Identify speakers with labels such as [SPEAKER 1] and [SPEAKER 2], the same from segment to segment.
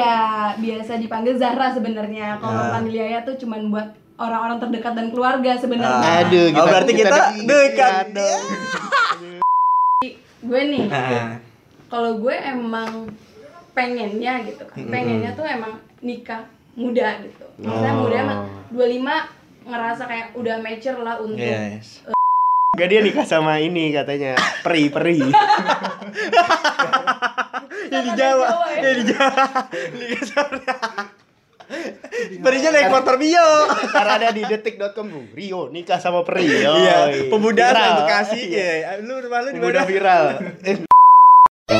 [SPEAKER 1] Iya, biasa dipanggil Zahra sebenarnya. Kalau
[SPEAKER 2] Ah.
[SPEAKER 1] panggil Yaya tuh cuman buat orang-orang terdekat dan keluarga sebenarnya.
[SPEAKER 2] Ah.
[SPEAKER 3] Aduh,
[SPEAKER 2] oh,
[SPEAKER 3] kita-
[SPEAKER 2] berarti
[SPEAKER 3] kita
[SPEAKER 2] kita,
[SPEAKER 3] dekat
[SPEAKER 2] dekat
[SPEAKER 3] dong.
[SPEAKER 1] Gue nih,
[SPEAKER 2] Nah,
[SPEAKER 1] kalau gue emang pengennya gitu kan. Pengennya tuh emang nikah muda gitu. Maksudnya
[SPEAKER 2] Oh.
[SPEAKER 1] muda emang 25 ngerasa kayak udah mature lah untuk
[SPEAKER 2] yes.
[SPEAKER 3] Gak dia nikah sama ini katanya peri peri.
[SPEAKER 2] Ya di
[SPEAKER 1] Sama
[SPEAKER 2] Jawa,
[SPEAKER 1] Jawa ya.
[SPEAKER 2] ya di Jawa. Liga Sabra. Perinya naik motor bio.
[SPEAKER 3] Karena ada di detik.com Bu. Rio nikah sama peri.
[SPEAKER 2] Iya,
[SPEAKER 3] Yoi.
[SPEAKER 2] pemuda
[SPEAKER 3] Viral.
[SPEAKER 2] asal Bekasi. Iya, lu rumah lu di
[SPEAKER 3] Pemuda
[SPEAKER 2] mana?
[SPEAKER 3] viral. gitu. Eh,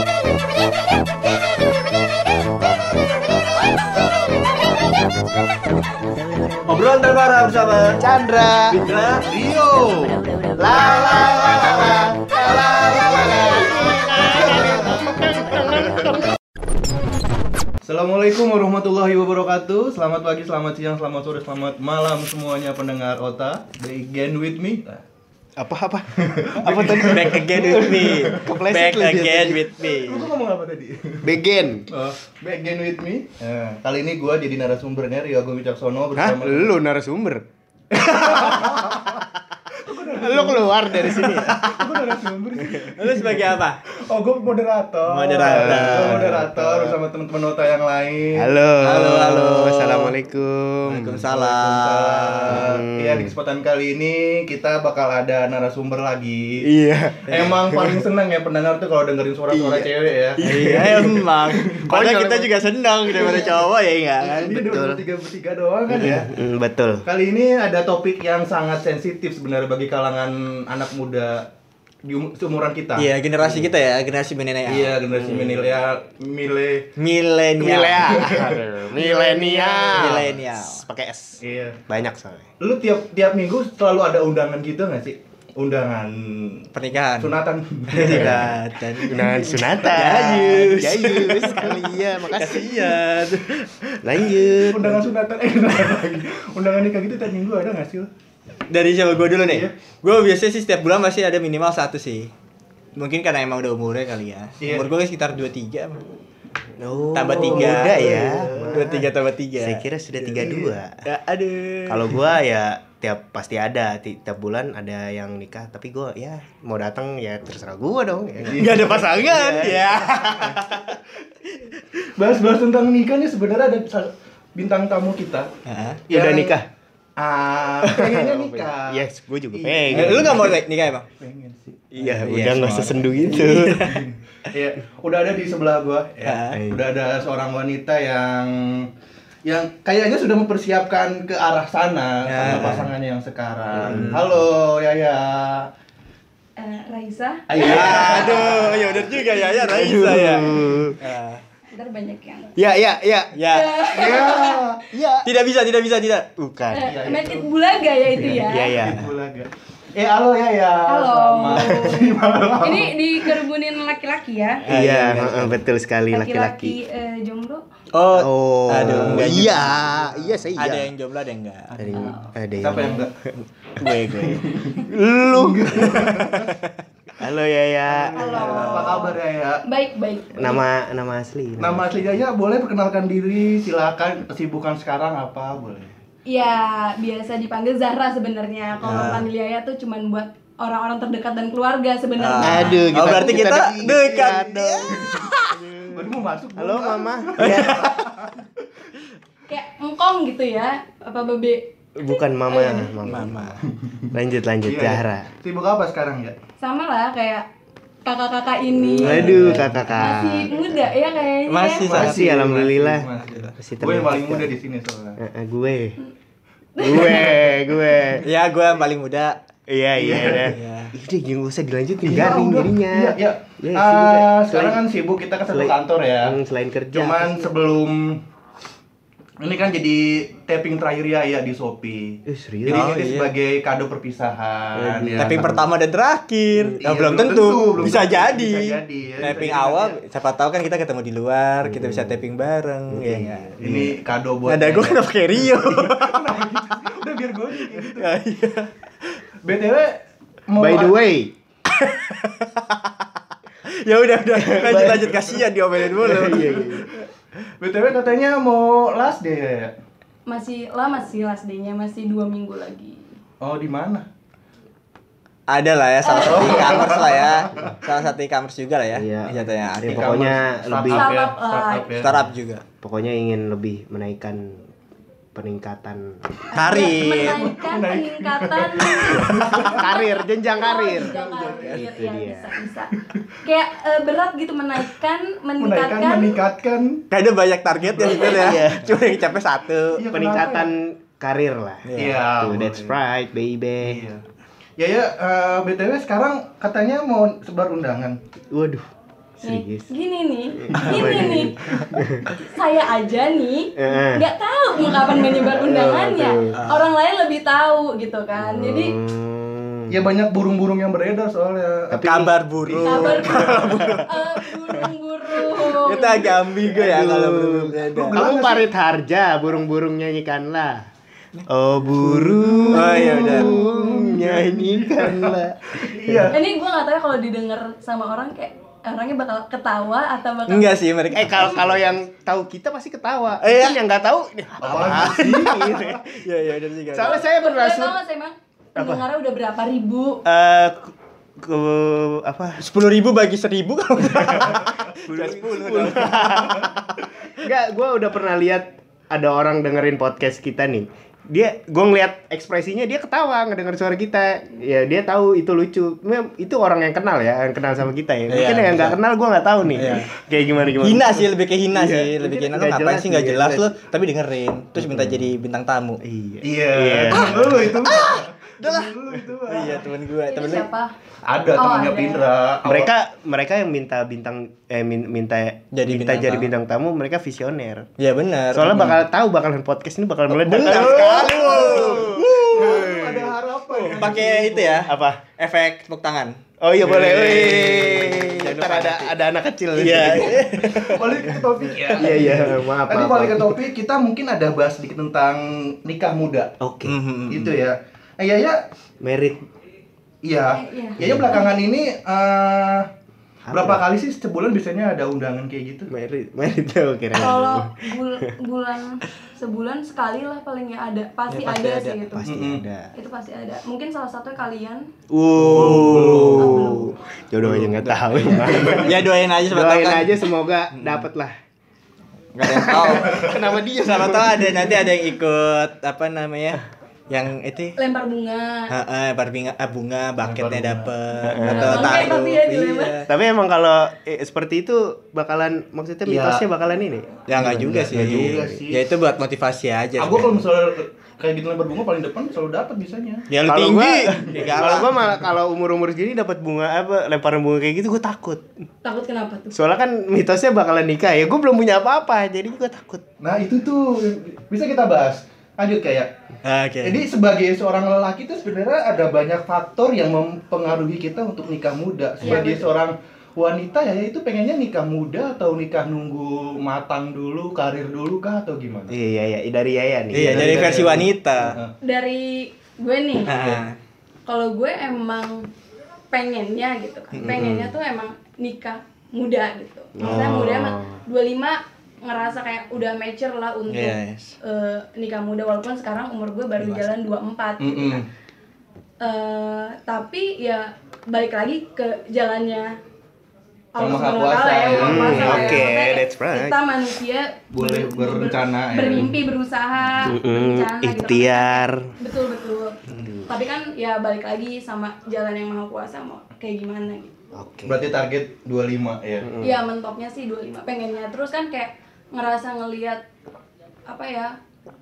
[SPEAKER 2] Ngobrol tanpa arah bersama
[SPEAKER 3] Chandra.
[SPEAKER 2] Chandra.
[SPEAKER 3] Rio. La la la la la. La la la la la.
[SPEAKER 4] Assalamualaikum warahmatullahi wabarakatuh. Selamat pagi, selamat siang, selamat sore, selamat malam semuanya pendengar Ota. Begin with me.
[SPEAKER 3] Apa apa? Apa tadi?
[SPEAKER 2] Back again with me.
[SPEAKER 3] Kepleset
[SPEAKER 2] Back
[SPEAKER 3] lu dia
[SPEAKER 2] again
[SPEAKER 3] tadi.
[SPEAKER 2] with me.
[SPEAKER 4] Lu ngomong apa tadi?
[SPEAKER 3] Begin.
[SPEAKER 4] Oh, begin with me. Eh, kali ini gua jadi narasumbernya Rio Agung Wicaksono
[SPEAKER 3] Hah?
[SPEAKER 4] bersama
[SPEAKER 3] Lu narasumber. Lu keluar dari sini.
[SPEAKER 4] Gua narasumber sih.
[SPEAKER 2] Lu sebagai apa?
[SPEAKER 4] Oh, gua moderator.
[SPEAKER 2] Moderator.
[SPEAKER 4] Gua moderator bersama teman-teman Ota yang lain.
[SPEAKER 3] Halo.
[SPEAKER 2] Halo, halo.
[SPEAKER 3] Assalamualaikum.
[SPEAKER 2] Waalaikumsalam.
[SPEAKER 4] Iya, di kesempatan kali ini kita bakal ada narasumber lagi.
[SPEAKER 3] Iya.
[SPEAKER 4] Emang paling seneng ya pendengar tuh kalau dengerin suara-suara cewek ya.
[SPEAKER 2] Iya emang. Padahal
[SPEAKER 3] Konyol
[SPEAKER 2] kita
[SPEAKER 3] emang.
[SPEAKER 2] juga senang daripada cowok ya enggak kan?
[SPEAKER 4] Ini dua tiga bertiga doang kan ya.
[SPEAKER 3] Mm, betul.
[SPEAKER 4] Kali ini ada topik yang sangat sensitif sebenarnya bagi kalangan anak muda di um- seumuran kita.
[SPEAKER 2] Iya, generasi kita ya, generasi milenial.
[SPEAKER 4] Iya, generasi milenial, mile.
[SPEAKER 2] Milenial.
[SPEAKER 3] Milea. Aduh, Milenial.
[SPEAKER 2] Milenial.
[SPEAKER 3] Pakai S.
[SPEAKER 4] Iya.
[SPEAKER 3] Banyak soalnya.
[SPEAKER 4] Lu tiap tiap minggu selalu ada undangan gitu nggak sih? Undangan
[SPEAKER 2] Pernikahan.
[SPEAKER 4] sunatan.
[SPEAKER 2] Sunatan.
[SPEAKER 3] Nah, sunatan.
[SPEAKER 2] Jayus.
[SPEAKER 3] Jayus.
[SPEAKER 2] ya,
[SPEAKER 3] Iya, makasih.
[SPEAKER 2] Kasihan.
[SPEAKER 3] Lanjut.
[SPEAKER 4] undangan sunatan eh undangan lagi. Undangan nikah gitu tiap minggu ada nggak sih? lu?
[SPEAKER 2] Dari siapa gue dulu nih?
[SPEAKER 4] Iya.
[SPEAKER 2] Gue biasanya sih setiap bulan pasti ada minimal satu sih. Mungkin karena emang udah umurnya kali ya.
[SPEAKER 4] Iya.
[SPEAKER 2] Umur gue sekitar 23
[SPEAKER 3] Oh,
[SPEAKER 2] tambah 3.
[SPEAKER 3] Muda Iya, ya.
[SPEAKER 2] 23 tambah 3.
[SPEAKER 3] Saya kira sudah 32.
[SPEAKER 2] Ya, aduh.
[SPEAKER 3] Kalau gua ya tiap pasti ada ti- tiap bulan ada yang nikah tapi gua ya mau datang ya terserah gua dong ya.
[SPEAKER 2] nggak ada pasangan,
[SPEAKER 3] Iya.
[SPEAKER 2] ya.
[SPEAKER 4] Bahas-bahas tentang nikah nih sebenarnya ada sa- bintang tamu kita.
[SPEAKER 2] Heeh.
[SPEAKER 3] Ya udah
[SPEAKER 4] Yang-
[SPEAKER 3] nikah.
[SPEAKER 4] Ah, pengennya nikah.
[SPEAKER 3] Iya. Yes, gua juga
[SPEAKER 2] Eh,
[SPEAKER 3] pengen.
[SPEAKER 2] lu gak mau nikah emang?
[SPEAKER 4] Pengen sih.
[SPEAKER 3] Iya,
[SPEAKER 2] Iya,
[SPEAKER 3] udah nggak
[SPEAKER 2] semua.
[SPEAKER 3] sesendu gitu.
[SPEAKER 4] Iya, udah ada di sebelah gua.
[SPEAKER 2] Ah.
[SPEAKER 4] Ya. Udah ada seorang wanita yang yang kayaknya sudah mempersiapkan ke arah sana
[SPEAKER 2] Ya.
[SPEAKER 4] sama pasangannya yang sekarang. Halo, Yaya. Iya.
[SPEAKER 1] Eh, Raisa.
[SPEAKER 4] Ayo.
[SPEAKER 2] Aduh, ya udah juga ya, ya Raisa ya. Ah.
[SPEAKER 1] Ntar banyak yang
[SPEAKER 3] Ya, ya, ya.
[SPEAKER 2] Ya.
[SPEAKER 4] Ya.
[SPEAKER 3] Ya.
[SPEAKER 2] Tidak bisa, tidak bisa, tidak.
[SPEAKER 3] Bukan.
[SPEAKER 1] eh,
[SPEAKER 4] iya,
[SPEAKER 1] make it bulaga ya itu ya.
[SPEAKER 3] Ya, ya.
[SPEAKER 4] Itu laga. Eh, halo Yaya.
[SPEAKER 1] Halo.
[SPEAKER 4] Selamat. malam.
[SPEAKER 1] Ini dikerumunin laki-laki ya.
[SPEAKER 3] Iya, heeh, betul sekali laki-laki.
[SPEAKER 1] Laki-laki eh, jomblo.
[SPEAKER 2] Oh,
[SPEAKER 3] Oh,
[SPEAKER 2] Aduh, enggak juga.
[SPEAKER 3] iya, iya saya iya.
[SPEAKER 2] ada yang jomblo ada yang enggak.
[SPEAKER 3] ada yang ada yang-
[SPEAKER 4] Siapa yang enggak?
[SPEAKER 2] Gue gue.
[SPEAKER 3] Lu. Halo Yaya.
[SPEAKER 4] Apa kabar Yaya?
[SPEAKER 1] Baik-baik.
[SPEAKER 3] Nama nama asli.
[SPEAKER 4] Nama asli Yaya boleh perkenalkan diri, silakan kesibukan sekarang apa boleh.
[SPEAKER 1] Ya, biasa dipanggil Zahra sebenarnya. Kalau
[SPEAKER 2] Ah.
[SPEAKER 1] panggil Yaya tuh cuman buat orang-orang terdekat dan keluarga sebenarnya.
[SPEAKER 3] Ah. Aduh,
[SPEAKER 2] oh
[SPEAKER 3] kita-
[SPEAKER 2] berarti
[SPEAKER 3] kita
[SPEAKER 2] kita,
[SPEAKER 3] dekat
[SPEAKER 2] dekat
[SPEAKER 3] dong.
[SPEAKER 2] dong.
[SPEAKER 4] Baru mau masuk.
[SPEAKER 3] Halo
[SPEAKER 4] belum?
[SPEAKER 3] Mama. Ya.
[SPEAKER 1] Kayak engkong gitu ya, apa bebe.
[SPEAKER 3] Bukan Mama, Mama.
[SPEAKER 2] Mama.
[SPEAKER 3] Lanjut lanjut
[SPEAKER 4] Iya, iya.
[SPEAKER 3] Zahra.
[SPEAKER 4] Sibuk apa sekarang ya?
[SPEAKER 1] Sama lah kayak kakak-kakak ini.
[SPEAKER 3] Aduh, kakak-kakak.
[SPEAKER 1] Masih muda ya kayaknya.
[SPEAKER 2] Masih sangat
[SPEAKER 3] Masih alhamdulillah. Masih
[SPEAKER 4] Masih, ya. Iya,
[SPEAKER 3] teman
[SPEAKER 4] gue yang paling
[SPEAKER 3] kita.
[SPEAKER 4] muda di sini soalnya.
[SPEAKER 3] Eh, eh, gue. Gue, gue.
[SPEAKER 2] Ya, gue yang paling muda.
[SPEAKER 3] Iya, iya, iya.
[SPEAKER 2] Iya.
[SPEAKER 3] Udah, jangan usah dilanjutin
[SPEAKER 4] Iya,
[SPEAKER 3] garing
[SPEAKER 4] udah.
[SPEAKER 3] jadinya.
[SPEAKER 4] Iya, iya.
[SPEAKER 3] Ya, sibuk
[SPEAKER 4] Ah,
[SPEAKER 3] ya.
[SPEAKER 4] sekarang kan
[SPEAKER 3] Selain-
[SPEAKER 4] sibuk kita ke satu
[SPEAKER 3] selain-
[SPEAKER 4] kantor ya.
[SPEAKER 3] Hmm, selain kerja.
[SPEAKER 4] Cuman sebelum ini kan jadi taping terakhir ya, ya di Shopee.
[SPEAKER 3] Eh, serius?
[SPEAKER 4] Jadi
[SPEAKER 2] Oh,
[SPEAKER 4] ini
[SPEAKER 2] iya.
[SPEAKER 4] sebagai kado
[SPEAKER 3] Iya,
[SPEAKER 4] perpisahan. ya.
[SPEAKER 2] Tapi pertama dan terakhir.
[SPEAKER 4] Iya,
[SPEAKER 2] Nah, belum
[SPEAKER 4] belum
[SPEAKER 2] tentu.
[SPEAKER 4] tentu, belum
[SPEAKER 2] bisa,
[SPEAKER 4] tentu.
[SPEAKER 2] Jadi.
[SPEAKER 4] Bisa jadi, ya.
[SPEAKER 2] Taping
[SPEAKER 4] Bisa jadi,
[SPEAKER 2] awal,
[SPEAKER 4] ya.
[SPEAKER 2] siapa tahu kan kita ketemu di luar, kita bisa taping bareng, ya enggak?
[SPEAKER 3] Iya.
[SPEAKER 4] ini kado buat.
[SPEAKER 2] Ada gue
[SPEAKER 4] Yaya.
[SPEAKER 2] kenapa kayak Rio?
[SPEAKER 4] Udah biar gue aja kayak gitu.
[SPEAKER 2] Ya, iya.
[SPEAKER 4] BTW mau
[SPEAKER 3] By the way,
[SPEAKER 2] Ya udah udah lanjut lanjut kasihan diomelin mulu.
[SPEAKER 3] iya, iya.
[SPEAKER 4] BTW katanya mau last deh ya. ya?
[SPEAKER 1] Masih lama sih last day-nya, masih dua minggu lagi.
[SPEAKER 4] Oh, di mana?
[SPEAKER 2] Ada lah ya salah satu e-commerce lah ya. Salah satu e-commerce juga lah ya.
[SPEAKER 3] Iya.
[SPEAKER 2] Jatuhnya ada
[SPEAKER 3] Iya, pokoknya
[SPEAKER 4] Startup
[SPEAKER 3] lebih-
[SPEAKER 4] ya,
[SPEAKER 1] Startup, eh,
[SPEAKER 4] startup ya.
[SPEAKER 2] startup juga.
[SPEAKER 3] Pokoknya ingin lebih menaikkan peningkatan
[SPEAKER 1] Ya,
[SPEAKER 2] Karir.
[SPEAKER 1] Menaikkan peningkatan
[SPEAKER 3] karir, jenjang karir.
[SPEAKER 1] Jenjang karir, ya,
[SPEAKER 3] Itu dia.
[SPEAKER 1] bisa bisa. Kayak eh, berat gitu menaikkan,
[SPEAKER 4] Menaikkan,
[SPEAKER 1] meningkatkan.
[SPEAKER 4] ya. meningkatkan.
[SPEAKER 2] Kayak ada banyak target ya sebenarnya.
[SPEAKER 3] Iya.
[SPEAKER 2] Cuma yang capek satu.
[SPEAKER 4] Iya, kenapa
[SPEAKER 3] Peningkatan karir lah.
[SPEAKER 4] Iya.
[SPEAKER 3] Tuh, that's right, baby.
[SPEAKER 4] Iya. Ya ya, eh, BTW sekarang katanya mau sebar undangan.
[SPEAKER 3] Waduh,
[SPEAKER 1] Nih,
[SPEAKER 3] serius.
[SPEAKER 1] gini nih, gini nih. Saya aja nih
[SPEAKER 3] Eh.
[SPEAKER 1] nggak tahu mau kapan menyebar undangannya.
[SPEAKER 3] Betul.
[SPEAKER 1] Orang lain lebih tahu gitu kan. Jadi
[SPEAKER 3] Hmm.
[SPEAKER 4] Ya banyak burung-burung yang beredar soalnya.
[SPEAKER 3] Tapi-
[SPEAKER 2] Kabar buruk.
[SPEAKER 1] kabar eh, burung-burung.
[SPEAKER 2] Kita agak ambigu ya
[SPEAKER 3] Aduh.
[SPEAKER 2] kalau belum
[SPEAKER 4] Iya.
[SPEAKER 2] ada.
[SPEAKER 3] Kamu parit harja, burung-burung nyanyikanlah. Oh burung,
[SPEAKER 2] Oh, iya, udah.
[SPEAKER 3] nyanyikanlah.
[SPEAKER 4] Iya.
[SPEAKER 1] Ini gue nggak tahu ya kalau didengar sama orang kayak orangnya bakal ketawa atau bakal
[SPEAKER 2] Enggak sih mereka.
[SPEAKER 3] eh kalau kalau yang tahu kita pasti ketawa.
[SPEAKER 2] Iya.
[SPEAKER 3] Mungkin yang nggak tahu, ini
[SPEAKER 4] Apaan
[SPEAKER 3] apa?
[SPEAKER 4] sih?
[SPEAKER 2] Iya iya ada juga.
[SPEAKER 3] Soalnya saya
[SPEAKER 1] Berbeda
[SPEAKER 3] pernah sur-
[SPEAKER 1] banget sih, Mang. Pendengarnya udah berapa ribu?
[SPEAKER 3] eh, ke- ke- apa?
[SPEAKER 2] Sepuluh ribu bagi seribu kalau
[SPEAKER 3] Iya.
[SPEAKER 2] sepuluh.
[SPEAKER 3] Enggak, gue udah pernah lihat ada orang dengerin podcast kita nih. Dia, gue ngeliat ekspresinya dia ketawa ngedenger suara kita. Ya dia tahu itu lucu. Mem- Itu orang yang kenal ya, yang kenal sama kita ya. Mungkin
[SPEAKER 2] Iya,
[SPEAKER 3] yang nggak
[SPEAKER 2] bisa.
[SPEAKER 3] kenal gue nggak tahu nih.
[SPEAKER 2] Iya.
[SPEAKER 3] Kayak gimana gimana.
[SPEAKER 2] hina sih lebih ke hina
[SPEAKER 3] Iya,
[SPEAKER 2] sih lebih ke hina lu
[SPEAKER 3] mungkin nggak
[SPEAKER 2] ngapain
[SPEAKER 3] jelas
[SPEAKER 2] sih nggak
[SPEAKER 3] sih,
[SPEAKER 2] jelas
[SPEAKER 3] nggak
[SPEAKER 2] lu tapi dengerin terus minta jadi bintang tamu
[SPEAKER 3] Iya.
[SPEAKER 4] Iya.
[SPEAKER 3] Iya.
[SPEAKER 4] Temen Lu itu.
[SPEAKER 2] udah lah
[SPEAKER 4] Lu itu. ah.
[SPEAKER 2] iya temen gue
[SPEAKER 3] Eh,
[SPEAKER 1] Ini
[SPEAKER 2] temen lu
[SPEAKER 1] siapa?
[SPEAKER 4] Ada
[SPEAKER 1] Oh,
[SPEAKER 4] temennya
[SPEAKER 1] ada.
[SPEAKER 4] Pindra.
[SPEAKER 3] Mereka mereka yang minta bintang eh min- minta
[SPEAKER 2] Jadi
[SPEAKER 3] minta
[SPEAKER 2] bintang
[SPEAKER 3] jadi
[SPEAKER 2] tamu.
[SPEAKER 3] bintang tamu mereka visioner.
[SPEAKER 2] ya benar
[SPEAKER 3] Soalnya bakal tahu bakalan podcast ini bakal meledak.
[SPEAKER 4] Aduh, ada harapan.
[SPEAKER 3] Oh,
[SPEAKER 2] pakai itu ya
[SPEAKER 3] Apa?
[SPEAKER 2] efek tepuk tangan
[SPEAKER 3] Oh iya boleh.
[SPEAKER 2] Yeay.
[SPEAKER 3] Wih.
[SPEAKER 2] Jangan
[SPEAKER 3] Ntar
[SPEAKER 2] lupa
[SPEAKER 3] ada
[SPEAKER 2] nanti.
[SPEAKER 3] ada anak kecil.
[SPEAKER 2] Iya.
[SPEAKER 4] Balik ke topik ya.
[SPEAKER 3] Iya iya maaf.
[SPEAKER 4] Tadi
[SPEAKER 3] maaf,
[SPEAKER 4] balik ke
[SPEAKER 3] maaf.
[SPEAKER 4] topik kita mungkin ada bahas sedikit tentang nikah muda.
[SPEAKER 3] Oke.
[SPEAKER 2] Mhm.
[SPEAKER 4] Itu ya. Eh, ya ya
[SPEAKER 3] Merit
[SPEAKER 4] Iya.
[SPEAKER 1] Iya.
[SPEAKER 4] Ya, ya belakangan ini eh
[SPEAKER 3] Apa?
[SPEAKER 4] berapa kali sih sebulan biasanya ada undangan kayak gitu?
[SPEAKER 3] merit merit tahu kira.
[SPEAKER 1] Kalau bul- bulan sebulan sekali lah paling ya ada pasti,
[SPEAKER 2] Ya, pasti
[SPEAKER 1] ada,
[SPEAKER 2] ada,
[SPEAKER 1] sih itu.
[SPEAKER 3] Pasti
[SPEAKER 4] Mm-mm.
[SPEAKER 3] ada.
[SPEAKER 1] Itu pasti ada. Mungkin salah satunya kalian.
[SPEAKER 2] Oh.
[SPEAKER 3] Uh. Jodoh aja nggak tahu.
[SPEAKER 2] ya doain aja sama
[SPEAKER 3] Doain
[SPEAKER 2] kan
[SPEAKER 3] aja semoga dapat lah.
[SPEAKER 2] nggak ada yang tahu
[SPEAKER 3] Kenapa dia
[SPEAKER 2] siapa tahu ada nanti ada yang ikut apa namanya yang itu
[SPEAKER 1] Lempar bunga.
[SPEAKER 2] Heeh, bunga, eh, bunga
[SPEAKER 4] bunga.
[SPEAKER 2] baketnya dapet
[SPEAKER 1] Heeh.
[SPEAKER 2] atau
[SPEAKER 1] Bangkai
[SPEAKER 2] taruh
[SPEAKER 1] tapi ya dilema.
[SPEAKER 2] iya
[SPEAKER 3] Tapi emang kalau eh, seperti itu bakalan maksudnya
[SPEAKER 4] Iya.
[SPEAKER 3] mitosnya bakalan ini.
[SPEAKER 2] ya nggak juga sih
[SPEAKER 4] nggak juga sih.
[SPEAKER 2] ya itu buat motivasi aja
[SPEAKER 4] Aku
[SPEAKER 2] Iya, sebenarnya.
[SPEAKER 4] kalau misalnya kayak gitu lebar bunga paling depan selalu dapat biasanya.
[SPEAKER 2] ya lu
[SPEAKER 3] Kalau
[SPEAKER 2] tinggi
[SPEAKER 3] gua,
[SPEAKER 2] ya
[SPEAKER 3] kalau
[SPEAKER 2] kalah.
[SPEAKER 3] gua malah kalau umur-umur segini dapat bunga apa lemparan bunga kayak gitu gua takut.
[SPEAKER 1] Takut kenapa tuh?
[SPEAKER 3] Soalnya kan mitosnya bakalan nikah ya, gue belum punya apa-apa, jadi gue takut.
[SPEAKER 4] Nah itu tuh bisa kita bahas. Lanjut kayak.
[SPEAKER 2] Oke.
[SPEAKER 4] Jadi sebagai seorang lelaki itu sebenarnya ada banyak faktor yang mempengaruhi kita untuk nikah muda.
[SPEAKER 1] Iya,
[SPEAKER 4] Sebagai
[SPEAKER 1] betul.
[SPEAKER 4] seorang wanita ya itu pengennya nikah muda atau nikah nunggu matang dulu, karir dulu kah atau gimana?
[SPEAKER 3] Iya iya iya, dari Yaya nih.
[SPEAKER 2] Iya,
[SPEAKER 4] dari-
[SPEAKER 2] dari versi
[SPEAKER 4] dari-
[SPEAKER 2] wanita.
[SPEAKER 4] Heeh.
[SPEAKER 1] Dari gue nih.
[SPEAKER 2] Heeh.
[SPEAKER 1] Kalau gue emang pengennya gitu kan. Pengennya tuh emang nikah muda gitu. Maksudnya
[SPEAKER 3] Oh.
[SPEAKER 1] muda mah 25 ngerasa kayak udah mature lah untuk
[SPEAKER 2] Yes.
[SPEAKER 1] eh, nikah muda walaupun sekarang umur gue baru jalan 24 gitu
[SPEAKER 4] Mm-mm.
[SPEAKER 1] kan. Eh, tapi ya balik lagi ke jalannya Allah
[SPEAKER 4] Maha
[SPEAKER 1] Subhanahu wa Ta'ala
[SPEAKER 4] Kuasa
[SPEAKER 1] ya, Maha
[SPEAKER 4] ya.
[SPEAKER 1] Kuasa lah ya.
[SPEAKER 3] Oke,
[SPEAKER 1] Maksudnya
[SPEAKER 3] that's right.
[SPEAKER 1] Kita manusia
[SPEAKER 4] Boleh
[SPEAKER 1] ber- ber-
[SPEAKER 4] berencana ya.
[SPEAKER 1] bermimpi, berusaha, berencana gitu kan.
[SPEAKER 3] Hmm, ikhtiar.
[SPEAKER 1] Betul betul. Tapi kan ya balik lagi sama jalan yang maha kuasa mau kayak gimana gitu.
[SPEAKER 3] Oke.
[SPEAKER 4] Berarti target 25 ya.
[SPEAKER 3] Hmm.
[SPEAKER 1] Ya mentoknya sih 25 pengennya. Terus kan kayak ngerasa ngelihat apa ya?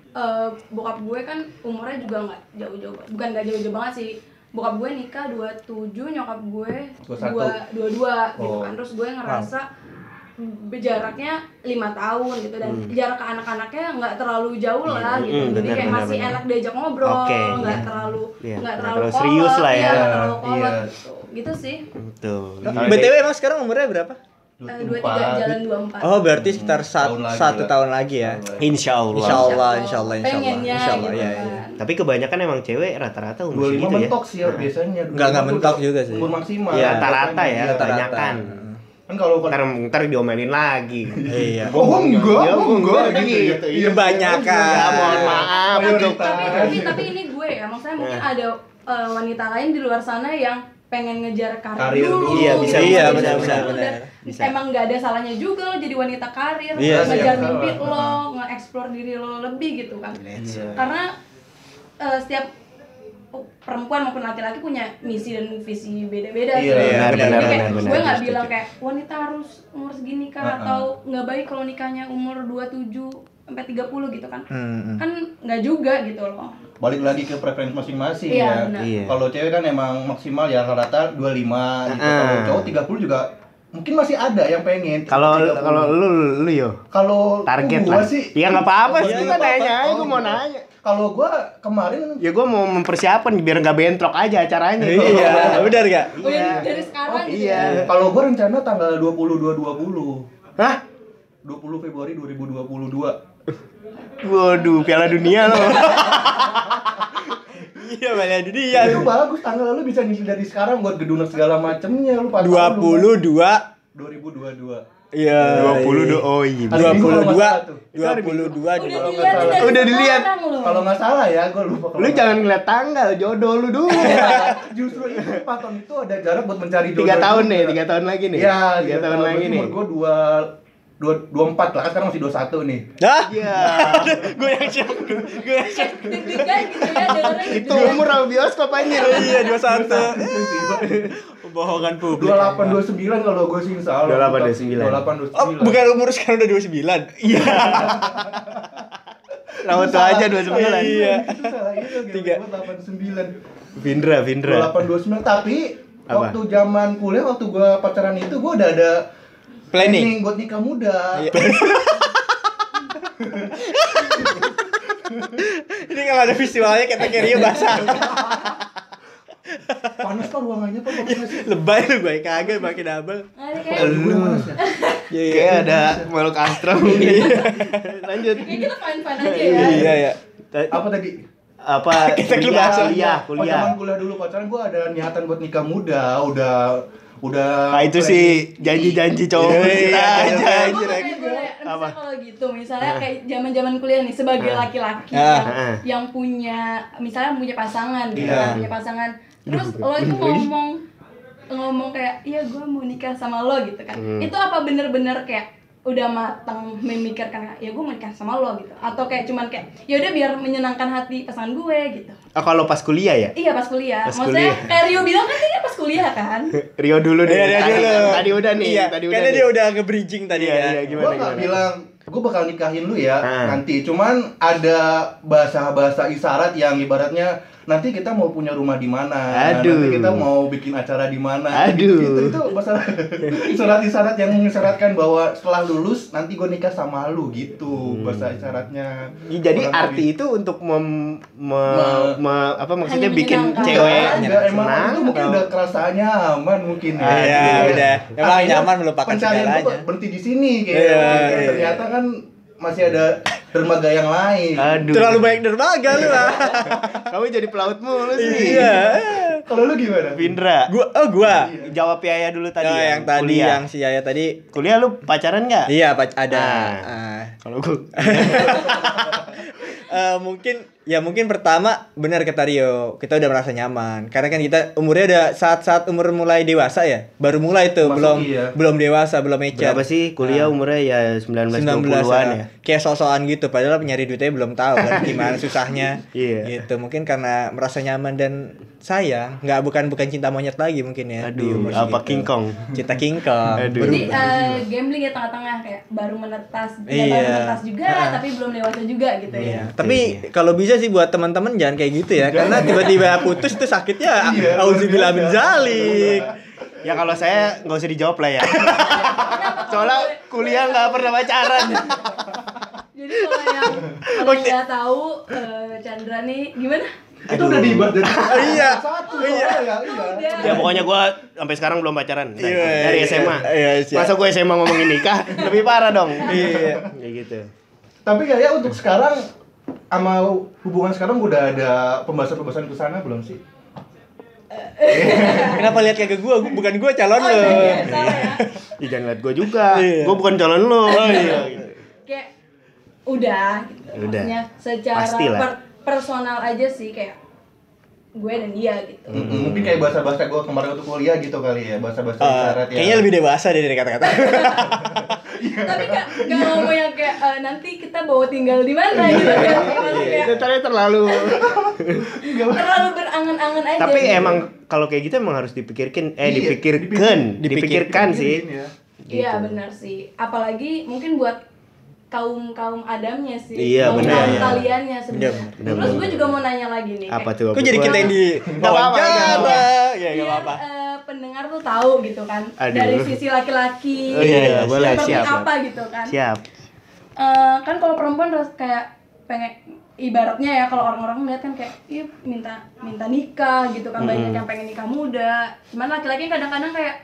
[SPEAKER 1] eh, bokap gue kan umurnya juga nggak jauh-jauh. Bukan nggak jauh-jauh banget sih. Bokap gue nikah 27, nyokap gue
[SPEAKER 4] 21.
[SPEAKER 1] dua- 22 gitu
[SPEAKER 4] Oh.
[SPEAKER 1] kan. Terus gue ngerasa jaraknya lima tahun gitu dan
[SPEAKER 3] Hmm.
[SPEAKER 1] jarak ke anak-anaknya nggak terlalu jauh lah gitu.
[SPEAKER 3] mm,
[SPEAKER 1] Jadi
[SPEAKER 3] benar,
[SPEAKER 1] kayak
[SPEAKER 3] benar,
[SPEAKER 1] masih
[SPEAKER 3] benar.
[SPEAKER 1] enak diajak ngobrol,
[SPEAKER 3] Oke,
[SPEAKER 1] nggak
[SPEAKER 3] iya.
[SPEAKER 1] terlalu
[SPEAKER 3] Iya,
[SPEAKER 1] nggak
[SPEAKER 3] nggak
[SPEAKER 1] terlalu
[SPEAKER 3] terlalu serius
[SPEAKER 1] kolot,
[SPEAKER 3] lah
[SPEAKER 1] iya,
[SPEAKER 3] ya.
[SPEAKER 1] nggak terlalu kolot
[SPEAKER 4] Iya.
[SPEAKER 1] gitu. Gitu sih.
[SPEAKER 3] Betul.
[SPEAKER 2] BTW emang sekarang umurnya berapa?
[SPEAKER 1] Eh, Dua tiga jalan dua empat.
[SPEAKER 2] Oh, berarti sekitar sat-
[SPEAKER 4] tahun lagi
[SPEAKER 2] satu
[SPEAKER 4] lah.
[SPEAKER 2] tahun lagi ya.
[SPEAKER 3] Insya Allah.
[SPEAKER 2] Insya Allah, insya Allah, insya Allah,
[SPEAKER 1] Pengennya
[SPEAKER 2] insya Allah,
[SPEAKER 1] gitu
[SPEAKER 2] ya,
[SPEAKER 1] kan.
[SPEAKER 2] ya.
[SPEAKER 3] Tapi kebanyakan emang cewek rata-rata umur
[SPEAKER 4] 25
[SPEAKER 3] segitu ya.
[SPEAKER 4] mentok sih ya biasanya.
[SPEAKER 2] Enggak enggak mentok juga sih.
[SPEAKER 4] Umur maksimal.
[SPEAKER 3] Iya, rata-rata ya,
[SPEAKER 4] Iya,
[SPEAKER 2] rata-rata.
[SPEAKER 3] kebanyakan.
[SPEAKER 2] Heeh.
[SPEAKER 4] Kan kalau
[SPEAKER 3] ntar ntar diomelin lagi
[SPEAKER 2] Iya.
[SPEAKER 4] Oh, gua enggak,
[SPEAKER 3] Iya,
[SPEAKER 4] gua
[SPEAKER 3] gua
[SPEAKER 4] enggak
[SPEAKER 3] enggak
[SPEAKER 4] gitu ya.
[SPEAKER 3] gitu.
[SPEAKER 4] Iya,
[SPEAKER 2] Kebanyakan.
[SPEAKER 4] gua enggak,
[SPEAKER 3] mohon
[SPEAKER 2] Iya.
[SPEAKER 3] maaf.
[SPEAKER 4] Mayoritas.
[SPEAKER 1] tapi tapi tapi ini gue ya maksudnya mungkin
[SPEAKER 2] Iya.
[SPEAKER 1] ada eh, wanita lain di luar sana yang pengen ngejar karir,
[SPEAKER 4] Karir dulu.
[SPEAKER 1] dulu
[SPEAKER 2] Iya, bisa,
[SPEAKER 1] gitu.
[SPEAKER 2] iya,
[SPEAKER 1] Bisa,
[SPEAKER 2] benar,
[SPEAKER 1] bisa,
[SPEAKER 2] benar,
[SPEAKER 1] Dan
[SPEAKER 2] bisa.
[SPEAKER 1] emang nggak ada salahnya juga lo jadi wanita karir
[SPEAKER 2] Iya, sih,
[SPEAKER 1] ngejar
[SPEAKER 4] nggak
[SPEAKER 1] mimpi
[SPEAKER 4] salah.
[SPEAKER 1] lo nge-explore diri lo lebih gitu kan
[SPEAKER 4] Iya.
[SPEAKER 1] karena eh, setiap Oh, perempuan maupun laki-laki punya misi dan visi beda-beda
[SPEAKER 4] Iya,
[SPEAKER 1] sih.
[SPEAKER 3] benar,
[SPEAKER 1] Jadi kayak
[SPEAKER 3] benar, benar, benar,
[SPEAKER 1] gue nggak
[SPEAKER 3] setuju.
[SPEAKER 1] bilang kayak wanita harus umur segini kah
[SPEAKER 4] Uh-uh.
[SPEAKER 1] atau nggak baik kalau nikahnya umur 27 sampai 30 gitu kan.
[SPEAKER 2] Hmm, hmm.
[SPEAKER 1] Kan nggak juga gitu loh.
[SPEAKER 4] balik lagi ke preferensi masing-masing
[SPEAKER 1] Iya,
[SPEAKER 4] ya.
[SPEAKER 1] benar.
[SPEAKER 2] Iya.
[SPEAKER 4] Kalau cewek kan emang maksimal ya rata-rata 25 gitu. Kalau
[SPEAKER 3] Ah.
[SPEAKER 4] cowok 30 juga mungkin masih ada yang pengen.
[SPEAKER 3] kalau
[SPEAKER 4] 30.
[SPEAKER 3] kalau lu lu yo
[SPEAKER 4] kalau
[SPEAKER 3] target
[SPEAKER 4] Iya, gua
[SPEAKER 3] lah
[SPEAKER 4] sih
[SPEAKER 3] ya nggak apa-apa
[SPEAKER 2] Iya,
[SPEAKER 3] sih kita
[SPEAKER 2] nggak apa-apa.
[SPEAKER 3] nanya aja gua mau
[SPEAKER 4] gitu.
[SPEAKER 3] nanya
[SPEAKER 4] Kalau gua kemarin
[SPEAKER 3] ya gua mau mempersiapkan biar nggak bentrok aja acaranya
[SPEAKER 2] Iya, benar gak?
[SPEAKER 1] Oh, ya dari sekarang gitu. ya.
[SPEAKER 3] iya.
[SPEAKER 4] kalau gua rencana tanggal 22 2020.
[SPEAKER 3] hah
[SPEAKER 4] 20 Februari 2022.
[SPEAKER 3] waduh piala dunia lo
[SPEAKER 2] Iya, banyak dunia.
[SPEAKER 4] Itu bagus tanggal Eh, lu bisa ngisi dari sekarang buat gedung segala macemnya lu pasang dulu.
[SPEAKER 2] 22
[SPEAKER 4] 2022.
[SPEAKER 2] Iya.
[SPEAKER 3] dua puluh oh iya
[SPEAKER 4] Hari Minggu kalau nggak salah tuh.
[SPEAKER 2] 22
[SPEAKER 3] Oh,
[SPEAKER 2] 22
[SPEAKER 1] Udah dilihat dari
[SPEAKER 3] Udah dilihat.
[SPEAKER 1] sekarang loh.
[SPEAKER 4] Kalau nggak salah ya, gua lupa. kalau
[SPEAKER 3] lu
[SPEAKER 4] nggak
[SPEAKER 3] jangan ngeliat tanggal jodoh lu dulu
[SPEAKER 4] Justru itu empat tahun itu ada jarak buat mencari jodoh.
[SPEAKER 3] tiga tahun nih
[SPEAKER 4] juga.
[SPEAKER 3] tiga tahun lagi nih
[SPEAKER 4] Iya,
[SPEAKER 3] tiga tahun lagi nih
[SPEAKER 4] Umur gue dua dua dua empat lah, kan sekarang masih dua satu nih.
[SPEAKER 2] Dah.
[SPEAKER 3] iya
[SPEAKER 2] Gue yang cek. Gue yang cek.
[SPEAKER 1] Kayak deg-degan gitu ya dengernya
[SPEAKER 3] itu
[SPEAKER 1] gitu. ya.
[SPEAKER 3] umur sama bioskop anjir
[SPEAKER 2] Iya, 21. Pembohongan publik.
[SPEAKER 4] Dua delapan dua sembilan kalau gue sih insya Allah.
[SPEAKER 3] 28, 29.
[SPEAKER 4] Dua delapan dua
[SPEAKER 2] Oh,
[SPEAKER 4] sembilan.
[SPEAKER 2] bukan umur sekarang udah 29. Iya.
[SPEAKER 3] lama tuh aja dua sembilan
[SPEAKER 2] Iya.
[SPEAKER 4] Itu salah itu.
[SPEAKER 2] Tiga.
[SPEAKER 4] Tiga. gitu. Delapan sembilan.
[SPEAKER 3] Vindra
[SPEAKER 4] Dua
[SPEAKER 3] Vindra
[SPEAKER 4] delapan dua sembilan. Tapi
[SPEAKER 3] Apa?
[SPEAKER 4] waktu zaman kuliah waktu gue pacaran itu gue udah ada
[SPEAKER 2] Planning.
[SPEAKER 4] buat nikah muda.
[SPEAKER 2] Iya. Ini kalau ada visualnya kategorinya basah.
[SPEAKER 4] Panas kan ruangannya pak. Panas.
[SPEAKER 2] Lebay lu gue kagak pakai double.
[SPEAKER 1] Nah, ini kayak
[SPEAKER 4] Gue panas ya.
[SPEAKER 2] Iya,
[SPEAKER 3] kayak ada Iya, makhluk astral nih lanjut
[SPEAKER 1] kayak kita fine-fine aja ya.
[SPEAKER 2] Iya, iya.
[SPEAKER 3] Ta-
[SPEAKER 4] Apa tadi?
[SPEAKER 3] apa
[SPEAKER 2] Kita Oh,
[SPEAKER 3] kuliah
[SPEAKER 2] keluar.
[SPEAKER 3] ya, kuliah
[SPEAKER 4] Pas
[SPEAKER 3] kuliah
[SPEAKER 4] zaman kuliah dulu pacaran gue ada niatan buat nikah muda, udah udah.
[SPEAKER 3] nah itu sih janji-janji
[SPEAKER 2] Iya,
[SPEAKER 3] cowok kita
[SPEAKER 2] iya, iya.
[SPEAKER 3] aja
[SPEAKER 1] Oh,
[SPEAKER 2] Anjir,
[SPEAKER 1] boleh, boleh.
[SPEAKER 3] Apa?
[SPEAKER 1] Misalnya kalau gitu, misalnya kayak zaman-zaman kuliah nih sebagai laki-laki
[SPEAKER 2] Ah,
[SPEAKER 1] yang,
[SPEAKER 3] ah.
[SPEAKER 1] yang punya misalnya punya pasangan gitu,
[SPEAKER 4] Iya.
[SPEAKER 1] kan, punya pasangan. Terus lo itu ngomong ngomong kayak, "Iya, gue mau nikah sama lo" gitu kan. Itu apa bener-bener kayak udah matang memikirkan ya gue mau nikah sama lo gitu atau kayak cuman kayak ya udah biar menyenangkan hati pasangan gue gitu
[SPEAKER 3] oh, kalau pas kuliah ya
[SPEAKER 1] iya pas kuliah
[SPEAKER 3] Pas
[SPEAKER 1] maksudnya
[SPEAKER 3] kuliah.
[SPEAKER 1] kayak Rio bilang kan tadi pas kuliah kan
[SPEAKER 3] Rio dulu deh
[SPEAKER 2] Iya, dia
[SPEAKER 3] tadi,
[SPEAKER 2] dulu.
[SPEAKER 3] tadi udah nih
[SPEAKER 2] Iya,
[SPEAKER 3] tadi udah
[SPEAKER 2] Karena
[SPEAKER 3] nih.
[SPEAKER 2] dia udah nge-bridging tadi
[SPEAKER 3] Iya,
[SPEAKER 2] kan.
[SPEAKER 3] iya,
[SPEAKER 4] Gue
[SPEAKER 3] gimana,
[SPEAKER 4] nggak
[SPEAKER 3] gimana?
[SPEAKER 4] bilang gue bakal nikahin lu ya
[SPEAKER 3] Ah.
[SPEAKER 4] nanti. Cuman ada bahasa-bahasa isyarat yang ibaratnya nanti kita mau punya rumah di mana,
[SPEAKER 3] Aduh.
[SPEAKER 4] nanti kita mau bikin acara di mana.
[SPEAKER 3] Aduh.
[SPEAKER 4] Itu itu bahasa isyarat-isyarat yang mengisyaratkan bahwa setelah lulus nanti gue nikah sama lu gitu bahasa
[SPEAKER 3] Ya,
[SPEAKER 4] isyaratnya.
[SPEAKER 3] Hmm. jadi
[SPEAKER 4] Kurang
[SPEAKER 3] arti
[SPEAKER 4] lebih.
[SPEAKER 3] itu untuk mem, me-
[SPEAKER 4] Me-
[SPEAKER 3] me- apa maksudnya
[SPEAKER 1] Hanya
[SPEAKER 3] bikin
[SPEAKER 1] menyenangkan.
[SPEAKER 3] cewek
[SPEAKER 4] Enggak, enggak, emang itu mungkin udah kerasaannya aman mungkin ya.
[SPEAKER 2] Ah, iya,
[SPEAKER 4] Jadi,
[SPEAKER 2] udah. Emang
[SPEAKER 4] akhirnya
[SPEAKER 2] nyaman melupakan
[SPEAKER 4] pencarian
[SPEAKER 2] segalanya.
[SPEAKER 4] tuh berhenti di sini kayak gitu.
[SPEAKER 2] Iya,
[SPEAKER 4] kayak
[SPEAKER 2] iya.
[SPEAKER 4] ternyata kan masih ada dermaga yang lain.
[SPEAKER 3] Aduh.
[SPEAKER 2] Terlalu banyak dermaga lu ah. lah.
[SPEAKER 3] Kamu jadi pelaut mulu sih.
[SPEAKER 2] Iya.
[SPEAKER 4] Kalau lu gimana?
[SPEAKER 3] Vindra.
[SPEAKER 2] Gua oh gua.
[SPEAKER 3] Jawab Yaya dulu tadi.
[SPEAKER 2] Oh,
[SPEAKER 3] ya,
[SPEAKER 2] yang tadi
[SPEAKER 3] kuliah.
[SPEAKER 2] yang si Yaya tadi.
[SPEAKER 3] kuliah lu pacaran nggak?
[SPEAKER 2] Iya, Pak, ada.
[SPEAKER 3] Nah.
[SPEAKER 2] Ah.
[SPEAKER 3] Kalau gua
[SPEAKER 2] Eh, mungkin ya mungkin pertama benar kata Rio kita udah merasa nyaman karena kan kita umurnya udah saat-saat umur mulai dewasa ya baru mulai tuh
[SPEAKER 4] Masuk
[SPEAKER 2] belum
[SPEAKER 4] iya.
[SPEAKER 2] belum dewasa belum Ah. mecer
[SPEAKER 3] berapa sih kuliah umurnya ya 19
[SPEAKER 2] 19-an
[SPEAKER 3] 20-an ya?
[SPEAKER 2] ya. Kayak sosokan gitu padahal nyari duitnya belum tahu kan gimana susahnya.
[SPEAKER 3] Iya.
[SPEAKER 2] Gitu. Mungkin karena merasa nyaman dan sayang, nggak bukan bukan cinta monyet lagi mungkin ya. di
[SPEAKER 3] Aduh,
[SPEAKER 2] umur
[SPEAKER 3] apa
[SPEAKER 2] segitu.
[SPEAKER 3] King Kong?
[SPEAKER 2] Cinta King Kong.
[SPEAKER 3] Aduh.
[SPEAKER 2] Baru-
[SPEAKER 1] Jadi eh, gambling ya tengah-tengah kayak baru menetas, ya
[SPEAKER 2] Iya.
[SPEAKER 1] baru menetas juga, tapi belum dewasa juga gitu
[SPEAKER 2] Iya.
[SPEAKER 1] ya.
[SPEAKER 2] Tapi kalau bisa sih buat teman-teman jangan kayak gitu ya, karena tiba-tiba putus tuh sakitnya
[SPEAKER 4] Iya,
[SPEAKER 2] auzubillah min
[SPEAKER 4] luar biasa.
[SPEAKER 2] zalik.
[SPEAKER 3] Ya kalau saya nggak usah dijawab lah ya.
[SPEAKER 1] Kenapa kalau
[SPEAKER 3] Soalnya
[SPEAKER 1] gue-
[SPEAKER 3] kuliah nggak pernah pacaran.
[SPEAKER 1] Jadi kalau yang kalau yang nggak tahu eh, Chandra nih gimana?
[SPEAKER 4] Itu udah diibarat dari
[SPEAKER 3] Ah,
[SPEAKER 2] Iya.
[SPEAKER 4] satu soalnya, iya.
[SPEAKER 1] Udah.
[SPEAKER 3] ya pokoknya gua sampai sekarang belum pacaran. Dari,
[SPEAKER 2] Iya,
[SPEAKER 3] dari
[SPEAKER 2] iya.
[SPEAKER 3] SMA.
[SPEAKER 2] Iya, siap.
[SPEAKER 3] Masa gua SMA ngomongin nikah lebih parah dong. Iya. Kayak gitu.
[SPEAKER 4] Tapi kayaknya untuk sekarang sama hubungan sekarang udah ada pembahasan-pembahasan ke sana belum sih?
[SPEAKER 1] Eh,
[SPEAKER 2] Kenapa lihat kayak ke gua? Gua- Bukan gua calon
[SPEAKER 1] Oh,
[SPEAKER 2] lo.
[SPEAKER 1] iya, salah ya.
[SPEAKER 3] Ih, jangan liat gue juga.
[SPEAKER 2] Iya.
[SPEAKER 3] Gue bukan calon lo.
[SPEAKER 1] Kayak udah gitu.
[SPEAKER 3] Udah.
[SPEAKER 1] Maksudnya secara
[SPEAKER 3] Pastilah.
[SPEAKER 1] per- personal aja sih kayak gue dan dia gitu.
[SPEAKER 4] Mm-mm, Mungkin kayak bahasa-bahasa gue kemarin waktu kuliah gitu kali ya, bahasa-bahasa
[SPEAKER 2] Eh,
[SPEAKER 4] isyarat ya.
[SPEAKER 2] kayaknya lebih dewasa deh dari kata-kata.
[SPEAKER 3] Iya.
[SPEAKER 1] Tapi gak, gak ngomong yang kayak "Eh, nanti kita bawa tinggal di mana
[SPEAKER 3] Iya.
[SPEAKER 1] gitu kan. Maksudnya kayak
[SPEAKER 3] Itu tadi terlalu.
[SPEAKER 1] terlalu berangan-angan aja.
[SPEAKER 3] Iya. Tapi
[SPEAKER 1] gitu.
[SPEAKER 3] emang kalau kayak gitu emang harus dipikirkan eh
[SPEAKER 4] Iya,
[SPEAKER 3] dipikirkan, dipikirkan sih.
[SPEAKER 4] Mungkin ya.
[SPEAKER 1] Iya
[SPEAKER 3] Gitu.
[SPEAKER 1] benar sih. Apalagi mungkin buat kaum kaum Adamnya sih.
[SPEAKER 3] Iya,
[SPEAKER 1] kaum
[SPEAKER 3] benar.
[SPEAKER 1] kaum
[SPEAKER 3] Iya.
[SPEAKER 1] Taliannya sebenarnya.
[SPEAKER 2] Benar,
[SPEAKER 3] benar,
[SPEAKER 1] Terus
[SPEAKER 3] benar.
[SPEAKER 1] gue juga mau nanya lagi nih.
[SPEAKER 3] Apa
[SPEAKER 1] kayak
[SPEAKER 3] tuh?
[SPEAKER 2] Kok jadi kita yang di
[SPEAKER 3] Nggak apa-apa, nggak apa-apa.
[SPEAKER 2] wawancara? Ya
[SPEAKER 1] Biar
[SPEAKER 2] enggak apa-apa.
[SPEAKER 1] eh, pendengar tuh tahu gitu kan
[SPEAKER 3] Aduh.
[SPEAKER 1] dari sisi laki-laki.
[SPEAKER 3] Oh, iya, iya, boleh,
[SPEAKER 1] seperti
[SPEAKER 3] siap,
[SPEAKER 1] apa gitu kan?
[SPEAKER 3] Siap.
[SPEAKER 1] Eh, kan kalau perempuan harus kayak pengen ibaratnya ya kalau orang-orang melihat kan kayak iya minta minta nikah gitu kan banyak yang pengen nikah muda cuman laki-laki kadang-kadang kayak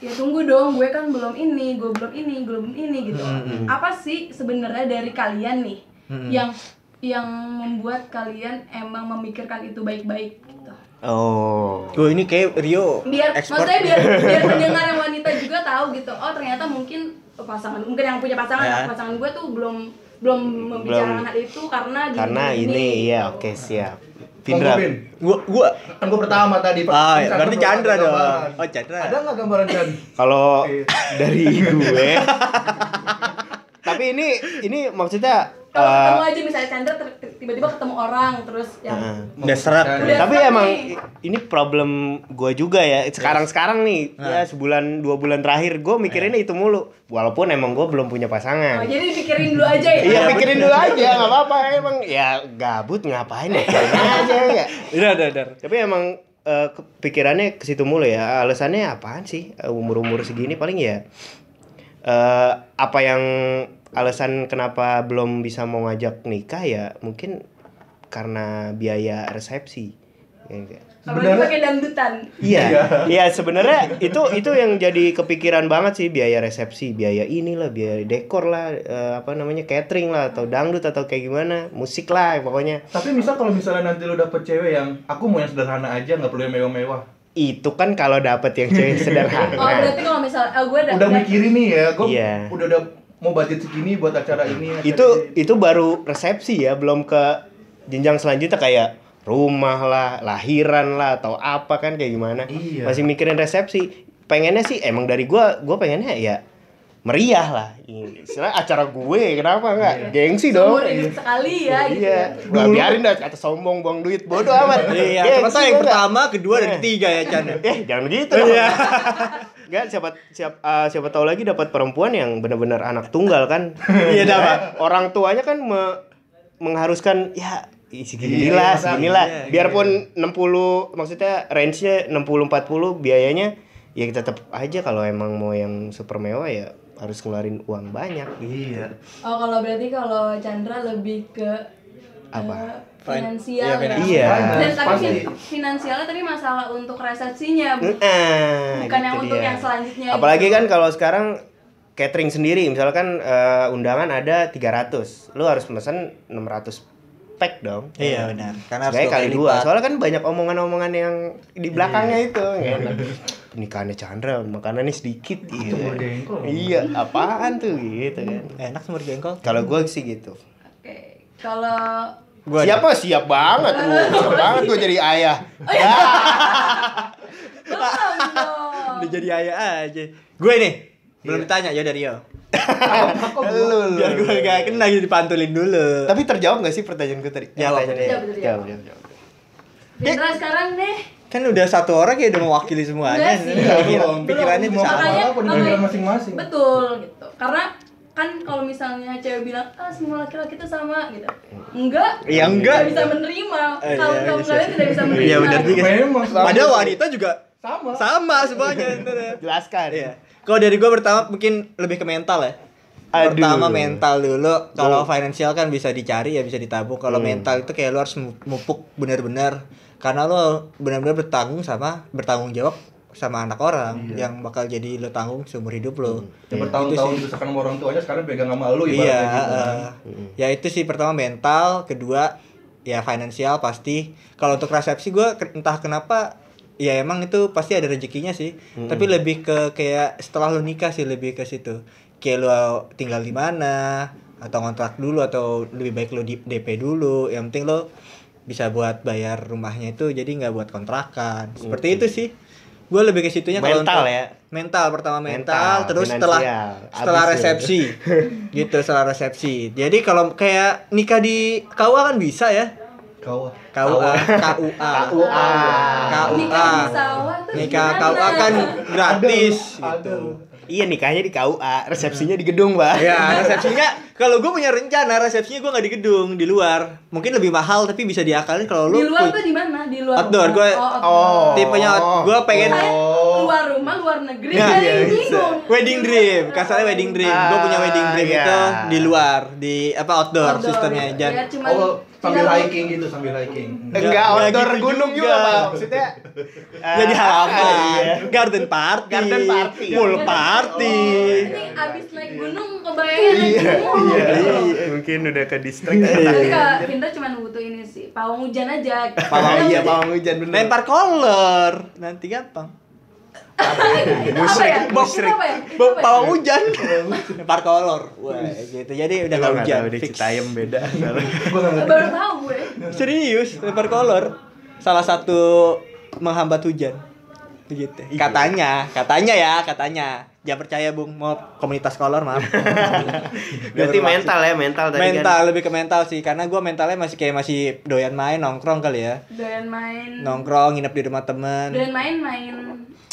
[SPEAKER 1] ya tunggu dong gue kan belum ini gue belum ini gue belum ini gitu apa sih sebenarnya dari kalian nih yang yang membuat kalian emang memikirkan itu baik-baik gitu
[SPEAKER 3] Oh.
[SPEAKER 2] Gua ini kayak Rio
[SPEAKER 1] biar
[SPEAKER 2] expert.
[SPEAKER 1] maksudnya biar biar pendengar yang wanita juga tahu gitu oh ternyata mungkin pasangan mungkin yang punya pasangan
[SPEAKER 2] Ya.
[SPEAKER 1] pasangan gue tuh belum belum membicarakan hal itu karena gini,
[SPEAKER 3] Karena
[SPEAKER 1] gini,
[SPEAKER 3] ini
[SPEAKER 1] gini.
[SPEAKER 3] iya oke siap.
[SPEAKER 4] Monggo,
[SPEAKER 3] Vindra.
[SPEAKER 4] Vin.
[SPEAKER 2] Gua gua
[SPEAKER 4] Kan gue pertama tadi.
[SPEAKER 2] Ah,
[SPEAKER 4] Bisa
[SPEAKER 2] berarti
[SPEAKER 4] berapa
[SPEAKER 2] Chandra dong.
[SPEAKER 4] gambaran?
[SPEAKER 2] Oh, Chandra.
[SPEAKER 4] Ada nggak gambaran Chandra?
[SPEAKER 3] Kalau
[SPEAKER 4] Iya.
[SPEAKER 3] dari gue Tapi ini ini maksudnya
[SPEAKER 1] kalau
[SPEAKER 3] eh,
[SPEAKER 1] ketemu aja misalnya Chandra ter- tiba-tiba ketemu orang terus yang
[SPEAKER 3] eh.
[SPEAKER 2] udah serap.
[SPEAKER 1] Udah.
[SPEAKER 3] Tapi
[SPEAKER 1] Tapi-
[SPEAKER 3] emang i- ini problem gue juga ya sekarang-sekarang nih ya sebulan dua bulan terakhir gue mikirinnya itu mulu walaupun emang gue belum punya
[SPEAKER 1] oh,
[SPEAKER 3] pasangan.
[SPEAKER 1] jadi dipikirin dulu aja ya
[SPEAKER 3] Iya pikirin dulu aja nggak apa-apa emang ya gabut ngapain ya pikirin aja ya.
[SPEAKER 2] Udah, udah, udah.
[SPEAKER 3] Tapi emang eh, ke- pikirannya ke situ mulu ya. Alasannya apaan sih? Eh, Umur-umur segini paling ya eh apa yang alasan kenapa belum bisa mau ngajak nikah ya mungkin karena biaya resepsi. Ya enggak?
[SPEAKER 1] apalagi pakai dangdutan
[SPEAKER 4] Iya.
[SPEAKER 3] Iya. Iya, sebenarnya itu itu yang jadi kepikiran banget sih biaya resepsi, biaya inilah, biaya dekor lah, eh, apa namanya catering lah atau dangdut atau kayak gimana, musik lah pokoknya.
[SPEAKER 4] Tapi misal kalau misalnya nanti lu dapet cewek yang aku mau yang sederhana aja nggak perlu yang mewah-mewah.
[SPEAKER 3] Itu kan kalau dapet yang cewek sederhana.
[SPEAKER 1] oh berarti kalau misalnya oh, gue
[SPEAKER 4] Udah mikirin nih ya, gue
[SPEAKER 3] Iya.
[SPEAKER 4] udah udah mau budget segini buat acara ini. acara
[SPEAKER 3] itu
[SPEAKER 4] ini.
[SPEAKER 3] itu baru resepsi ya belum ke jenjang selanjutnya kayak rumah lah lahiran lah atau apa kan kayak gimana
[SPEAKER 4] Iya.
[SPEAKER 3] masih mikirin resepsi pengennya sih emang dari gua gua pengennya ya meriah lah istilah acara gue kenapa enggak gengsi dong
[SPEAKER 1] seumur hidup sekali ya gitu
[SPEAKER 3] iya
[SPEAKER 1] ya.
[SPEAKER 3] Gua biarin dah kata sombong buang duit bodoh amat
[SPEAKER 2] Iya,
[SPEAKER 3] Gengsi
[SPEAKER 2] ternyata yang
[SPEAKER 3] gua enggak.
[SPEAKER 2] pertama, kedua, dan
[SPEAKER 3] Iya.
[SPEAKER 2] ketiga ya, Chan.
[SPEAKER 3] Eh, jangan begitu. Iya. Enggak siapa siapa eh, siapa tahu lagi dapat perempuan yang benar-benar anak tunggal kan.
[SPEAKER 2] Iya, dah, Pak.
[SPEAKER 3] Orang tuanya kan me- mengharuskan ya ih, seginilah,
[SPEAKER 4] Iya, masa-
[SPEAKER 3] seginilah.
[SPEAKER 2] iya,
[SPEAKER 3] Biarpun 60 maksudnya range-nya 60 40 biayanya ya kita tetap aja kalau emang mau yang super mewah ya harus ngeluarin uang banyak.
[SPEAKER 4] Iya.
[SPEAKER 1] oh kalau berarti kalau Chandra lebih ke
[SPEAKER 3] Apa?
[SPEAKER 1] eh,
[SPEAKER 2] Fin-
[SPEAKER 1] finansial
[SPEAKER 2] iya,
[SPEAKER 1] ya.
[SPEAKER 2] finansial.
[SPEAKER 3] Iya.
[SPEAKER 1] Dan tapi
[SPEAKER 4] Pasti.
[SPEAKER 1] fin- finansialnya tapi masalah untuk resepsinya
[SPEAKER 2] Hmm.
[SPEAKER 1] bu.
[SPEAKER 3] Nah,
[SPEAKER 1] Bukan yang
[SPEAKER 3] gitu
[SPEAKER 1] untuk yang selanjutnya
[SPEAKER 3] Apalagi
[SPEAKER 1] gitu.
[SPEAKER 3] kan kalau sekarang catering sendiri, misalkan eh, undangan ada 300, lu harus mesen 600 pack dong.
[SPEAKER 2] Iya, benar. Karena harus
[SPEAKER 3] Sebenarnya
[SPEAKER 2] dua
[SPEAKER 3] kali
[SPEAKER 2] kali
[SPEAKER 3] dua.
[SPEAKER 2] lipat.
[SPEAKER 3] Soalnya kan banyak omongan-omongan yang di belakangnya itu. nggak enak. Pernikahannya Chandra, makanannya sedikit gitu.
[SPEAKER 4] Semur jengkol.
[SPEAKER 3] Iya, apaan tuh gitu kan.
[SPEAKER 2] Enak semur jengkol.
[SPEAKER 3] Kalau gua sih gitu.
[SPEAKER 1] Oke, kalau
[SPEAKER 2] Gua
[SPEAKER 3] siap mah siap banget lu, siap banget gua jadi ayah.
[SPEAKER 1] belum dong.
[SPEAKER 2] udah jadi ayah aja. Gue nih belum ditanya ya dari yo.
[SPEAKER 3] Lu,
[SPEAKER 2] Biar gue gak kena gitu dipantulin dulu.
[SPEAKER 3] Tapi terjawab gak sih pertanyaan gue tadi?
[SPEAKER 2] Iya, Jawab. Iya.
[SPEAKER 3] Pertanyaannya.
[SPEAKER 1] Jawab, jawab.
[SPEAKER 3] jawab.
[SPEAKER 1] Fitra sekarang deh.
[SPEAKER 2] Kan udah satu orang ya udah mewakili semuanya.
[SPEAKER 1] Enggak sih.
[SPEAKER 2] Iya, pikiran-
[SPEAKER 4] Belum.
[SPEAKER 2] Pikirannya
[SPEAKER 4] Belum.
[SPEAKER 2] tuh sama.
[SPEAKER 1] Makanya
[SPEAKER 4] apa di pikiran
[SPEAKER 1] makanya-
[SPEAKER 4] masing-masing.
[SPEAKER 1] Betul gitu. Karena kan kalau misalnya cewek bilang ah semua laki-laki itu sama gitu. Enggak. Tidak
[SPEAKER 2] Ya enggak.
[SPEAKER 1] bisa menerima.
[SPEAKER 2] Eh,
[SPEAKER 1] Kalau
[SPEAKER 2] iya,
[SPEAKER 1] kamu
[SPEAKER 2] iya,
[SPEAKER 1] kalian
[SPEAKER 2] iya.
[SPEAKER 1] tidak bisa menerima.
[SPEAKER 2] Iya benar juga. sih.
[SPEAKER 4] Memang, sama.
[SPEAKER 2] Padahal wanita juga
[SPEAKER 4] Sama.
[SPEAKER 2] sama semuanya. Ntar ya.
[SPEAKER 3] Jelaskan.
[SPEAKER 2] Iya. Kalau dari gue pertama mungkin lebih ke mental ya.
[SPEAKER 3] Aduh.
[SPEAKER 2] Pertama mental dulu. Kalau finansial kan bisa dicari ya bisa ditabung. Kalau mental itu kayak lu harus mu- mupuk benar-benar karena lu benar-benar bertanggung sama bertanggung jawab sama anak orang yang bakal jadi lu tanggung seumur hidup lu.
[SPEAKER 4] Yang Ya, bertahun-tahun dibesarkan sama orang tuanya sekarang pegang sama lu
[SPEAKER 2] Iya,
[SPEAKER 4] ibaratnya gitu.
[SPEAKER 2] eh, ya itu sih pertama mental, kedua ya finansial pasti. Kalau untuk resepsi gue entah kenapa ya emang itu pasti ada rezekinya sih tapi lebih ke kayak setelah lu nikah sih lebih ke situ kayak lu tinggal di mana atau kontrak dulu atau lebih baik lu di DP dulu yang penting lu bisa buat bayar rumahnya itu jadi nggak buat kontrakan seperti itu sih gue lebih ke situnya kalau
[SPEAKER 3] Mental
[SPEAKER 2] untuk-
[SPEAKER 3] ya?
[SPEAKER 2] mental pertama
[SPEAKER 3] Mental,
[SPEAKER 2] mental, terus setelah
[SPEAKER 3] finansial.
[SPEAKER 2] setelah
[SPEAKER 3] Abis lu.
[SPEAKER 2] resepsi gitu setelah resepsi jadi kalau kayak nikah di KUA kan bisa ya
[SPEAKER 4] Kau ah.
[SPEAKER 2] KUA KUA
[SPEAKER 3] KUA.
[SPEAKER 1] Nikah
[SPEAKER 2] KUA
[SPEAKER 1] di sawah tuh
[SPEAKER 2] nikah
[SPEAKER 1] gimana?
[SPEAKER 2] KUA kan gratis gitu
[SPEAKER 3] Iya nikahnya di KUA, resepsinya di gedung, Pak.
[SPEAKER 2] ya resepsinya kalau gue punya rencana resepsinya gue nggak di gedung di luar mungkin lebih mahal tapi bisa diakalin kalau lu
[SPEAKER 1] di luar
[SPEAKER 2] pu-
[SPEAKER 1] tuh di mana? Di luar.
[SPEAKER 2] Outdoor,
[SPEAKER 1] rumah. Oh,
[SPEAKER 2] gua- Oh.
[SPEAKER 1] outdoor.
[SPEAKER 3] Oh.
[SPEAKER 2] tipenya gue pengen
[SPEAKER 1] Saya luar rumah, luar negeri. Iya.
[SPEAKER 2] Nah,
[SPEAKER 1] jadi
[SPEAKER 3] iya, bisa.
[SPEAKER 1] bingung.
[SPEAKER 2] wedding dream kasarnya wedding dream gue punya wedding dream
[SPEAKER 3] Ah,
[SPEAKER 2] itu
[SPEAKER 3] iya.
[SPEAKER 2] di luar di apa outdoor,
[SPEAKER 1] Outdoor,
[SPEAKER 2] sistemnya
[SPEAKER 1] ya.
[SPEAKER 2] jangan
[SPEAKER 1] Ya, cuman
[SPEAKER 4] Oh, sambil
[SPEAKER 1] tidak-
[SPEAKER 4] hiking gitu, sambil hiking.
[SPEAKER 2] Nggak-
[SPEAKER 3] Enggak
[SPEAKER 2] nggak
[SPEAKER 3] outdoor
[SPEAKER 2] gitu
[SPEAKER 3] gunung
[SPEAKER 2] juga.
[SPEAKER 3] juga, Pak. Maksudnya eh,
[SPEAKER 2] jadi halaman
[SPEAKER 3] iya.
[SPEAKER 2] garden party Oh.
[SPEAKER 3] Garden party.
[SPEAKER 2] pool party
[SPEAKER 1] Ini abis naik gunung kebayang naik gunung.
[SPEAKER 3] Iya,
[SPEAKER 1] gitu.
[SPEAKER 3] iya, mungkin udah ke distrik.
[SPEAKER 2] iya.
[SPEAKER 1] Tapi kalau Vinta cuma butuh ini sih, pawang hujan aja.
[SPEAKER 2] Pawang
[SPEAKER 1] Kadang-
[SPEAKER 3] iya, pawang hujan bener.
[SPEAKER 2] lempar kolor nanti gampang
[SPEAKER 1] Itu apa ya?
[SPEAKER 2] Bau-
[SPEAKER 1] Itu apa ya? Itu
[SPEAKER 2] Bau-
[SPEAKER 1] apa ya?
[SPEAKER 2] pawang hujan lempar kolor wah gitu jadi udah nggak
[SPEAKER 3] Gua Iya, nggak
[SPEAKER 2] hujan
[SPEAKER 3] tahu di
[SPEAKER 2] fix.
[SPEAKER 3] Citayam beda.
[SPEAKER 4] Gua nggak ngerti.
[SPEAKER 1] Baru tahu gue.
[SPEAKER 2] serius lempar kolor salah satu menghambat hujan gitu katanya katanya ya katanya jangan percaya bung mau komunitas kolor maaf
[SPEAKER 3] Berarti mental ya, mental tadi
[SPEAKER 2] mental
[SPEAKER 3] kan.
[SPEAKER 2] lebih ke mental sih karena gue mentalnya masih kayak masih doyan main nongkrong kali ya
[SPEAKER 1] Doyan main.
[SPEAKER 2] nongkrong nginep di rumah temen
[SPEAKER 1] Doyan main main.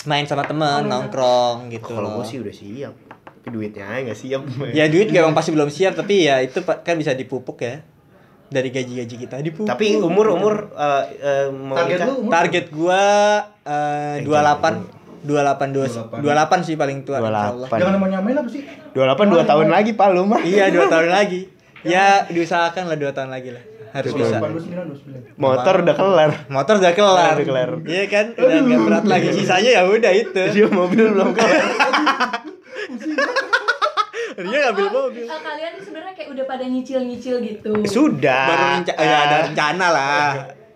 [SPEAKER 2] main sama temen nongkrong gitu
[SPEAKER 3] Kalau
[SPEAKER 2] loh.
[SPEAKER 3] gua sih udah siap. Tapi duitnya aja nggak siap.
[SPEAKER 2] ya duit gak emang pasti belum siap tapi ya itu pa- kan bisa dipupuk ya dari gaji-gaji kita dipupuk
[SPEAKER 3] Tapi umur-umur eh, eh, mau
[SPEAKER 4] Target
[SPEAKER 3] nikah-
[SPEAKER 4] lu umur?
[SPEAKER 2] target gua eh,
[SPEAKER 3] Eh,
[SPEAKER 2] 28 28 28 28 sih paling tua
[SPEAKER 3] 28.
[SPEAKER 2] insyaallah.
[SPEAKER 4] Jangan mau nyamain apa sih?
[SPEAKER 3] 28 2 tahun lagi, Pak, lu mah.
[SPEAKER 2] iya 2 tahun lagi ya diusahakan lah 2 tahun lagi lah harus bisa
[SPEAKER 4] 29, 29.
[SPEAKER 3] Motor udah kelar.
[SPEAKER 2] motor udah kelar
[SPEAKER 3] Udah kelar. Iya.
[SPEAKER 2] iya kan udah gak berat lagi sisanya ya udah itu
[SPEAKER 3] Dia mobil belum kelar.
[SPEAKER 2] dia ngambil
[SPEAKER 1] Oh,
[SPEAKER 2] mobil
[SPEAKER 1] eh, kalian sebenarnya kayak udah pada nyicil-nyicil gitu.
[SPEAKER 3] Sudah.
[SPEAKER 2] baru renca-
[SPEAKER 3] oh,
[SPEAKER 2] ya, ada rencana lah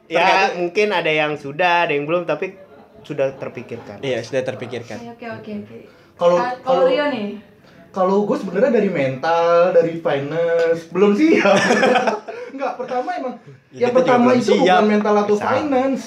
[SPEAKER 3] Ya, mungkin ada yang sudah, ada yang belum, tapi sudah terpikirkan.
[SPEAKER 2] iya sudah terpikirkan
[SPEAKER 1] Oke, oke, oke, oke.
[SPEAKER 4] Kalau-
[SPEAKER 1] Ah, kalau
[SPEAKER 4] kalau-
[SPEAKER 1] Rio nih,
[SPEAKER 4] Kalau gue sebenarnya dari mental, dari finance, belum siap. Enggak, pertama emang
[SPEAKER 2] Ya, kita
[SPEAKER 4] yang
[SPEAKER 2] juga
[SPEAKER 4] pertama
[SPEAKER 2] belum
[SPEAKER 4] itu
[SPEAKER 2] siap.
[SPEAKER 4] bukan mental atau
[SPEAKER 3] Bisa.
[SPEAKER 4] finance.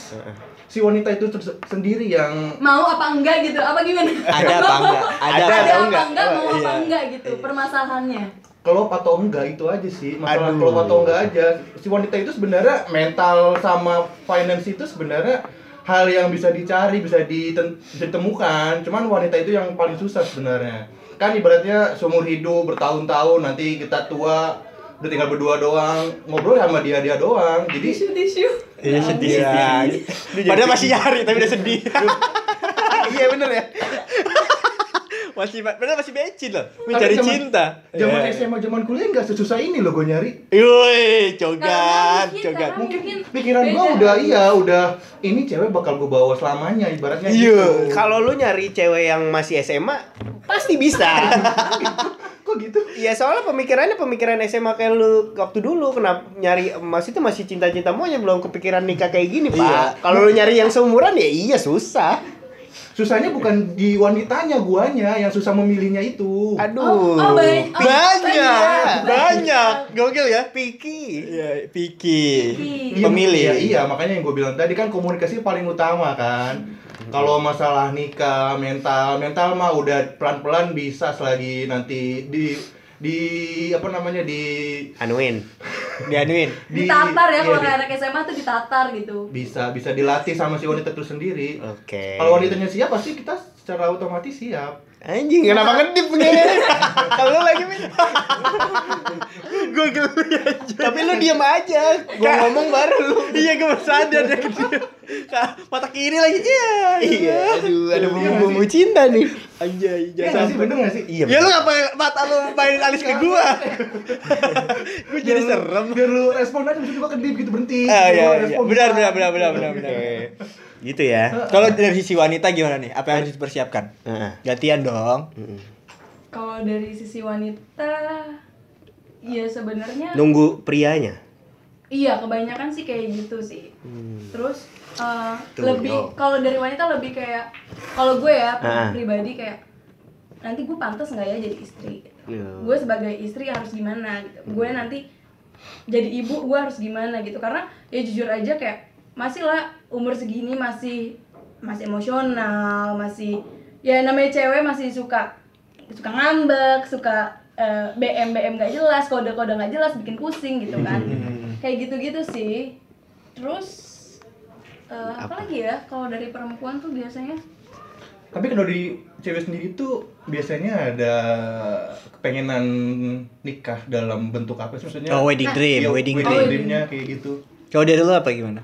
[SPEAKER 4] Si wanita itu ter- sendiri yang
[SPEAKER 1] mau apa enggak gitu? Apa gimana?
[SPEAKER 2] ada apa enggak ada,
[SPEAKER 1] Ada,
[SPEAKER 3] Ada
[SPEAKER 2] apa
[SPEAKER 1] apa
[SPEAKER 2] enggak
[SPEAKER 1] enggak? Mau
[SPEAKER 2] Oh,
[SPEAKER 1] apa
[SPEAKER 2] iya.
[SPEAKER 1] enggak gitu? Permasalahannya.
[SPEAKER 4] kelop atau enggak itu aja sih. Masalah
[SPEAKER 3] Aduh.
[SPEAKER 4] kelop atau enggak aja. Si wanita itu sebenarnya mental sama finance itu sebenarnya hal yang bisa dicari, bisa diten- ditemukan. Cuman wanita itu yang paling susah sebenarnya. Kan ibaratnya seumur hidup bertahun-tahun nanti kita tua udah tinggal berdua doang ngobrol sama dia dia doang jadi
[SPEAKER 1] Tisu, tisu.
[SPEAKER 2] Iya sedih.
[SPEAKER 3] Iya.
[SPEAKER 2] Padahal masih nyari tapi udah sedih.
[SPEAKER 3] Iya bener ya.
[SPEAKER 2] masih padahal masih becin loh, mencari
[SPEAKER 4] Tapi zaman-
[SPEAKER 2] cinta.
[SPEAKER 4] Zaman
[SPEAKER 2] Iya.
[SPEAKER 4] SMA, zaman kuliah nggak sesusah ini loh gue nyari.
[SPEAKER 1] Karena
[SPEAKER 2] Yoi, cogan,
[SPEAKER 1] mungkin
[SPEAKER 2] cogan.
[SPEAKER 1] karena mungkin
[SPEAKER 4] Pikiran gue
[SPEAKER 1] beda.
[SPEAKER 4] udah iya, udah ini cewek bakal gue bawa selamanya ibaratnya.
[SPEAKER 3] Iya.
[SPEAKER 4] gitu.
[SPEAKER 3] Kalau lu nyari cewek yang masih SMA, pasti bisa.
[SPEAKER 4] Kok gitu?
[SPEAKER 3] Iya soalnya pemikirannya pemikiran SMA kayak lu waktu dulu kenapa nyari emas itu masih cinta-cinta maunya belum kepikiran nikah kayak gini pak.
[SPEAKER 2] Iya.
[SPEAKER 3] Kalau lu nyari yang seumuran ya iya susah.
[SPEAKER 4] Susahnya bukan di wanitanya guanya yang susah memilihnya itu.
[SPEAKER 3] Aduh. ya,
[SPEAKER 1] Oh, oh, banyak- oh,
[SPEAKER 2] Banyak, banyak. Gokil ya.
[SPEAKER 3] Piki.
[SPEAKER 2] Iya, Piki.
[SPEAKER 1] Piki.
[SPEAKER 4] Iya,
[SPEAKER 2] Pemilih.
[SPEAKER 4] Iya, iya, makanya yang gue bilang tadi kan komunikasi paling utama kan. Kalau masalah nikah, mental, mental mah udah pelan-pelan bisa selagi nanti di di apa namanya di
[SPEAKER 3] Anuin.
[SPEAKER 2] Dianuin.
[SPEAKER 4] di
[SPEAKER 1] Ditatar ya
[SPEAKER 4] iya,
[SPEAKER 1] kalau
[SPEAKER 4] di-
[SPEAKER 1] kayak anak SMA tuh ditatar gitu.
[SPEAKER 4] bisa bisa dilatih sama si wanita itu sendiri.
[SPEAKER 3] Oke.
[SPEAKER 4] Kalau wanitanya siap pasti kita secara otomatis siap.
[SPEAKER 3] Anjing kenapa ngedip begini? Kalau lu lagi min. Gue
[SPEAKER 2] ya,
[SPEAKER 3] Tapi lu diam aja. Gue ngomong baru lu.
[SPEAKER 2] iya, gue baru sadar ya ke dia. Ka- Mata kiri lagi. Iya.
[SPEAKER 3] Iya. Aduh ada
[SPEAKER 4] Iya,
[SPEAKER 3] bumbu-bumbu cinta nih.
[SPEAKER 2] Anjay,
[SPEAKER 4] Iya nggak sih bener nggak sih?
[SPEAKER 3] Iya.
[SPEAKER 2] Ya lu ngapain mata lu mainin alis ke gua? gua jadi
[SPEAKER 4] Biar lu-
[SPEAKER 2] serem.
[SPEAKER 4] Biar lu respon aja maksudnya gua kedip gitu berhenti.
[SPEAKER 2] Ah, iya,
[SPEAKER 4] Biar lu
[SPEAKER 2] iya.
[SPEAKER 4] respon
[SPEAKER 2] Benar,
[SPEAKER 4] pelan.
[SPEAKER 2] benar, benar, benar, benar, benar.
[SPEAKER 3] Oke. Gitu ya.
[SPEAKER 2] Kalau dari sisi wanita gimana nih? Apa yang harus dipersiapkan?
[SPEAKER 3] Heeh.
[SPEAKER 2] Gantian dong.
[SPEAKER 3] Mm-mm.
[SPEAKER 1] Kalau dari sisi wanita, ya sebenarnya
[SPEAKER 3] Nunggu prianya.
[SPEAKER 1] Iya, kebanyakan sih kayak gitu sih. Terus eh,
[SPEAKER 2] Tuh, yo.
[SPEAKER 1] lebih kalau dari wanita lebih kayak kalau gue ya
[SPEAKER 3] Ah.
[SPEAKER 1] pribadi kayak nanti gue pantas nggak ya jadi istri?
[SPEAKER 3] Yo.
[SPEAKER 1] Gue sebagai istri harus gimana? Gitu. Gue nanti jadi ibu gue harus gimana gitu? Karena ya jujur aja kayak masih lah umur segini masih masih emosional, masih ya namanya cewek masih suka suka ngambek, suka eh, BM BM gak jelas, kode-kode gak jelas bikin pusing gitu kan kayak gitu-gitu sih terus eh, apa lagi ya kalau dari perempuan tuh biasanya
[SPEAKER 4] Tapi kalau di cewek sendiri tuh biasanya ada kepengenan nikah dalam bentuk apa sih maksudnya?
[SPEAKER 2] Oh, wedding dream,
[SPEAKER 4] Iya,
[SPEAKER 2] wedding
[SPEAKER 1] dream.
[SPEAKER 4] dreamnya kayak gitu.
[SPEAKER 2] Kalau dari lu apa gimana?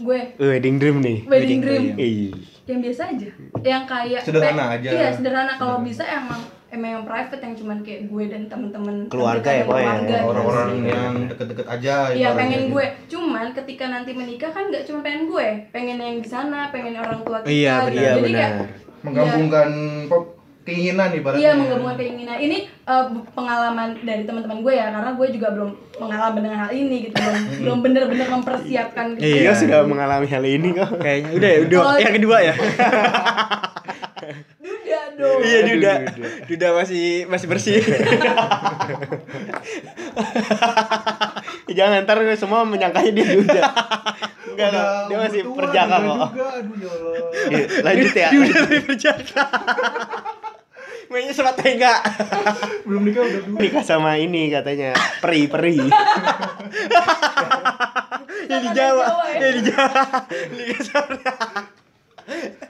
[SPEAKER 1] gue
[SPEAKER 3] Wedding dream nih.
[SPEAKER 1] wedding
[SPEAKER 2] Wedding
[SPEAKER 1] dream
[SPEAKER 2] dream.
[SPEAKER 3] Ih.
[SPEAKER 1] yang biasa aja yang kayak
[SPEAKER 4] Iya. Sederhana aja.
[SPEAKER 1] iya sederhana kalau bisa
[SPEAKER 4] Sederhana.
[SPEAKER 1] emang emang yang private yang cuman kayak gue dan temen-temen
[SPEAKER 2] Keluarga
[SPEAKER 1] terdekat
[SPEAKER 2] ya,
[SPEAKER 1] dan
[SPEAKER 2] pokoknya ya,
[SPEAKER 4] Iya,
[SPEAKER 1] keluarga gitu
[SPEAKER 4] Orang-orang
[SPEAKER 1] sih.
[SPEAKER 4] yang deket-deket aja.
[SPEAKER 1] Iya
[SPEAKER 4] ibaratnya
[SPEAKER 1] pengen
[SPEAKER 4] gitu.
[SPEAKER 1] gue, cuman ketika nanti menikah kan nggak cuma pengen gue, pengen yang di sana, pengen orang tua kita.
[SPEAKER 2] Iya,
[SPEAKER 1] gitu.
[SPEAKER 2] benar.
[SPEAKER 1] Jadi kayak
[SPEAKER 3] Benar.
[SPEAKER 4] Menggabungkan pe- keinginan ibaratnya.
[SPEAKER 1] Iya menggabungkan keinginan. Ini eh, bu- pengalaman dari teman-teman gue ya, karena gue juga belum mengalami dengan hal ini gitu, belum belum benar-benar mempersiapkan. Gitu.
[SPEAKER 2] Iya.
[SPEAKER 3] Dia sudah mengalami hal ini kok.
[SPEAKER 2] Kayaknya udah ya, udah.
[SPEAKER 1] Kalau-
[SPEAKER 2] Yang kedua ya.
[SPEAKER 1] Duda dong.
[SPEAKER 2] Iya,
[SPEAKER 3] Aduh,
[SPEAKER 2] duda.
[SPEAKER 3] duda.
[SPEAKER 2] Duda masih masih bersih.
[SPEAKER 3] Jangan ntar semua menyangkanya dia duda. Enggak
[SPEAKER 4] Udah
[SPEAKER 3] loh, dia
[SPEAKER 4] umur
[SPEAKER 3] masih
[SPEAKER 4] tua,
[SPEAKER 3] perjaka
[SPEAKER 4] duda
[SPEAKER 3] kok.
[SPEAKER 4] juga, aduh ya Allah.
[SPEAKER 3] Iya, Lanjut ya.
[SPEAKER 2] Duda lebih berjaga. Mainnya sama tengah.
[SPEAKER 4] Belum nikah udah duda.
[SPEAKER 3] Nikah sama ini katanya peri-peri.
[SPEAKER 2] Yang di Jawa.
[SPEAKER 1] ya.
[SPEAKER 2] Yang di Jawa. Liga Sarda.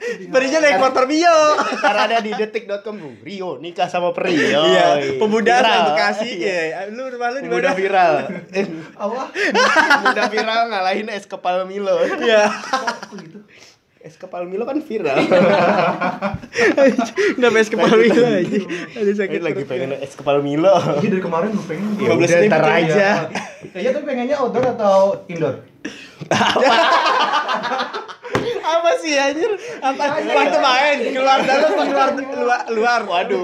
[SPEAKER 2] Perinya naik motor bio.
[SPEAKER 3] Karena ada di detik.com Bu. Rio nikah sama peri.
[SPEAKER 2] Iya,
[SPEAKER 3] Yoi.
[SPEAKER 2] pemuda
[SPEAKER 3] Viral.
[SPEAKER 2] asal Bekasi. Iya, lu rumah lu di
[SPEAKER 3] Pemuda
[SPEAKER 2] mana?
[SPEAKER 3] viral. Eh,
[SPEAKER 4] Allah,
[SPEAKER 3] pemuda viral ngalahin es kepal Milo.
[SPEAKER 2] Iya.
[SPEAKER 4] kok gitu.
[SPEAKER 3] Es kepal Milo kan viral.
[SPEAKER 2] Enggak pes kepala itu
[SPEAKER 3] Lanjut, lanjut.
[SPEAKER 2] aja. Aduh
[SPEAKER 3] Ini
[SPEAKER 2] sakit.
[SPEAKER 3] lagi pengen es kepal Milo.
[SPEAKER 4] Iya dari kemarin gue pengen.
[SPEAKER 3] Ya
[SPEAKER 2] Lima belas
[SPEAKER 3] udah,
[SPEAKER 2] ribu
[SPEAKER 3] ntar
[SPEAKER 2] tuh,
[SPEAKER 3] aja.
[SPEAKER 4] Kayaknya tuh Iya, pengennya outdoor atau indoor?
[SPEAKER 2] Apa sih anjir? Apa waktu main keluar dalam keluar luar luar.
[SPEAKER 3] Waduh.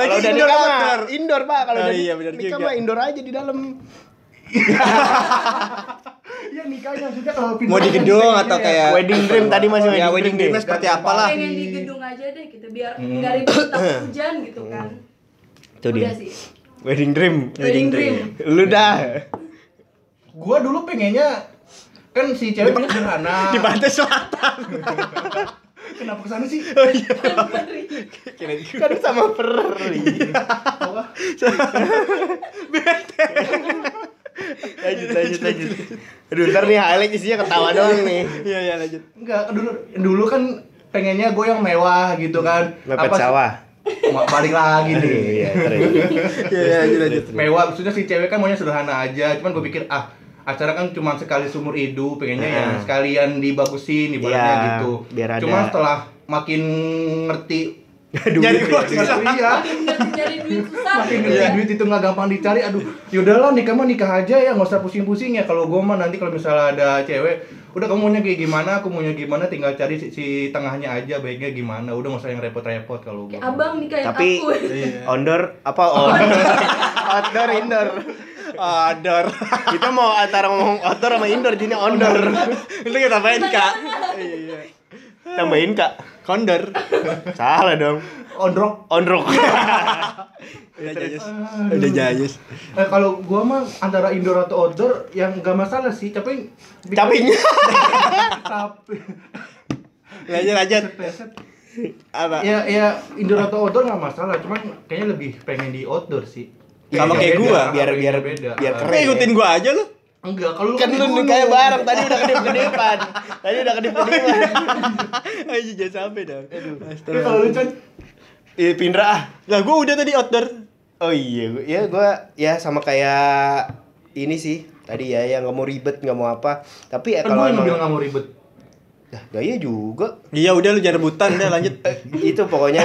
[SPEAKER 2] Lagi
[SPEAKER 3] Kalau udah
[SPEAKER 2] indoor
[SPEAKER 3] nikah
[SPEAKER 2] apa
[SPEAKER 3] mah,
[SPEAKER 2] outdoor?
[SPEAKER 3] Indoor, Pak. Kalau
[SPEAKER 2] Oh
[SPEAKER 3] udah
[SPEAKER 2] iya, benar
[SPEAKER 3] nikah
[SPEAKER 2] juga.
[SPEAKER 3] mah indoor aja di dalam.
[SPEAKER 4] Iya nikahnya maksudnya kalau pindah
[SPEAKER 2] Mau di
[SPEAKER 4] kan
[SPEAKER 2] gedung
[SPEAKER 4] pengennya
[SPEAKER 2] atau
[SPEAKER 4] ya.
[SPEAKER 2] kayak
[SPEAKER 3] Wedding dream tadi masih
[SPEAKER 2] ya wedding
[SPEAKER 3] dream
[SPEAKER 2] dream
[SPEAKER 3] deh.
[SPEAKER 2] seperti apalah?
[SPEAKER 1] Pengen di gedung aja deh gitu, biar nggak ribet takut hujan gitu kan.
[SPEAKER 3] Hmm. Itu dia.
[SPEAKER 1] Udah sih.
[SPEAKER 3] Wedding dream.
[SPEAKER 1] Wedding dream.
[SPEAKER 3] Lu dah.
[SPEAKER 4] Gua dulu pengennya kan si cewek punya sederhana.
[SPEAKER 2] Di pantai selatan.
[SPEAKER 4] Kenapa kesana sih?
[SPEAKER 3] Kan sama peri.
[SPEAKER 4] Apa?
[SPEAKER 3] lanjut lanjut lanjut aduh ntar nih highlight isinya ketawa doang nih
[SPEAKER 2] Iya iya lanjut.
[SPEAKER 4] Enggak, dulu dulu kan pengennya gue yang mewah gitu kan.
[SPEAKER 3] mepet
[SPEAKER 4] Apa sih-
[SPEAKER 3] sawah
[SPEAKER 4] Ma- Balik lagi nih.
[SPEAKER 3] iya terus
[SPEAKER 2] Iya iya lanjut lanjut.
[SPEAKER 4] Mewah maksudnya si cewek kan maunya sederhana aja. Cuman gue pikir ah acara kan cuma sekali seumur hidup pengennya
[SPEAKER 3] Nah.
[SPEAKER 4] yang sekalian dibagusin ibaratnya
[SPEAKER 3] Iya,
[SPEAKER 4] gitu.
[SPEAKER 3] biar ada-
[SPEAKER 4] Cuma setelah makin ngerti
[SPEAKER 2] Nyari
[SPEAKER 3] Duit.
[SPEAKER 2] uang susah.
[SPEAKER 4] iya
[SPEAKER 1] Makin nggak nyari duit susah.
[SPEAKER 4] makin
[SPEAKER 3] Iya.
[SPEAKER 1] gitu
[SPEAKER 4] ngerti
[SPEAKER 1] ya.
[SPEAKER 4] duit itu nggak gampang dicari aduh yaudahlah nikah mah nikah aja ya nggak usah pusing-pusing ya kalau gue mah nanti kalau misalnya ada cewek udah kamu maunya kayak gimana aku maunya gimana tinggal cari si, si tengahnya aja baiknya gimana udah nggak usah yang repot-repot kalau gue
[SPEAKER 1] Kayak abang nikahin
[SPEAKER 3] tapi
[SPEAKER 1] aku.
[SPEAKER 3] ondor apa oh. outdoor Iya. outdoor indoor
[SPEAKER 2] Ador.
[SPEAKER 3] kita mau antara ngomong outdoor sama indoor jadi ondor
[SPEAKER 2] Itu kita main kak. Iya.
[SPEAKER 3] tambahin kak
[SPEAKER 2] Kondor.
[SPEAKER 3] salah dong
[SPEAKER 4] ondrok
[SPEAKER 3] ondrok
[SPEAKER 2] Udah jayus.
[SPEAKER 4] Aduh.
[SPEAKER 2] Iya, Udah jayus.
[SPEAKER 4] eh, kalau gue mah antara indoor atau outdoor yang nggak masalah sih tapi
[SPEAKER 3] capingnya
[SPEAKER 4] tapi
[SPEAKER 2] Lanjut lanjut.
[SPEAKER 4] Sepeset.
[SPEAKER 2] Apa?
[SPEAKER 3] Iya.
[SPEAKER 4] ya ya indoor atau outdoor nggak masalah cuman kayaknya lebih pengen di outdoor sih Iya,
[SPEAKER 2] Sama kayak
[SPEAKER 4] Beda,
[SPEAKER 2] gua,
[SPEAKER 3] biar biar
[SPEAKER 4] beda. Iya.
[SPEAKER 3] biar
[SPEAKER 2] Eh,
[SPEAKER 3] keren
[SPEAKER 2] ikutin gua aja lu.
[SPEAKER 4] enggak kalau
[SPEAKER 3] kan
[SPEAKER 4] di
[SPEAKER 3] lu
[SPEAKER 4] gunung.
[SPEAKER 3] nikahnya bareng tadi udah kedip kedipan tadi udah kedip kedipan
[SPEAKER 2] Ayo jangan sampai dong.
[SPEAKER 4] Tapi kalau lu Chan,
[SPEAKER 3] Ih, Pindra ah.
[SPEAKER 2] Iya, Lah gua udah tadi outdoor.
[SPEAKER 3] Oh iya, gua- ya gue ya sama kayak ini sih tadi ya yang nggak mau ribet nggak mau apa. Tapi ya
[SPEAKER 4] kan gue
[SPEAKER 3] kalau
[SPEAKER 4] yang bilang
[SPEAKER 3] emang
[SPEAKER 4] nggak mau ribet
[SPEAKER 3] Lah, gaya juga
[SPEAKER 2] Iya udah lu jangan rebutan udah lanjut.
[SPEAKER 3] Eh, itu pokoknya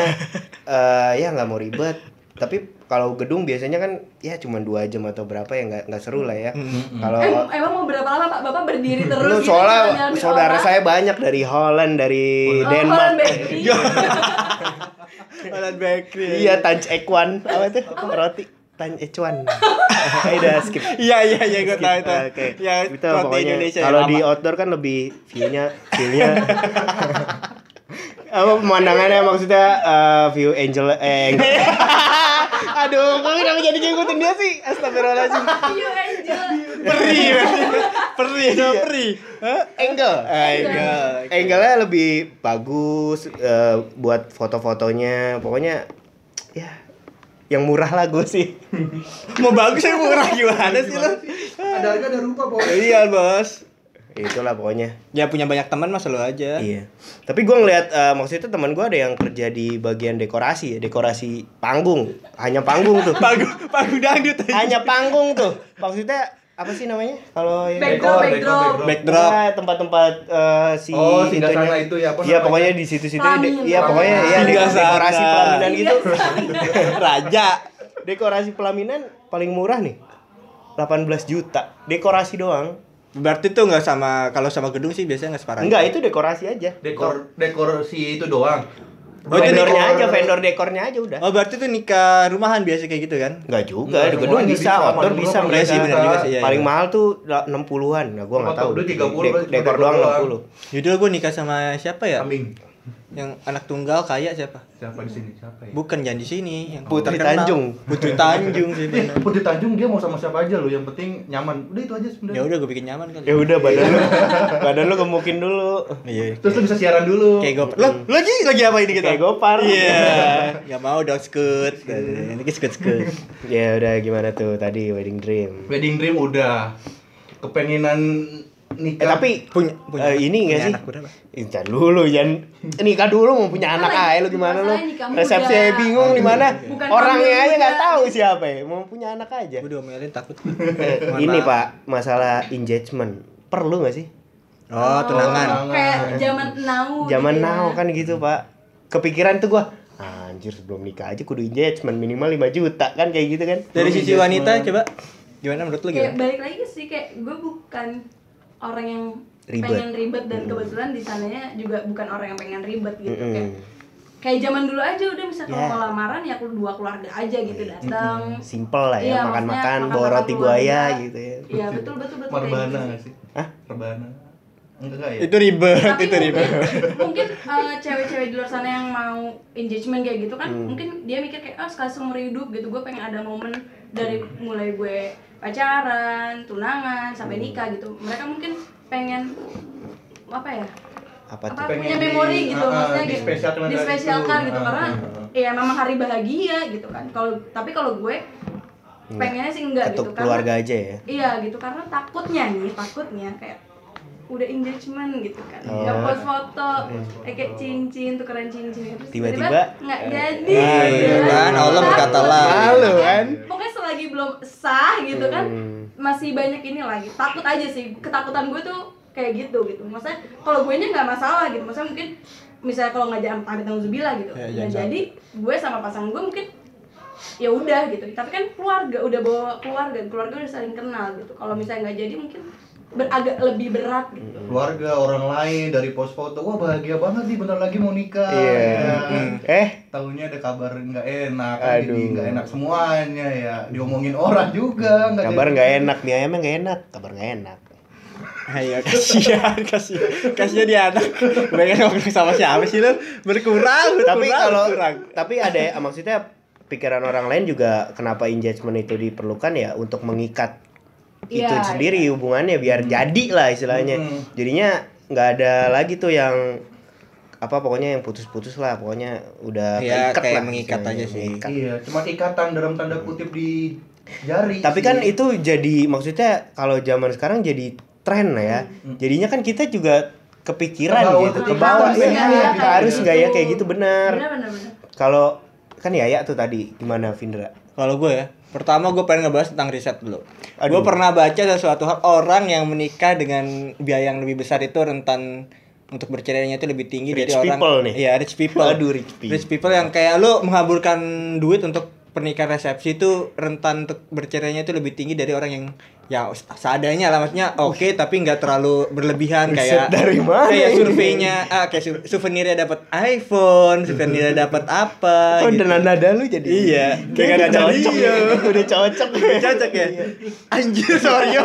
[SPEAKER 3] eh ya nggak mau ribet. Tapi kalau gedung biasanya kan ya cuma dua jam atau berapa ya nggak nggak seru lah ya. Kalau
[SPEAKER 1] Em- emang mau berapa lama Pak Bapak berdiri terus?
[SPEAKER 3] lu
[SPEAKER 1] gitu, sambil
[SPEAKER 3] soalnya
[SPEAKER 1] ambil
[SPEAKER 3] saudara
[SPEAKER 1] orang?
[SPEAKER 3] saya banyak dari Holland dari
[SPEAKER 1] Oh,
[SPEAKER 3] Denmark.
[SPEAKER 1] Holland Bakery.
[SPEAKER 2] Alat bakery.
[SPEAKER 3] Iya, Tanch Ekwan apa itu? Roti. Tan Ecuan. Eh, udah skip.
[SPEAKER 2] Iya iya iya gue tahu itu.
[SPEAKER 3] Gitu, Oke.
[SPEAKER 2] Ya
[SPEAKER 3] Nah, Itu
[SPEAKER 2] roti
[SPEAKER 3] pokoknya
[SPEAKER 2] Indonesia
[SPEAKER 3] kalau
[SPEAKER 2] yang
[SPEAKER 3] di
[SPEAKER 2] lama.
[SPEAKER 3] outdoor kan lebih view-nya view-nya apa pemandangannya maksudnya eh, view angel eh angel. Aduh, kok kenapa jadi ngikutin dia sih? Astagfirullahaladzim.
[SPEAKER 1] View angel.
[SPEAKER 2] peri peri iya. peri. Hah?
[SPEAKER 3] Angle.
[SPEAKER 2] Angle.
[SPEAKER 3] Angle-nya lebih bagus eh, buat foto-fotonya. Pokoknya ya yang murah lah gue sih.
[SPEAKER 2] Mau bagus ya murah gimana sih lo?
[SPEAKER 4] Ada harga ada rupa pokoknya.
[SPEAKER 2] Iya bos.
[SPEAKER 3] Itulah pokoknya.
[SPEAKER 2] Ya punya banyak teman mas lo aja.
[SPEAKER 3] Iya. Tapi gue ngeliat eh, maksudnya teman gue ada yang kerja di bagian dekorasi, ya, dekorasi panggung, hanya panggung tuh,
[SPEAKER 2] Pagu pagu dangdut aja.
[SPEAKER 3] hanya panggung tuh. Maksudnya apa sih namanya? Kalau yang
[SPEAKER 1] Backdrop,
[SPEAKER 4] Dekor, dekor,
[SPEAKER 1] backdrop.
[SPEAKER 4] dekor.
[SPEAKER 2] Backdrop.
[SPEAKER 3] Ah, tempat-tempat eh, si
[SPEAKER 4] Oh, singgah
[SPEAKER 3] itunya.
[SPEAKER 4] sana itu ya, apa
[SPEAKER 3] Iya,
[SPEAKER 4] namanya?
[SPEAKER 3] pokoknya di situ-situ ya, de-
[SPEAKER 1] Pelamin,
[SPEAKER 3] iya
[SPEAKER 4] pelamin.
[SPEAKER 3] pokoknya ya
[SPEAKER 2] Singgah sana.
[SPEAKER 3] dekorasi pelaminan gitu.
[SPEAKER 2] Raja.
[SPEAKER 3] Dekorasi pelaminan paling murah nih. 18 juta. Dekorasi doang.
[SPEAKER 2] Berarti tuh nggak sama kalau sama gedung sih biasanya nggak separah.
[SPEAKER 3] Enggak, itu dekorasi aja.
[SPEAKER 4] Dekor dekor si itu doang.
[SPEAKER 2] Oh, itu
[SPEAKER 3] vendornya
[SPEAKER 4] dekor.
[SPEAKER 3] aja, vendor dekornya aja udah.
[SPEAKER 2] Oh berarti tuh nikah rumahan biasa kayak gitu kan?
[SPEAKER 3] Enggak juga,
[SPEAKER 4] Enggak,
[SPEAKER 3] di gedung
[SPEAKER 4] semuanya
[SPEAKER 3] bisa,
[SPEAKER 4] bisa,
[SPEAKER 3] outdoor
[SPEAKER 4] paling
[SPEAKER 3] bisa
[SPEAKER 2] Iya
[SPEAKER 4] murah
[SPEAKER 3] mereka.
[SPEAKER 2] sih benar juga sih. Iya,
[SPEAKER 3] Paling
[SPEAKER 2] iya.
[SPEAKER 3] mahal tuh da- 60-an. Nah, gua enggak
[SPEAKER 4] Apa
[SPEAKER 3] tahu.
[SPEAKER 4] tuh, udah 30,
[SPEAKER 3] Dek- Dekor
[SPEAKER 4] dekor
[SPEAKER 3] doang
[SPEAKER 4] doang.
[SPEAKER 3] 60.
[SPEAKER 2] Yaudah gue nikah sama siapa ya?
[SPEAKER 4] Kambing.
[SPEAKER 2] Yang anak tunggal kaya siapa?
[SPEAKER 4] Siapa di sini? Siapa ya?
[SPEAKER 2] Bukan jangan di sini. Yang
[SPEAKER 3] Putri
[SPEAKER 2] terkenal.
[SPEAKER 3] Tanjung.
[SPEAKER 2] Putri Tanjung sih.
[SPEAKER 4] Eh, Putri Tanjung dia mau sama siapa aja lo, yang penting nyaman. Udah itu aja
[SPEAKER 2] Ya
[SPEAKER 4] sebenarnya.
[SPEAKER 2] udah gue bikin nyaman kali.
[SPEAKER 3] Ya udah badan lu. badan lu gemukin dulu.
[SPEAKER 2] Iya.
[SPEAKER 4] Terus lu bisa siaran dulu.
[SPEAKER 2] Kayak Hmm. gopar. Lo lo lagi lagi apa ini kita?
[SPEAKER 3] Kayak gopar.
[SPEAKER 2] Iya. Gak mau dong skut. Ini skut skut.
[SPEAKER 3] Ya udah gimana tuh tadi wedding dream.
[SPEAKER 4] Wedding dream udah. Kepenginan
[SPEAKER 3] Eh
[SPEAKER 4] nikah.
[SPEAKER 3] tapi
[SPEAKER 2] Punya punya.
[SPEAKER 3] eh, ini enggak
[SPEAKER 2] punya
[SPEAKER 3] sih? Iya.
[SPEAKER 2] anak berapa?
[SPEAKER 3] Intan dulu, jangan nikah dulu mau punya
[SPEAKER 1] Kan
[SPEAKER 3] anak
[SPEAKER 1] lagi-
[SPEAKER 3] aja lu gimana lu?
[SPEAKER 1] masalahnya nikah muda.
[SPEAKER 3] Resepsi aja bingung di mana?
[SPEAKER 1] Bukan hamil
[SPEAKER 3] Orangnya aja
[SPEAKER 1] muda.
[SPEAKER 3] nggak tahu siapa ya, mau punya anak aja.
[SPEAKER 2] Gue diomelin takut.
[SPEAKER 3] Eh,
[SPEAKER 2] Mohon
[SPEAKER 3] ini
[SPEAKER 2] maaf.
[SPEAKER 3] Pak, masalah engagement. Perlu nggak sih?
[SPEAKER 2] Oh tunangan.
[SPEAKER 4] tunangan.
[SPEAKER 1] Kayak zaman now.
[SPEAKER 3] Zaman
[SPEAKER 1] gitu ya.
[SPEAKER 3] now kan gitu, Pak. Kepikiran tuh gua, anjir sebelum nikah aja kudu engagement minimal 5 juta kan kayak gitu kan.
[SPEAKER 2] Dari sisi wanita coba gimana menurut lo
[SPEAKER 1] kayak
[SPEAKER 3] ya?
[SPEAKER 2] gimana?
[SPEAKER 1] balik lagi sih kayak gue bukan orang yang
[SPEAKER 3] Ribet. Hmm.
[SPEAKER 1] pengen ribet dan kebetulan di sananya juga bukan orang yang pengen ribet gitu
[SPEAKER 3] Mm-mm.
[SPEAKER 1] kayak kayak zaman dulu aja udah bisa kalau
[SPEAKER 3] Ya.
[SPEAKER 1] mau lamaran ya aku dua keluarga aja gitu datang
[SPEAKER 3] Hmm. Simple lah
[SPEAKER 1] Iya,
[SPEAKER 3] ya, makan-makan,
[SPEAKER 1] maksudnya
[SPEAKER 3] bawa
[SPEAKER 1] makan-makan
[SPEAKER 3] roti buaya
[SPEAKER 1] keluarga.
[SPEAKER 3] gitu ya.
[SPEAKER 1] iya betul betul betul kayak
[SPEAKER 4] Perbana
[SPEAKER 1] gitu
[SPEAKER 4] nggak
[SPEAKER 1] sih.
[SPEAKER 4] sih?
[SPEAKER 3] Hah?
[SPEAKER 4] Perbana. Enggak enggak ya?
[SPEAKER 2] Itu ribet,
[SPEAKER 1] tapi
[SPEAKER 2] itu ribet.
[SPEAKER 1] mungkin, mungkin eh, cewek-cewek di luar sana yang mau engagement kayak gitu kan mungkin dia mikir kayak ah sekali seumur hidup gitu gue pengen ada momen dari mulai gue pacaran tunangan sampai nikah gitu mereka mungkin pengen apa ya
[SPEAKER 3] Apa
[SPEAKER 1] apa, punya
[SPEAKER 3] tuh?
[SPEAKER 4] Pengen di-
[SPEAKER 1] memori gitu
[SPEAKER 4] ah, ah,
[SPEAKER 1] maksudnya gitu
[SPEAKER 4] dispesialkan dari
[SPEAKER 1] Dispesialkan
[SPEAKER 4] itu.
[SPEAKER 1] gitu
[SPEAKER 4] Ah,
[SPEAKER 1] karena
[SPEAKER 4] ah, ah.
[SPEAKER 1] ya memang hari bahagia gitu kan kalau tapi kalau gue pengennya sih enggak gitu
[SPEAKER 3] Ketuk
[SPEAKER 1] karena
[SPEAKER 3] keluarga aja ya.
[SPEAKER 1] Iya gitu karena takutnya nih takutnya kayak udah engagement gitu kan
[SPEAKER 3] Oh. Iya.
[SPEAKER 1] nggak post foto eh, kayak cincin tukeran cincin terus
[SPEAKER 3] Tiba-tiba,
[SPEAKER 1] nggak
[SPEAKER 3] eh,
[SPEAKER 1] jadi
[SPEAKER 2] Nah,
[SPEAKER 1] gitu
[SPEAKER 2] iya kan, Allah
[SPEAKER 1] Takut.
[SPEAKER 2] berkata lain.
[SPEAKER 3] Malu kan?
[SPEAKER 1] pokoknya selagi belum sah gitu kan
[SPEAKER 3] Hmm.
[SPEAKER 1] masih banyak ini lagi takut aja sih ketakutan gue tuh kayak gitu gitu maksudnya kalau gue nya nggak masalah gitu maksudnya mungkin misalnya kalau nggak jangan pamit Zubila gitu
[SPEAKER 2] Ya,
[SPEAKER 1] Nggak
[SPEAKER 2] jangan
[SPEAKER 1] jadi gue sama pasangan gue mungkin ya udah gitu tapi kan keluarga udah bawa keluarga keluarga udah saling kenal gitu kalau misalnya nggak jadi mungkin ber- agak lebih berat gitu
[SPEAKER 4] keluarga orang lain dari pos foto wah bahagia banget nih bentar lagi mau nikah
[SPEAKER 3] Iya.
[SPEAKER 4] Ya.
[SPEAKER 3] Eh,
[SPEAKER 4] tahunya ada kabar nggak enak kan
[SPEAKER 3] Aduh.
[SPEAKER 4] jadi nggak enak semuanya ya diomongin orang juga nggak
[SPEAKER 3] Hmm. kabar
[SPEAKER 4] jadi-
[SPEAKER 3] nggak enak, mie ayamnya nggak enak, kabar nggak enak.
[SPEAKER 2] Ayo Ah, iya, kasihan, kasihan. Kasihan dia anak. Pengen ngobrol sama siapa sih lu? Berkurang, berkurang.
[SPEAKER 3] tapi kalau
[SPEAKER 2] berkurang.
[SPEAKER 3] tapi ada maksudnya pikiran orang lain juga kenapa engagement itu diperlukan ya untuk mengikat itu
[SPEAKER 1] Iya,
[SPEAKER 3] sendiri hubungannya biar jadi lah istilahnya
[SPEAKER 4] Hmm.
[SPEAKER 3] jadinya nggak ada lagi tuh yang apa pokoknya yang putus-putus lah pokoknya udah
[SPEAKER 2] Iya,
[SPEAKER 3] keikat
[SPEAKER 2] kayak
[SPEAKER 3] lah
[SPEAKER 2] mengikat
[SPEAKER 3] istilahnya,
[SPEAKER 2] aja sih.
[SPEAKER 3] mengikat.
[SPEAKER 4] iya cuma ikatan dalam tanda kutip di jari
[SPEAKER 3] Hmm. tapi kan
[SPEAKER 4] sih.
[SPEAKER 3] itu jadi maksudnya kalau zaman sekarang jadi tren
[SPEAKER 1] Hmm.
[SPEAKER 3] lah ya jadinya kan kita juga kepikiran
[SPEAKER 4] Kebawa
[SPEAKER 3] gitu
[SPEAKER 4] tuh,
[SPEAKER 3] ke bawah
[SPEAKER 4] harus nggak ya,
[SPEAKER 3] ya,
[SPEAKER 4] kayak
[SPEAKER 3] harus
[SPEAKER 4] gitu.
[SPEAKER 3] nggak ya kayak gitu benar
[SPEAKER 1] benar benar benar
[SPEAKER 3] kalau kan Yaya tuh tadi gimana Vindra?
[SPEAKER 2] Kalau gue ya, pertama gue pengen ngebahas tentang riset dulu.
[SPEAKER 3] Aduh.
[SPEAKER 2] Gue pernah baca sesuatu hal orang yang menikah dengan biaya yang lebih besar itu rentan untuk bercerainya itu lebih tinggi
[SPEAKER 3] Rich
[SPEAKER 2] dari orang.
[SPEAKER 3] people nih.
[SPEAKER 2] Iya, rich people.
[SPEAKER 3] Aduh, rich people.
[SPEAKER 2] yang kayak lu menghaburkan duit untuk pernikahan resepsi itu rentan untuk bercerainya itu lebih tinggi dari orang yang ya seadanya lah maksudnya oke tapi nggak terlalu berlebihan
[SPEAKER 3] Riset
[SPEAKER 2] kayak
[SPEAKER 3] dari mana
[SPEAKER 2] kayak
[SPEAKER 3] ini?
[SPEAKER 2] surveinya ah, kayak su- souvenirnya dapat iPhone souvenirnya dapat apa
[SPEAKER 3] Oh,
[SPEAKER 2] gitu.
[SPEAKER 3] dan nada lu jadi.
[SPEAKER 2] Iya,
[SPEAKER 3] Kayak udah
[SPEAKER 2] dengan nada
[SPEAKER 3] cocok.
[SPEAKER 2] iya.
[SPEAKER 3] Udah cocok. Iya.
[SPEAKER 2] Udah cocok ya anjir sorry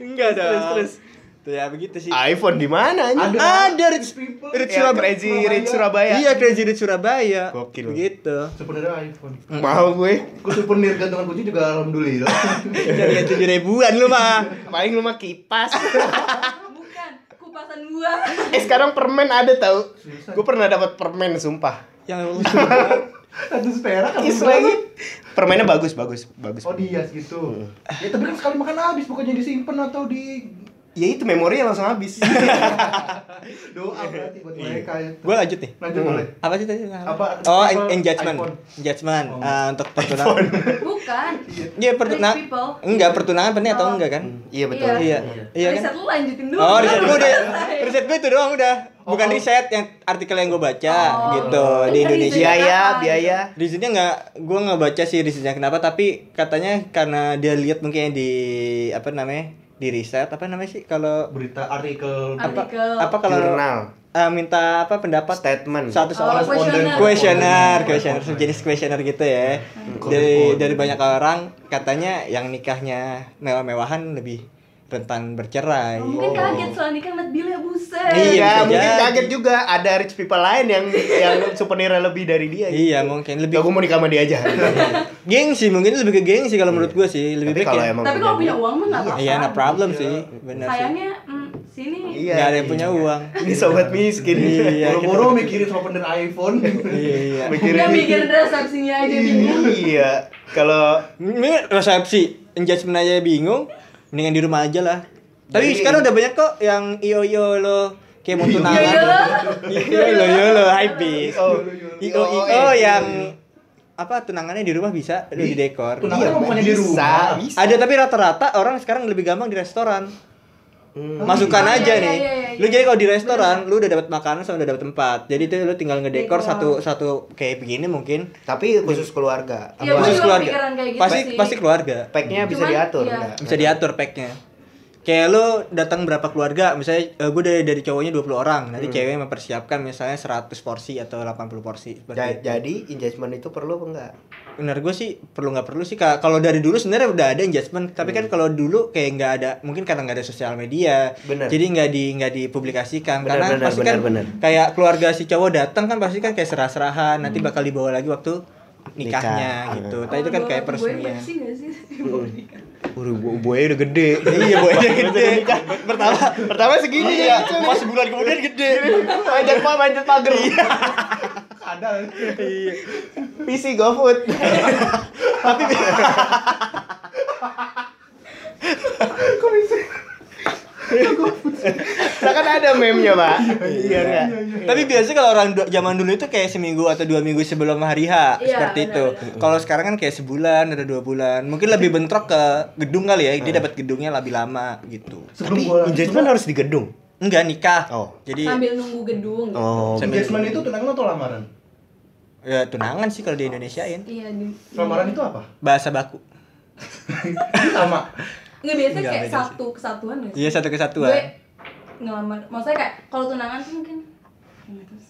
[SPEAKER 2] enggak dong
[SPEAKER 3] Terus, terus.
[SPEAKER 2] tuh ya begitu sih
[SPEAKER 3] iPhone di mana anjing?
[SPEAKER 4] Ada.
[SPEAKER 2] ada rich
[SPEAKER 4] People.
[SPEAKER 2] rich
[SPEAKER 3] Ya,
[SPEAKER 2] Surabaya
[SPEAKER 3] Crazy Rich Surabaya.
[SPEAKER 2] iya crazy rich Surabaya
[SPEAKER 3] Gokil.
[SPEAKER 2] gitu
[SPEAKER 4] Sebenarnya iPhone.
[SPEAKER 3] Mau gue.
[SPEAKER 4] Ku souvenir gantungan kunci juga alhamdulillah.
[SPEAKER 2] jadi tujuh ribuan lu mah
[SPEAKER 3] Paling lu mah kipas.
[SPEAKER 1] bukan kupasan gua
[SPEAKER 3] eh sekarang permen ada tau.
[SPEAKER 4] Seriusan?
[SPEAKER 3] Gue pernah dapat permen sumpah.
[SPEAKER 2] yang
[SPEAKER 4] Satu perak apa berapa?
[SPEAKER 3] Israel permennya bagus bagus bagus.
[SPEAKER 4] kan Oh dia
[SPEAKER 3] Hmm.
[SPEAKER 4] gitu. Ya tapi kan sekali makan habis bukannya disimpan atau di
[SPEAKER 3] Ya itu memorinya langsung habis.
[SPEAKER 4] doa berarti buat mereka ya.
[SPEAKER 2] gue lanjut nih
[SPEAKER 3] Hmm.
[SPEAKER 4] Lanjut boleh.
[SPEAKER 2] apa sih tadi
[SPEAKER 4] Apa-
[SPEAKER 2] oh
[SPEAKER 4] apa-
[SPEAKER 2] en- engagement
[SPEAKER 4] iPhone.
[SPEAKER 2] engagement
[SPEAKER 4] Oh.
[SPEAKER 2] Ah, untuk pertunangan
[SPEAKER 1] bukan
[SPEAKER 2] iya pertunangan
[SPEAKER 1] Rich people.
[SPEAKER 2] enggak pertunangan penting atau
[SPEAKER 1] Oh.
[SPEAKER 2] enggak kan
[SPEAKER 3] iya betul.
[SPEAKER 1] Iya.
[SPEAKER 2] iya iya
[SPEAKER 1] riset
[SPEAKER 2] kan
[SPEAKER 1] lu lanjutin dulu
[SPEAKER 2] oh riset gue udah
[SPEAKER 1] Selesai.
[SPEAKER 2] riset gue itu doang udah
[SPEAKER 4] Oh,
[SPEAKER 2] bukan
[SPEAKER 4] oh.
[SPEAKER 2] riset yang artikel yang gue baca
[SPEAKER 1] Oh.
[SPEAKER 2] gitu di
[SPEAKER 1] Ini
[SPEAKER 2] Indonesia
[SPEAKER 1] riset.
[SPEAKER 3] Biaya
[SPEAKER 1] Apa?
[SPEAKER 3] Iya, biaya.
[SPEAKER 2] Risetnya nggak, gue nggak baca sih risetnya kenapa, tapi katanya karena dia lihat mungkin yang di apa namanya di riset apa namanya sih kalau
[SPEAKER 4] Berita artikel
[SPEAKER 2] apa
[SPEAKER 1] Artikel.
[SPEAKER 2] apa kalau
[SPEAKER 3] Jurnal.
[SPEAKER 2] eh, minta apa pendapat
[SPEAKER 3] Statement.
[SPEAKER 2] satu
[SPEAKER 1] Oh,
[SPEAKER 2] soal
[SPEAKER 1] questionnaire.
[SPEAKER 2] kuesioner kuesioner sejenis kuesioner gitu
[SPEAKER 3] Hmm.
[SPEAKER 2] ya dari dari banyak orang katanya yang nikahnya mewah-mewahan lebih rentan bercerai
[SPEAKER 1] Oh,
[SPEAKER 2] Oh.
[SPEAKER 1] mungkin kaget kan soal nikah ngeliat bilnya ya, buset
[SPEAKER 2] Iya,
[SPEAKER 3] Iya,
[SPEAKER 2] bisa
[SPEAKER 3] mungkin
[SPEAKER 2] jadi.
[SPEAKER 3] kaget juga ada rich people lain yang yang souvenirnya lebih dari dia.
[SPEAKER 2] iya mungkin
[SPEAKER 3] Gak,
[SPEAKER 2] lebih
[SPEAKER 3] gue mau nikah sama dia aja.
[SPEAKER 2] gengsi mungkin lebih ke gengsi kalau menurut gue sih lebih
[SPEAKER 3] Iya. Tapi
[SPEAKER 2] baik
[SPEAKER 3] kalau
[SPEAKER 2] ya.
[SPEAKER 3] emang
[SPEAKER 1] tapi kalau punya uang mah nggak apa-apa
[SPEAKER 2] iya nah problem
[SPEAKER 4] Iya.
[SPEAKER 2] sih benar sih
[SPEAKER 1] sayangnya mm, sini
[SPEAKER 3] Iya.
[SPEAKER 2] nggak ada yang punya uang
[SPEAKER 3] Ini sobat miskin.
[SPEAKER 2] Iya.
[SPEAKER 4] Boro-boro mikirin souvenir iPhone.
[SPEAKER 2] iya iya
[SPEAKER 1] Udah mikir resepsinya aja bingung
[SPEAKER 3] Iya. Kalau
[SPEAKER 2] ini resepsi engagement aja bingung mendingan di rumah aja lah tapi
[SPEAKER 3] Jadi-
[SPEAKER 2] sekarang udah banyak kok yang iyo iyo lo kayak mau tunangan
[SPEAKER 1] Iyo-iyo lo.
[SPEAKER 2] iyo lo iyo lo hypebeast
[SPEAKER 3] Oh, iya.
[SPEAKER 2] io io
[SPEAKER 1] iya.
[SPEAKER 2] Oh, yang apa tunangannya di rumah bisa udah di dekor
[SPEAKER 4] Tunangan
[SPEAKER 3] Iya,
[SPEAKER 4] kan maunya di
[SPEAKER 3] bisa,
[SPEAKER 4] rumah.
[SPEAKER 3] bisa.
[SPEAKER 2] ada tapi rata-rata orang sekarang lebih gampang di restoran
[SPEAKER 3] Hmm.
[SPEAKER 2] masukkan
[SPEAKER 1] Oh, iya,
[SPEAKER 2] aja
[SPEAKER 1] iya,
[SPEAKER 2] nih
[SPEAKER 1] iya, iya.
[SPEAKER 2] lu jadi kalau di restoran lu udah dapat makanan sama udah dapat tempat jadi itu lu tinggal
[SPEAKER 1] Dekor.
[SPEAKER 2] ngedekor satu satu kayak begini mungkin
[SPEAKER 3] Tapi khusus keluarga.
[SPEAKER 1] Iya, gua
[SPEAKER 2] khusus
[SPEAKER 1] juga
[SPEAKER 2] keluarga
[SPEAKER 1] kepikiran kayak gitu
[SPEAKER 2] pasti
[SPEAKER 1] sih.
[SPEAKER 2] pasti keluarga
[SPEAKER 3] Packnya bisa
[SPEAKER 1] Cuman,
[SPEAKER 3] diatur.
[SPEAKER 1] iya.
[SPEAKER 3] nggak?
[SPEAKER 2] bisa diatur packnya kayak lo datang berapa keluarga misalnya gue dari dari cowoknya 20 orang nanti
[SPEAKER 3] Hmm.
[SPEAKER 2] cewek mempersiapkan misalnya 100 porsi atau 80 porsi seperti
[SPEAKER 3] Ja-
[SPEAKER 2] itu.
[SPEAKER 3] Jadi engagement itu perlu apa enggak?
[SPEAKER 2] benar gue sih perlu nggak perlu sih Ka- kalau dari dulu sebenarnya udah ada adjustment tapi
[SPEAKER 3] Hmm.
[SPEAKER 2] kan kalau dulu kayak nggak ada mungkin karena nggak ada sosial media
[SPEAKER 3] Bener.
[SPEAKER 2] jadi nggak di nggak dipublikasikan
[SPEAKER 3] Bener,
[SPEAKER 2] karena
[SPEAKER 3] bener,
[SPEAKER 2] pasti
[SPEAKER 3] bener,
[SPEAKER 2] kan
[SPEAKER 3] bener.
[SPEAKER 2] kayak keluarga si cowok datang kan pasti kan kayak serah-serahan nanti bakal dibawa lagi waktu nikahnya
[SPEAKER 3] Hmm. Nikah. ah.
[SPEAKER 2] gitu tapi itu kan kayak
[SPEAKER 1] Gue
[SPEAKER 2] peresmian
[SPEAKER 1] bersih gak sih? Bawa nikah.
[SPEAKER 3] Udah buaya udah gede.
[SPEAKER 2] iya buahnya gede
[SPEAKER 3] pertama pertama segini
[SPEAKER 1] Iya.
[SPEAKER 3] ya. Pas sebulan kemudian gede. Manjat pa manjat pagar.
[SPEAKER 2] Iya.
[SPEAKER 4] Ada.
[SPEAKER 3] PC GoFood. Tapi
[SPEAKER 4] Kok bisa?
[SPEAKER 3] nah kan ada meme-nya, Pak. Iya enggak?
[SPEAKER 2] Tapi biasanya kalau orang du- zaman dulu itu kayak seminggu atau dua minggu sebelum hari H
[SPEAKER 1] Iya,
[SPEAKER 2] seperti itu.
[SPEAKER 1] benar-benar.
[SPEAKER 2] Kalau sekarang kan kayak sebulan atau dua bulan. Mungkin lebih bentrok ke gedung kali ya. Dia dapat gedungnya lebih lama gitu.
[SPEAKER 4] Sebelum
[SPEAKER 3] Tapi
[SPEAKER 4] gua
[SPEAKER 3] Iya. engagement harus di gedung.
[SPEAKER 2] Enggak nikah.
[SPEAKER 3] Oh.
[SPEAKER 2] Jadi
[SPEAKER 1] Sambil nunggu gedung gitu.
[SPEAKER 3] Oh.
[SPEAKER 2] Sambil-
[SPEAKER 4] engagement itu tunangan atau lamaran?
[SPEAKER 2] ya tunangan sih kalau di Indonesiain.
[SPEAKER 1] Iya, di
[SPEAKER 4] Lamaran itu apa?
[SPEAKER 2] Bahasa baku.
[SPEAKER 4] Sama.
[SPEAKER 1] Nggak biasanya
[SPEAKER 2] Nggak
[SPEAKER 1] kayak
[SPEAKER 2] beda sih.
[SPEAKER 1] satu kesatuan ya?
[SPEAKER 2] Iya satu
[SPEAKER 1] Gue
[SPEAKER 2] kesatuan.
[SPEAKER 1] ngelamar, maksudnya kayak kalau tunangan tuh mungkin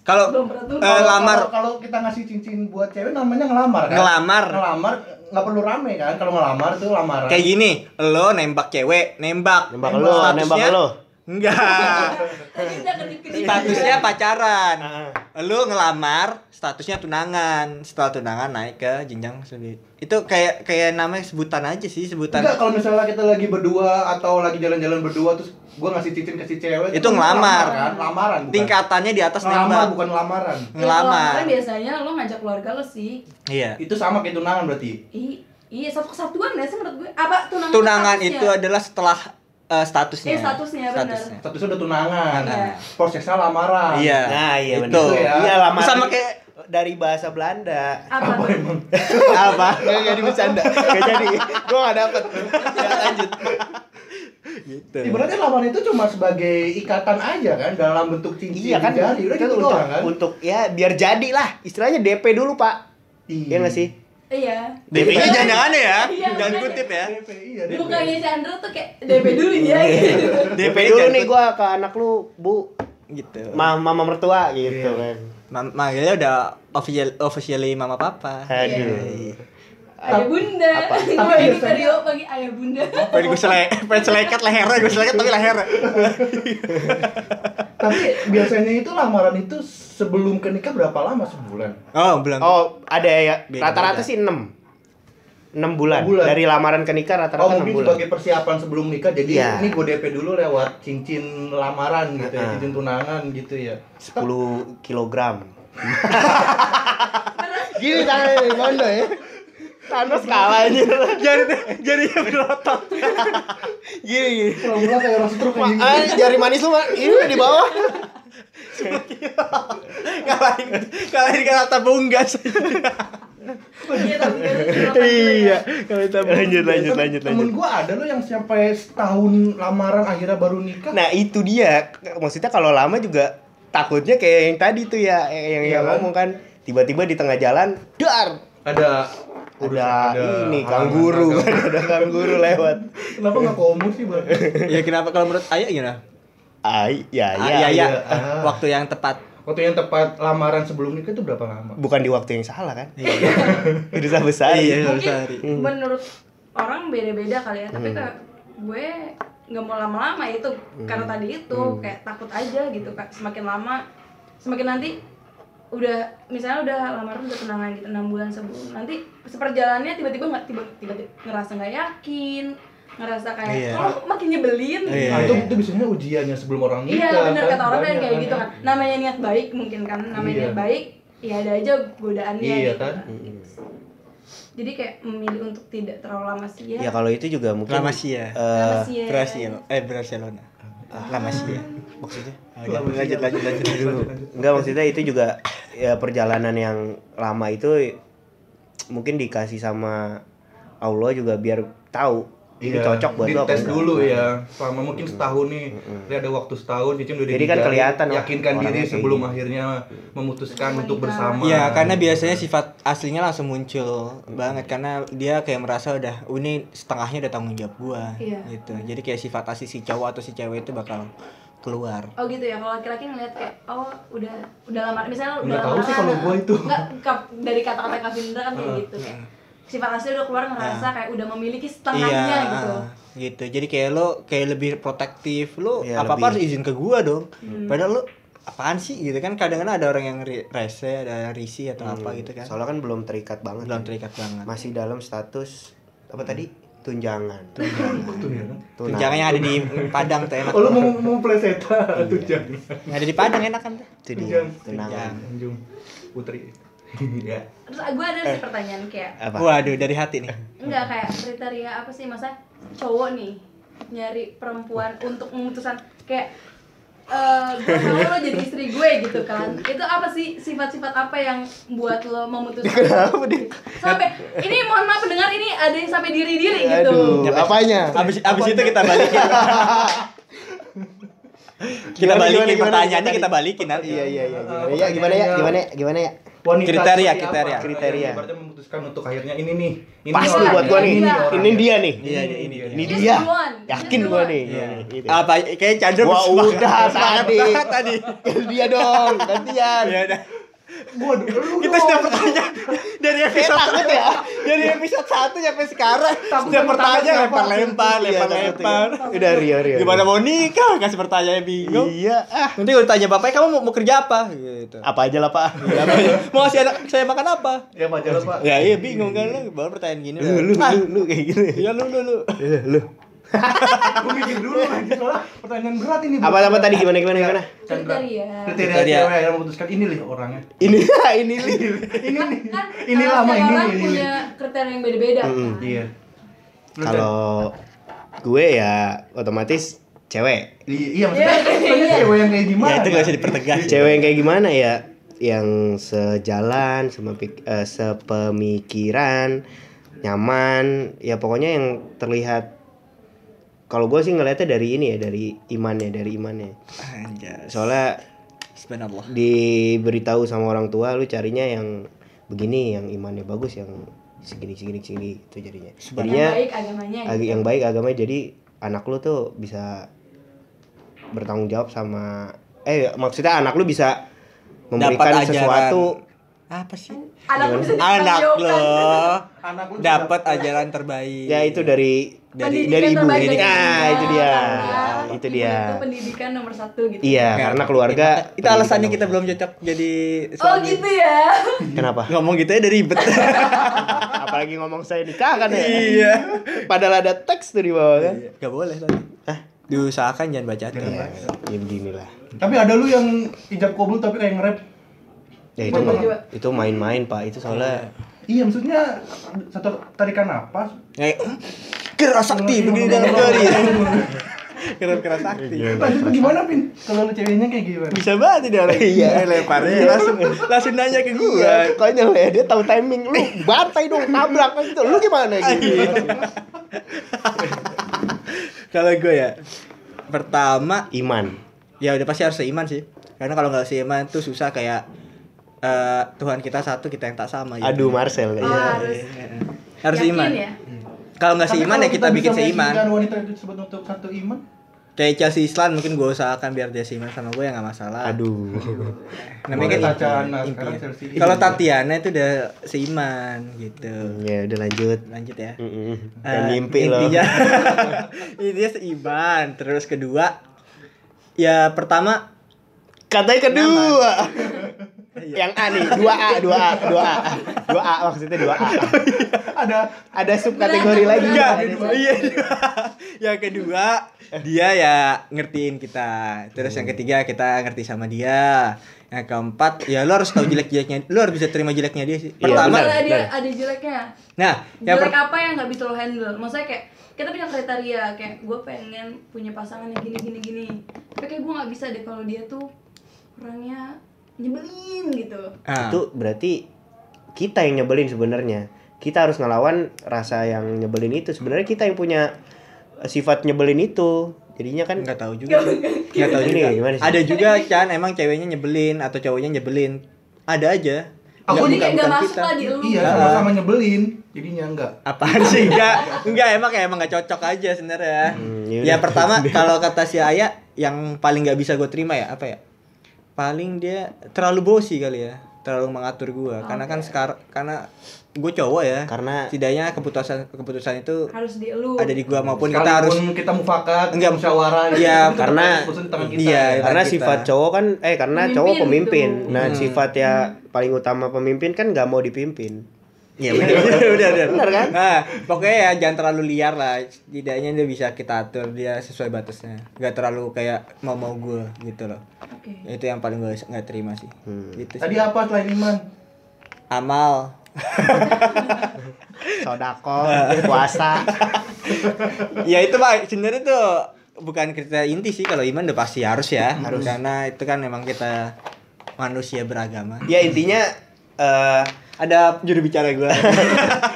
[SPEAKER 2] Kalau
[SPEAKER 1] Belum pernah tuh.
[SPEAKER 2] eh, lamar
[SPEAKER 4] Kalau- Kalau kita ngasih cincin buat cewek namanya ngelamar kan?
[SPEAKER 2] Ngelamar.
[SPEAKER 4] Ngelamar nggak perlu rame kan? Kalau ngelamar tuh lamaran.
[SPEAKER 2] kayak gitu, gini, lo nembak cewek, nembak.
[SPEAKER 3] Nembak lo,
[SPEAKER 2] Statusnya-
[SPEAKER 3] nembak lo.
[SPEAKER 2] Enggak.
[SPEAKER 1] Tadi udah
[SPEAKER 4] Iya.
[SPEAKER 1] kedip-kedip. Iya.
[SPEAKER 2] statusnya pacaran
[SPEAKER 3] Ah.
[SPEAKER 2] lu ngelamar statusnya tunangan setelah tunangan naik ke jenjang sendiri itu kayak kayak namanya sebutan aja sih sebutan
[SPEAKER 4] Enggak, kalau misalnya kita lagi berdua atau lagi jalan-jalan berdua terus gua ngasih cincin ke si cewek
[SPEAKER 2] Itu
[SPEAKER 4] kan
[SPEAKER 2] ngelamar.
[SPEAKER 4] kan? Lamaran bukan.
[SPEAKER 2] tingkatannya di atas
[SPEAKER 4] ngelamar
[SPEAKER 2] nembak
[SPEAKER 4] bukan lamaran.
[SPEAKER 1] Ya, kalau lamaran
[SPEAKER 2] ngelamar
[SPEAKER 1] biasanya lo ngajak keluarga lo sih.
[SPEAKER 2] iya
[SPEAKER 4] Itu sama kayak tunangan berarti.
[SPEAKER 1] I- Iya, satu kesatuan gak sih menurut gue? Apa tunangan?
[SPEAKER 2] tunangan
[SPEAKER 1] kan statusnya?
[SPEAKER 2] itu adalah setelah eh, statusnya
[SPEAKER 1] Iya, statusnya, benar.
[SPEAKER 4] Statusnya udah tunangan.
[SPEAKER 1] Iya.
[SPEAKER 4] Prosesnya lamaran.
[SPEAKER 2] iya
[SPEAKER 3] Nah, iya benar.
[SPEAKER 2] itu
[SPEAKER 4] Iya.
[SPEAKER 3] Iya, lamaran.
[SPEAKER 2] sama kayak
[SPEAKER 3] dari bahasa Belanda.
[SPEAKER 1] Apa?
[SPEAKER 4] Apa
[SPEAKER 1] tuh?
[SPEAKER 4] emang?
[SPEAKER 3] apa nggak jadi bercanda nggak jadi gue nggak dapet ya, lanjut
[SPEAKER 2] gitu
[SPEAKER 4] Eh, Ibaratnya lamaran itu cuma sebagai ikatan aja kan dalam bentuk cincin
[SPEAKER 3] iya kan
[SPEAKER 4] di jari. Udah
[SPEAKER 3] kan
[SPEAKER 4] gitu
[SPEAKER 3] untuk
[SPEAKER 4] doang kan.
[SPEAKER 3] untuk ya biar jadi lah istilahnya DP dulu pak
[SPEAKER 4] Iya.
[SPEAKER 3] Iya nggak sih
[SPEAKER 1] Iya.
[SPEAKER 2] DP-nya jangan yang aneh ya.
[SPEAKER 1] Iya,
[SPEAKER 2] Jangan
[SPEAKER 1] makanya.
[SPEAKER 2] kutip ya.
[SPEAKER 4] DP, iya DP.
[SPEAKER 1] Bukannya Chandra tuh kayak DP dulu ya gitu.
[SPEAKER 2] DP
[SPEAKER 3] DP dulu
[SPEAKER 2] jangan
[SPEAKER 3] nih
[SPEAKER 2] kutip.
[SPEAKER 3] gua ke anak lu, Bu.
[SPEAKER 2] gitu.
[SPEAKER 3] Ma- Mama mertua gitu
[SPEAKER 4] Iya.
[SPEAKER 3] kan.
[SPEAKER 2] Ma- manggilnya udah official officially mama papa.
[SPEAKER 3] Aduh.
[SPEAKER 1] Ayah bunda.
[SPEAKER 3] Apa?
[SPEAKER 1] Gue ini video pagi ayah bunda.
[SPEAKER 2] Pengen gue sele, pengen selekat lehernya, gue selekat tapi lehernya.
[SPEAKER 4] Tapi biasanya itu lamaran itu sebelum ke nikah berapa lama sebulan?
[SPEAKER 2] Oh, belum.
[SPEAKER 3] Oh, ada ya.
[SPEAKER 2] Beda-beda.
[SPEAKER 3] Rata-rata sih 6. 6 bulan.
[SPEAKER 4] Bulan.
[SPEAKER 3] Dari lamaran ke nikah rata-rata 6
[SPEAKER 4] Oh mungkin
[SPEAKER 3] kan bulan.
[SPEAKER 4] sebagai persiapan sebelum nikah jadi
[SPEAKER 3] Iya. Ah.
[SPEAKER 4] ini gue DP dulu lewat cincin lamaran gitu ya,
[SPEAKER 3] Heeh.
[SPEAKER 4] cincin tunangan gitu ya.
[SPEAKER 3] 10 kilogram. Gini tangannya di bondo ya. Thanos kalah aja.
[SPEAKER 2] Jari jarinya berotot. gini gini.
[SPEAKER 4] Mula-mula kayak orang stroke
[SPEAKER 3] Ma-
[SPEAKER 4] anjing.
[SPEAKER 3] ah, jari manis lu mah ini di bawah.
[SPEAKER 2] Kalahin kalahin kata bunggas.
[SPEAKER 1] Iya tapi kan itu cuma kan gue ya.
[SPEAKER 3] iya. Lanjut lanjut lanjut lanjut.
[SPEAKER 4] Temen gue ada loh yang sampai setahun lamaran akhirnya baru nikah.
[SPEAKER 3] Nah itu dia maksudnya kalau lama juga takutnya kayak yang tadi tuh ya yang
[SPEAKER 4] Iya
[SPEAKER 3] yang
[SPEAKER 4] kan?
[SPEAKER 3] ngomong kan tiba-tiba di tengah jalan dar ada
[SPEAKER 4] Ada
[SPEAKER 2] Ah,
[SPEAKER 3] ini
[SPEAKER 4] halangan,
[SPEAKER 3] kangguru
[SPEAKER 4] ada-
[SPEAKER 3] ada kangguru lewat
[SPEAKER 4] Kenapa nggak komu sih bang?
[SPEAKER 2] ya kenapa kalau menurut Ayah gimana?
[SPEAKER 3] ay ya ya,
[SPEAKER 2] Ayah,
[SPEAKER 4] iya.
[SPEAKER 2] ya.
[SPEAKER 4] Ah.
[SPEAKER 2] Waktu yang tepat.
[SPEAKER 4] Waktu yang tepat lamaran sebelum nikah itu berapa lama?
[SPEAKER 3] bukan di waktu yang salah kan
[SPEAKER 2] Iya.
[SPEAKER 3] dosa besar
[SPEAKER 2] Iya, harus Hmm. hari.
[SPEAKER 1] Mungkin menurut orang beda-beda kali ya, tapi kayak gue nggak mau lama-lama ya itu
[SPEAKER 2] Hmm.
[SPEAKER 1] karena tadi itu kayak takut aja gitu kak semakin lama semakin nanti udah misalnya udah lamaran udah tunangan gitu enam bulan sebelum nanti seperjalannya tiba-tiba nggak tiba tiba ngerasa nggak yakin ngerasa kayak
[SPEAKER 2] Iya.
[SPEAKER 1] oh makin nyebelin Gitu.
[SPEAKER 2] Iya.
[SPEAKER 4] Nah, itu, itu biasanya ujiannya sebelum orang nikah.
[SPEAKER 1] Iya benar
[SPEAKER 4] kan?
[SPEAKER 1] kata orang kan
[SPEAKER 4] Banyak
[SPEAKER 1] kayak
[SPEAKER 4] kan,
[SPEAKER 1] gitu
[SPEAKER 4] ya.
[SPEAKER 1] kan. Namanya niat baik mungkin kan. Namanya
[SPEAKER 4] Iya.
[SPEAKER 1] niat baik, ya ada aja godaannya.
[SPEAKER 4] Iya
[SPEAKER 1] gitu
[SPEAKER 4] kan?
[SPEAKER 1] Jadi kayak memilih untuk tidak terlalu lama sih ya.
[SPEAKER 3] ya kalau itu juga mungkin
[SPEAKER 2] Lama sih ya.
[SPEAKER 3] eh,
[SPEAKER 1] Lama sih ya.
[SPEAKER 2] Brasil, eh Barcelona. Lama sih ya.
[SPEAKER 3] maksudnya
[SPEAKER 2] Lanjut lanjut lanjut lanjut.
[SPEAKER 3] Aduh, enggak maksudnya itu juga ya, perjalanan yang lama itu mungkin dikasih sama Allah juga biar tahu ini
[SPEAKER 4] Iya,
[SPEAKER 3] cocok buat lo kan? Iya. apa
[SPEAKER 4] dites
[SPEAKER 3] enggak.
[SPEAKER 4] dulu ya selama mungkin setahun nih dia ada waktu setahun cicin
[SPEAKER 3] Iya.
[SPEAKER 4] udah
[SPEAKER 3] Jadi kan
[SPEAKER 4] dibijarin,
[SPEAKER 3] kelihatan lah
[SPEAKER 4] yakinkan
[SPEAKER 3] orangnya
[SPEAKER 4] diri
[SPEAKER 3] kayak
[SPEAKER 4] sebelum
[SPEAKER 3] gini.
[SPEAKER 4] akhirnya memutuskan
[SPEAKER 1] Menikah.
[SPEAKER 4] untuk bersama
[SPEAKER 2] Iya, karena biasanya sifat aslinya langsung muncul banget karena dia kayak merasa udah "Oh, ini setengahnya udah tanggung jawab gua
[SPEAKER 1] Iya.
[SPEAKER 2] gitu. Jadi kayak sifat asli si cowok atau si cewek itu bakal keluar.
[SPEAKER 1] Oh gitu ya kalau laki-laki ngeliat kayak oh udah udah lama misalnya udah
[SPEAKER 4] Nggak tahu
[SPEAKER 1] lama kan.
[SPEAKER 4] sih kalau gua itu.
[SPEAKER 1] Nggak, ka- dari kata-kata Kak Vindra kan kayak gitu kayak sifat asli udah keluar ngerasa kayak udah memiliki setengahnya gitu.
[SPEAKER 2] ah, gitu. Jadi kayak lo kayak lebih protektif. Lo
[SPEAKER 3] Iya,
[SPEAKER 2] apa-apa harus
[SPEAKER 3] lebih.
[SPEAKER 2] izin ke gua dong.
[SPEAKER 1] Hmm.
[SPEAKER 2] Padahal lo apaan sih gitu kan kadang-kadang ada orang yang ri- rese, ada yang risih atau apa gitu kan.
[SPEAKER 3] Soalnya kan belum terikat banget.
[SPEAKER 2] Belum terikat banget.
[SPEAKER 3] Masih dalam status apa tadi? Tunjangan.
[SPEAKER 4] Betul ya kan?
[SPEAKER 3] Tunang.
[SPEAKER 2] Tunjangan yang ada di Padang tuh enak.
[SPEAKER 4] oh lu mau mau plesetan tuh jam
[SPEAKER 2] Yang ada di Padang enak kan tuh.
[SPEAKER 3] Itu Iya, dia,
[SPEAKER 4] Tunjangan.
[SPEAKER 3] tunangan.
[SPEAKER 4] Anjung putri ya
[SPEAKER 1] Terus gue ada sih pertanyaan kayak
[SPEAKER 3] Apa?
[SPEAKER 2] Waduh, dari hati nih.
[SPEAKER 1] Enggak kayak kriteria apa sih masa cowok nih nyari perempuan untuk memutusan kayak eh gue mau lo jadi istri gue gitu kan itu apa sih sifat-sifat apa yang buat lo memutuskan
[SPEAKER 3] Kenapa dia?
[SPEAKER 1] sampai ini mohon maaf pendengar ini ada yang sampai diri diri gitu
[SPEAKER 3] Aduh,
[SPEAKER 2] Nyampe-
[SPEAKER 3] apanya?
[SPEAKER 2] Abis, abis itu kita balikin. kita
[SPEAKER 3] Gimana,
[SPEAKER 2] balikin
[SPEAKER 3] gimana, gimana,
[SPEAKER 2] pertanyaannya
[SPEAKER 3] gimana?
[SPEAKER 2] kita balikin nanti.
[SPEAKER 3] Iya iya iya. Gimana ya? Gimana ya? Gimana ya? Gimana ya?
[SPEAKER 4] wanita
[SPEAKER 2] Kriteria,
[SPEAKER 4] seperti
[SPEAKER 2] kriteria.
[SPEAKER 4] apa?
[SPEAKER 3] Kriteria.
[SPEAKER 4] Yang ibaratnya memutuskan untuk akhirnya ini nih ini
[SPEAKER 3] Pasti
[SPEAKER 4] orang
[SPEAKER 3] buat gua nih.
[SPEAKER 4] ini orang.
[SPEAKER 3] Ini dia nih.
[SPEAKER 2] Iya, iya, ini dia.
[SPEAKER 3] Ini
[SPEAKER 1] Just
[SPEAKER 3] dia.
[SPEAKER 1] the one.
[SPEAKER 3] Yakin
[SPEAKER 1] Just the
[SPEAKER 3] gua
[SPEAKER 1] one.
[SPEAKER 3] nih.
[SPEAKER 2] Iya.
[SPEAKER 3] Gitu.
[SPEAKER 2] Apa kayak Chandra
[SPEAKER 3] Wah,
[SPEAKER 2] bersemangat.
[SPEAKER 3] udah
[SPEAKER 2] Sangat
[SPEAKER 3] tadi.
[SPEAKER 2] banget Nah, tadi.
[SPEAKER 3] dia dong, gantian.
[SPEAKER 2] Ya udah.
[SPEAKER 4] gua dulu
[SPEAKER 2] Kita
[SPEAKER 4] dong.
[SPEAKER 2] sudah pertanyaan dari episode
[SPEAKER 3] takut ya.
[SPEAKER 2] Dari episode 1 sampai sekarang
[SPEAKER 4] Takut
[SPEAKER 2] sudah
[SPEAKER 4] kan
[SPEAKER 2] pertanyaan
[SPEAKER 4] takut
[SPEAKER 2] lempar-lempar,
[SPEAKER 3] Iya,
[SPEAKER 2] lempar-lempar.
[SPEAKER 3] takut ya. Udah Rio Rio.
[SPEAKER 2] Gimana mau nikah kasih pertanyaan bingung.
[SPEAKER 3] Iya, ah.
[SPEAKER 2] Nanti udah tanya bapaknya kamu mau, mau kerja apa gitu.
[SPEAKER 3] Apa aja lah, Pak.
[SPEAKER 2] Ya, apa ya? mau kasih anak saya makan apa?
[SPEAKER 4] ya pak jalan pak
[SPEAKER 2] Ya iya bingung kan lu baru pertanyaan gini.
[SPEAKER 3] Lu lu
[SPEAKER 2] Ah,
[SPEAKER 3] lu, lu kayak gini.
[SPEAKER 2] Iya lu lu lu.
[SPEAKER 3] Lu lu.
[SPEAKER 4] gua mikir dulu lagi soalnya pertanyaan berat ini
[SPEAKER 3] Apa apa tadi gimana gimana gimana?
[SPEAKER 4] Chandra.
[SPEAKER 1] Kriteria.
[SPEAKER 4] kriteria
[SPEAKER 2] Kriteria.
[SPEAKER 4] cewek yang memutuskan ini nih orangnya
[SPEAKER 3] Ini ini li.
[SPEAKER 4] ini nih
[SPEAKER 1] kan
[SPEAKER 4] ini
[SPEAKER 1] kalau
[SPEAKER 4] lama
[SPEAKER 1] setiap
[SPEAKER 4] ini
[SPEAKER 1] orang
[SPEAKER 4] ini ini.
[SPEAKER 1] punya kriteria yang beda-beda kan
[SPEAKER 4] iya Lu,
[SPEAKER 3] Kalau gue ya otomatis cewek.
[SPEAKER 4] Chan? I- iya maksudnya
[SPEAKER 1] Iya,
[SPEAKER 4] maksudnya
[SPEAKER 1] iya.
[SPEAKER 4] cewek yang kayak gimana
[SPEAKER 2] Ya itu gak usah dipertegas.
[SPEAKER 3] Cewek yang kayak gimana ya? Yang sejalan, semepik- eh, sepemikiran, nyaman, ya pokoknya yang terlihat kalau gue sih ngelihatnya dari ini ya, dari imannya, dari imannya.
[SPEAKER 2] Anjas.
[SPEAKER 3] Soalnya
[SPEAKER 2] Subhanallah.
[SPEAKER 3] diberitahu sama orang tua lu carinya yang begini, yang imannya bagus, yang segini segini segini itu jadinya
[SPEAKER 1] Yang
[SPEAKER 3] jadinya
[SPEAKER 1] baik agamanya
[SPEAKER 3] ag-
[SPEAKER 2] Gitu.
[SPEAKER 3] yang baik agamanya jadi anak lu tuh bisa bertanggung jawab sama eh maksudnya anak lu bisa
[SPEAKER 2] Dapat
[SPEAKER 3] memberikan
[SPEAKER 2] ajaran.
[SPEAKER 3] sesuatu
[SPEAKER 2] Apa sih?
[SPEAKER 1] anak lu bisa
[SPEAKER 2] Anak
[SPEAKER 1] dipertanggungjawabkan.
[SPEAKER 2] lo
[SPEAKER 4] Anak lu
[SPEAKER 2] dapat ajaran terbaik.
[SPEAKER 3] ya itu dari
[SPEAKER 2] dari
[SPEAKER 1] Pendidikan
[SPEAKER 3] dari ibu.
[SPEAKER 1] terbaik
[SPEAKER 3] Pendidikan.
[SPEAKER 1] ibu.
[SPEAKER 3] Ah, itu dia.
[SPEAKER 1] Karena
[SPEAKER 3] Itu
[SPEAKER 1] ibu
[SPEAKER 3] dia.
[SPEAKER 1] itu pendidikan nomor satu gitu
[SPEAKER 3] iya
[SPEAKER 2] Kayak-
[SPEAKER 3] karena keluarga
[SPEAKER 2] Ya, maka- itu alasannya kita belum cocok jadi
[SPEAKER 1] oh
[SPEAKER 2] suami.
[SPEAKER 1] gitu ya
[SPEAKER 3] kenapa
[SPEAKER 2] Ngomong gitu ya dari ribet.
[SPEAKER 3] apalagi ngomong saya nikah kan ya
[SPEAKER 2] iya.
[SPEAKER 3] padahal ada teks tuh di bawah kan
[SPEAKER 2] Gak boleh tadi. Diusahakan jangan baca hati.
[SPEAKER 3] ya, ya beginilah
[SPEAKER 4] Tapi ada lu yang ijab kabul tapi kayak nge-rap.
[SPEAKER 3] ya itu
[SPEAKER 4] Main
[SPEAKER 3] mah-
[SPEAKER 1] baju, Pak.
[SPEAKER 3] itu main-main pak itu soalnya
[SPEAKER 4] Iya, maksudnya satu tarikan napas.
[SPEAKER 2] Kayak "Hmm, keras sakti begini dalam jari. Keras keras sakti.
[SPEAKER 4] Lanjut tuh gimana, Pin? Kalau lu ceweknya kayak gimana?
[SPEAKER 2] Bisa banget dia orang.
[SPEAKER 3] Iya.
[SPEAKER 2] Eh, leparnya langsung langsung nanya ke
[SPEAKER 3] Iya,
[SPEAKER 2] gua.
[SPEAKER 3] konyol ya dia tahu timing lu bantai dong tabrak kan gitu. Lu gimana gitu?
[SPEAKER 2] Iya. Kalau gua ya pertama
[SPEAKER 3] Iman.
[SPEAKER 2] ya udah pasti harus seiman sih karena kalau nggak seiman tuh susah kayak eh, Tuhan kita satu kita yang tak sama gitu.
[SPEAKER 3] Aduh Marcel Iya.
[SPEAKER 1] Oh,
[SPEAKER 3] kayaknya.
[SPEAKER 1] harus
[SPEAKER 2] harus
[SPEAKER 1] yakin
[SPEAKER 2] seiman
[SPEAKER 1] ya
[SPEAKER 2] kalau nggak seiman ya kita, bikin seiman
[SPEAKER 4] Kan wanita itu disebut untuk satu iman.
[SPEAKER 2] kayak Chelsea Islan mungkin gue usahakan biar dia seiman sama gue ya nggak masalah
[SPEAKER 3] Aduh.
[SPEAKER 2] namanya
[SPEAKER 4] Boleh
[SPEAKER 2] kan
[SPEAKER 4] Tatiana,
[SPEAKER 2] impian.
[SPEAKER 4] nah, sekarang Chelsea Islan.
[SPEAKER 2] kalau Tatiana itu udah seiman gitu
[SPEAKER 3] Ya udah lanjut.
[SPEAKER 2] lanjut ya
[SPEAKER 3] Mm-mm. Hmm, Kayak
[SPEAKER 2] Eh,
[SPEAKER 3] mimpi lo.
[SPEAKER 2] intinya intinya seiman terus kedua ya pertama
[SPEAKER 3] Katanya kedua. Yang A nih, 2A, 2A, 2A. 2A maksudnya 2A.
[SPEAKER 4] Ada
[SPEAKER 3] Ada subkategori
[SPEAKER 1] Berat,
[SPEAKER 3] lagi
[SPEAKER 2] Enggak,
[SPEAKER 3] Pak.
[SPEAKER 2] iya. iya. yang kedua, dia ya ngertiin kita. Terus yang ketiga, kita ngerti sama dia. Yang keempat, ya lo harus tahu jelek-jeleknya. Lo harus bisa terima jeleknya dia sih.
[SPEAKER 3] Iya,
[SPEAKER 2] Pertama,
[SPEAKER 1] Misalnya dia
[SPEAKER 3] benar.
[SPEAKER 1] ada jeleknya
[SPEAKER 2] nah, yang
[SPEAKER 1] jelek
[SPEAKER 2] per-
[SPEAKER 1] apa yang nggak bisa lo handle maksudnya kayak kita punya kriteria kayak gue pengen punya pasangan yang gini gini gini tapi kayak gue nggak bisa deh kalau dia tuh orangnya nyebelin gitu
[SPEAKER 2] Ah,
[SPEAKER 3] Itu berarti kita yang nyebelin sebenarnya. Kita harus ngelawan rasa yang nyebelin itu. Sebenarnya kita yang punya sifat nyebelin itu. Jadinya kan
[SPEAKER 2] nggak tahu juga. Nggak tahu
[SPEAKER 3] Gini,
[SPEAKER 2] juga.
[SPEAKER 3] ya, gimana sih?
[SPEAKER 2] Ada juga Chan emang ceweknya nyebelin atau cowoknya nyebelin. Ada aja.
[SPEAKER 4] Aku
[SPEAKER 2] Nggak-
[SPEAKER 1] jadi kayak nggak
[SPEAKER 2] bukan- bukan
[SPEAKER 1] masuk
[SPEAKER 2] kita.
[SPEAKER 1] lah di lu
[SPEAKER 4] iya
[SPEAKER 2] Nah.
[SPEAKER 4] sama-sama nyebelin. Jadinya enggak.
[SPEAKER 2] Apaan sih enggak? Enggak emang kayak emang enggak cocok aja sebenarnya.
[SPEAKER 3] Hmm, yaudah.
[SPEAKER 2] ya pertama kalau kata si Aya yang paling nggak bisa gue terima ya apa ya? Paling dia terlalu bosi kali ya, terlalu mengatur gua. Karena kan sekarang karena gue cowok ya.
[SPEAKER 3] Karena-
[SPEAKER 2] setidaknya keputusan keputusan itu
[SPEAKER 1] harus di lu
[SPEAKER 2] ada di gua maupun kita harus
[SPEAKER 4] Sekalipun kita
[SPEAKER 2] Enggak.
[SPEAKER 4] mufakat, enggak musyawarah. gitu,
[SPEAKER 2] Iya,
[SPEAKER 4] itu
[SPEAKER 3] karena
[SPEAKER 4] keputusan di tangan kita.
[SPEAKER 2] iya,
[SPEAKER 4] ya.
[SPEAKER 3] karena
[SPEAKER 2] kita.
[SPEAKER 3] sifat cowok kan eh karena
[SPEAKER 1] Pemimpin
[SPEAKER 3] cowok
[SPEAKER 1] gitu.
[SPEAKER 3] pemimpin nah
[SPEAKER 2] Hmm.
[SPEAKER 3] sifat ya paling utama pemimpin kan nggak mau dipimpin
[SPEAKER 2] Iya benar udah udah.
[SPEAKER 3] Bener kan?
[SPEAKER 2] Nah, pokoknya ya jangan terlalu liar lah. Setidaknya dia bisa kita atur dia sesuai batasnya. Gak terlalu kayak mau mau gue gitu loh.
[SPEAKER 1] Oke.
[SPEAKER 2] Itu yang paling gue nggak terima sih.
[SPEAKER 3] Hmm.
[SPEAKER 2] Gitu sih.
[SPEAKER 4] Tadi apa selain iman?
[SPEAKER 1] Eh,
[SPEAKER 2] Amal.
[SPEAKER 3] sodako puasa
[SPEAKER 2] ya itu pak sebenarnya tuh bukan kriteria inti sih kalau iman udah pasti harus ya
[SPEAKER 3] Hmm.
[SPEAKER 2] harus karena itu kan memang kita manusia beragama
[SPEAKER 3] ya intinya eh
[SPEAKER 2] ada juru bicara gue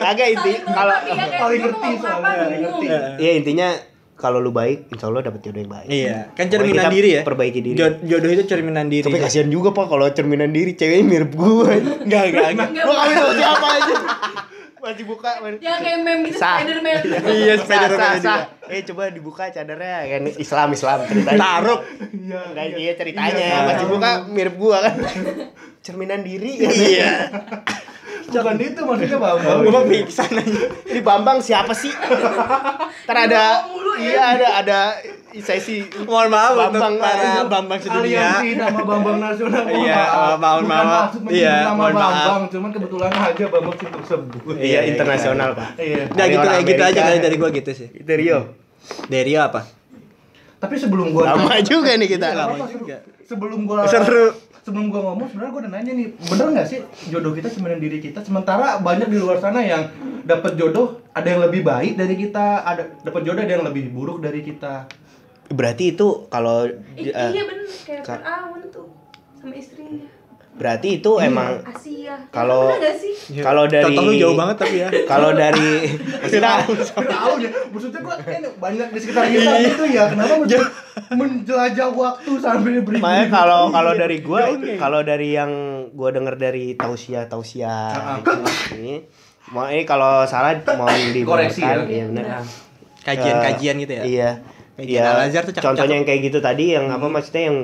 [SPEAKER 3] agak inti
[SPEAKER 1] Saling melengkapi
[SPEAKER 3] kalau
[SPEAKER 1] ya, kayak
[SPEAKER 4] paling
[SPEAKER 1] gua
[SPEAKER 4] ngerti
[SPEAKER 1] mau ngomong apa,
[SPEAKER 4] soalnya, paling
[SPEAKER 1] bingung.
[SPEAKER 4] ngerti.
[SPEAKER 3] ya intinya kalau lu baik insya Allah dapet jodoh yang baik
[SPEAKER 2] iya kan
[SPEAKER 3] Pokoknya
[SPEAKER 2] cerminan
[SPEAKER 3] kita
[SPEAKER 2] diri ya
[SPEAKER 3] perbaiki diri
[SPEAKER 2] Jod- Iya. jodoh itu cerminan diri
[SPEAKER 3] tapi kasihan juga pak kalau cerminan diri ceweknya mirip gue
[SPEAKER 2] enggak enggak enggak
[SPEAKER 1] Nggak
[SPEAKER 3] lu kawin sama siapa aja masih buka man.
[SPEAKER 1] ya kayak meme gitu
[SPEAKER 3] Sah.
[SPEAKER 1] Spiderman
[SPEAKER 2] iya
[SPEAKER 3] Sah, sah,
[SPEAKER 2] sepeda
[SPEAKER 3] sah. eh coba dibuka cadarnya kan Islam Islam ceritanya
[SPEAKER 2] taruh
[SPEAKER 4] Iya.
[SPEAKER 3] Nah,
[SPEAKER 4] iya.
[SPEAKER 3] iya ceritanya
[SPEAKER 4] Iya.
[SPEAKER 3] masih buka mirip gua kan. Cerminan diri. Iya.
[SPEAKER 4] Bukan itu maksudnya Bang.
[SPEAKER 2] gue mah pingsan aja
[SPEAKER 3] Ini Bambang siapa sih? Ntar ada
[SPEAKER 1] Ngomong mulu ya.
[SPEAKER 3] Iya, ada ada sesi
[SPEAKER 2] mohon maaf
[SPEAKER 3] Bambang,
[SPEAKER 2] untuk para
[SPEAKER 3] aduh.
[SPEAKER 2] bambang sedunia
[SPEAKER 4] Aliansi nama Bambang Nasional. mohon
[SPEAKER 2] Iya,
[SPEAKER 4] maaf.
[SPEAKER 2] maaf,
[SPEAKER 4] Bukan
[SPEAKER 2] maaf.
[SPEAKER 4] maksud menyebut
[SPEAKER 2] Iya,
[SPEAKER 4] nama
[SPEAKER 2] mohon maaf.
[SPEAKER 4] Bambang, cuman kebetulan aja Bambang sih tersebut.
[SPEAKER 2] Iya,
[SPEAKER 3] Iya, internasional, Pak.
[SPEAKER 4] Iya.
[SPEAKER 2] udah gitu
[SPEAKER 3] Orang
[SPEAKER 2] kayak gitu aja
[SPEAKER 3] Amerika.
[SPEAKER 2] kali dari gue gitu sih
[SPEAKER 3] Itu Rio.
[SPEAKER 2] dari Rio apa
[SPEAKER 4] Tapi sebelum gua
[SPEAKER 3] Lama juga nih kita.
[SPEAKER 2] Lama.
[SPEAKER 4] Apa,
[SPEAKER 2] juga.
[SPEAKER 4] Sebelum gua
[SPEAKER 2] Seru.
[SPEAKER 4] Sebelum gua ngomong sebenarnya gua udah nanya nih, bener nggak sih jodoh kita sebenarnya diri kita? Sementara banyak di luar sana yang dapat jodoh ada yang lebih baik dari kita, ada dapat jodoh ada yang lebih buruk dari kita.
[SPEAKER 3] Berarti itu kalau
[SPEAKER 1] Ih,
[SPEAKER 3] eh,
[SPEAKER 1] iya bener kayak
[SPEAKER 3] Kak.
[SPEAKER 1] Fir'aun tuh sama istrinya
[SPEAKER 3] berarti itu emang
[SPEAKER 1] Asia
[SPEAKER 3] Kalau-
[SPEAKER 1] Bener nggak sih
[SPEAKER 3] Kalau dari-
[SPEAKER 2] Iya. contoh lu jauh banget tapi ya
[SPEAKER 3] kalau dari Nah, maksudnya
[SPEAKER 4] Tahu ya, maksudnya gua kan banyak di sekitar kita
[SPEAKER 2] Iya.
[SPEAKER 4] gitu ya. Kenapa mesti menjelajah waktu sambil beri
[SPEAKER 3] Makanya kalau kalau
[SPEAKER 4] Iya,
[SPEAKER 3] dari gua kalau dari yang gua denger dari tausiah tausiah
[SPEAKER 4] Ah, ah.
[SPEAKER 3] gitu, ini Mau ini kalau salah mau
[SPEAKER 4] Koreksi ya.
[SPEAKER 3] dibenarkan. Iya benar.
[SPEAKER 2] Kajian-kajian
[SPEAKER 3] Eh,
[SPEAKER 2] gitu ya.
[SPEAKER 3] Iya.
[SPEAKER 2] Kajian Al-Azhar tuh cakep-cakep. Hmm.
[SPEAKER 3] Contohnya yang kayak gitu tadi yang apa maksudnya yang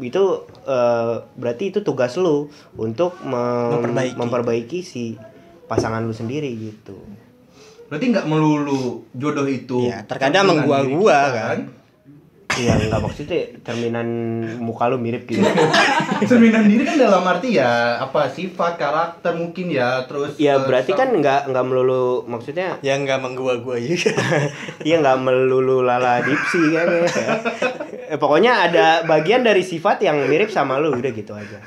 [SPEAKER 3] itu eh, berarti itu tugas lu untuk mem-
[SPEAKER 2] Memperbaiki.
[SPEAKER 3] memperbaiki si pasangan lu sendiri gitu.
[SPEAKER 4] Berarti nggak melulu jodoh itu.
[SPEAKER 2] Iya, terkadang
[SPEAKER 4] dengan
[SPEAKER 2] menggua-gua,
[SPEAKER 4] diri kita,
[SPEAKER 2] kan?
[SPEAKER 3] Iya, enggak maksudnya cerminan muka lu mirip gitu.
[SPEAKER 4] Cerminan diri kan dalam arti ya apa sifat karakter mungkin ya terus
[SPEAKER 3] Ya
[SPEAKER 4] eh,
[SPEAKER 3] berarti
[SPEAKER 4] sama-
[SPEAKER 3] kan nggak nggak melulu maksudnya
[SPEAKER 2] Yang Ya, nggak menggua-gua juga.
[SPEAKER 3] Iya nggak melulu lala dipsi kan ya. Eh, Pokoknya ada bagian dari sifat yang mirip sama lu udah gitu aja.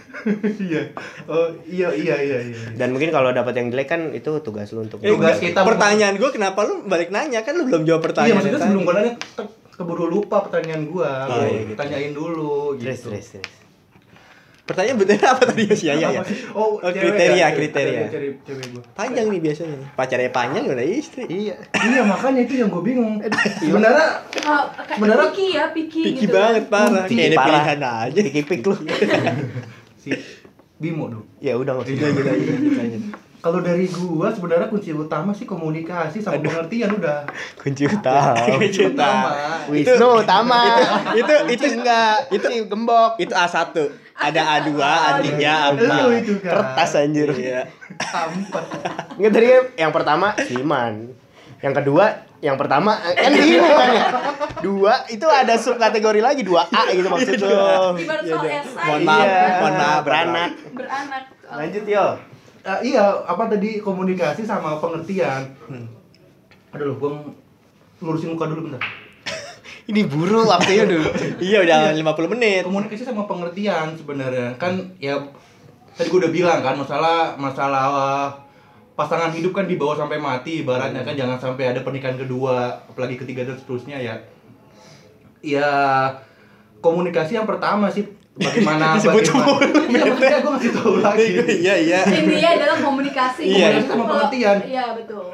[SPEAKER 4] iya. Oh, iya iya iya iya.
[SPEAKER 3] Dan mungkin kalau dapat yang jelek kan itu tugas lu untuk.
[SPEAKER 4] Eh,
[SPEAKER 2] Enggak,
[SPEAKER 4] Tugas kita-
[SPEAKER 2] Pertanyaan gua kenapa lu balik nanya kan lu belum jawab
[SPEAKER 4] Iya
[SPEAKER 2] pertanyaan.
[SPEAKER 4] maksudnya
[SPEAKER 2] tadi.
[SPEAKER 4] sebelum gue nanya te- keburu lupa pertanyaan gua.
[SPEAKER 2] Oh, iya,
[SPEAKER 4] Gua Tanyain dulu gitu.
[SPEAKER 3] Terus terus terus.
[SPEAKER 2] Pertanyaan bener apa tadi ya, sih ya ya.
[SPEAKER 4] Apa sih?
[SPEAKER 2] Oh,
[SPEAKER 4] Oh, cewek
[SPEAKER 2] kriteria,
[SPEAKER 4] ya?
[SPEAKER 2] kriteria.
[SPEAKER 4] Cewek, cewek gua.
[SPEAKER 2] Panjang nih biasanya. nih. Pacarnya panjang udah istri.
[SPEAKER 3] Iya.
[SPEAKER 4] iya makanya itu yang gue bingung. Sebenarnya
[SPEAKER 1] Kalau kayak
[SPEAKER 4] Sebenarnya
[SPEAKER 1] picky ya, picky,
[SPEAKER 2] Picky
[SPEAKER 1] gitu.
[SPEAKER 2] banget parah.
[SPEAKER 3] Picky
[SPEAKER 2] Kayaknya
[SPEAKER 3] parah.
[SPEAKER 2] pilihan aja. Iya.
[SPEAKER 3] Dikipik lu.
[SPEAKER 4] si Bimo dong.
[SPEAKER 3] ya udah maksudnya.
[SPEAKER 4] Iya, Kalau dari gua sebenarnya kunci utama sih komunikasi sama pengertian udah.
[SPEAKER 3] Kunci utama.
[SPEAKER 2] Kunci utama.
[SPEAKER 3] Wisnu utama.
[SPEAKER 2] Itu itu
[SPEAKER 3] enggak. Itu gembok.
[SPEAKER 2] itu A1. Ada A2, A3, A4.
[SPEAKER 4] Lu itu kan.
[SPEAKER 3] Kertas anjir.
[SPEAKER 2] Iya.
[SPEAKER 4] Tampak.
[SPEAKER 3] Nggak tadi kan yang pertama Siman. Yang kedua, yang pertama kan ini kan ya. Dua itu ada subkategori lagi dua A gitu maksud lu.
[SPEAKER 1] Ibarat soal SI.
[SPEAKER 2] Mohon maaf,
[SPEAKER 3] Iya.
[SPEAKER 2] mohon maaf.
[SPEAKER 3] beranak.
[SPEAKER 1] Beranak.
[SPEAKER 3] Lanjut yo.
[SPEAKER 4] Eh, iya, apa tadi komunikasi sama pengertian. Aduh, gua ng- lurusin muka dulu bentar.
[SPEAKER 3] Ini buru waktunya dulu.
[SPEAKER 2] Iya udah 50 menit.
[SPEAKER 4] Ya, Komunikasi sama pengertian sebenarnya kan ya tadi gua udah bilang kan masalah masalah eh, pasangan hidup kan dibawa sampai mati ibaratnya kan jangan sampai ada pernikahan kedua apalagi ketiga dan seterusnya ya ya komunikasi yang pertama sih bagaimana
[SPEAKER 2] Disebut
[SPEAKER 4] bagaimana ya, makanya gue ngasih tahu lagi
[SPEAKER 2] Iya iya.
[SPEAKER 1] Intinya Eh, ya adalah komunikasi.
[SPEAKER 2] Iya.
[SPEAKER 1] Komunikasi sama
[SPEAKER 4] Kalau-
[SPEAKER 1] pengertian. Iya, betul.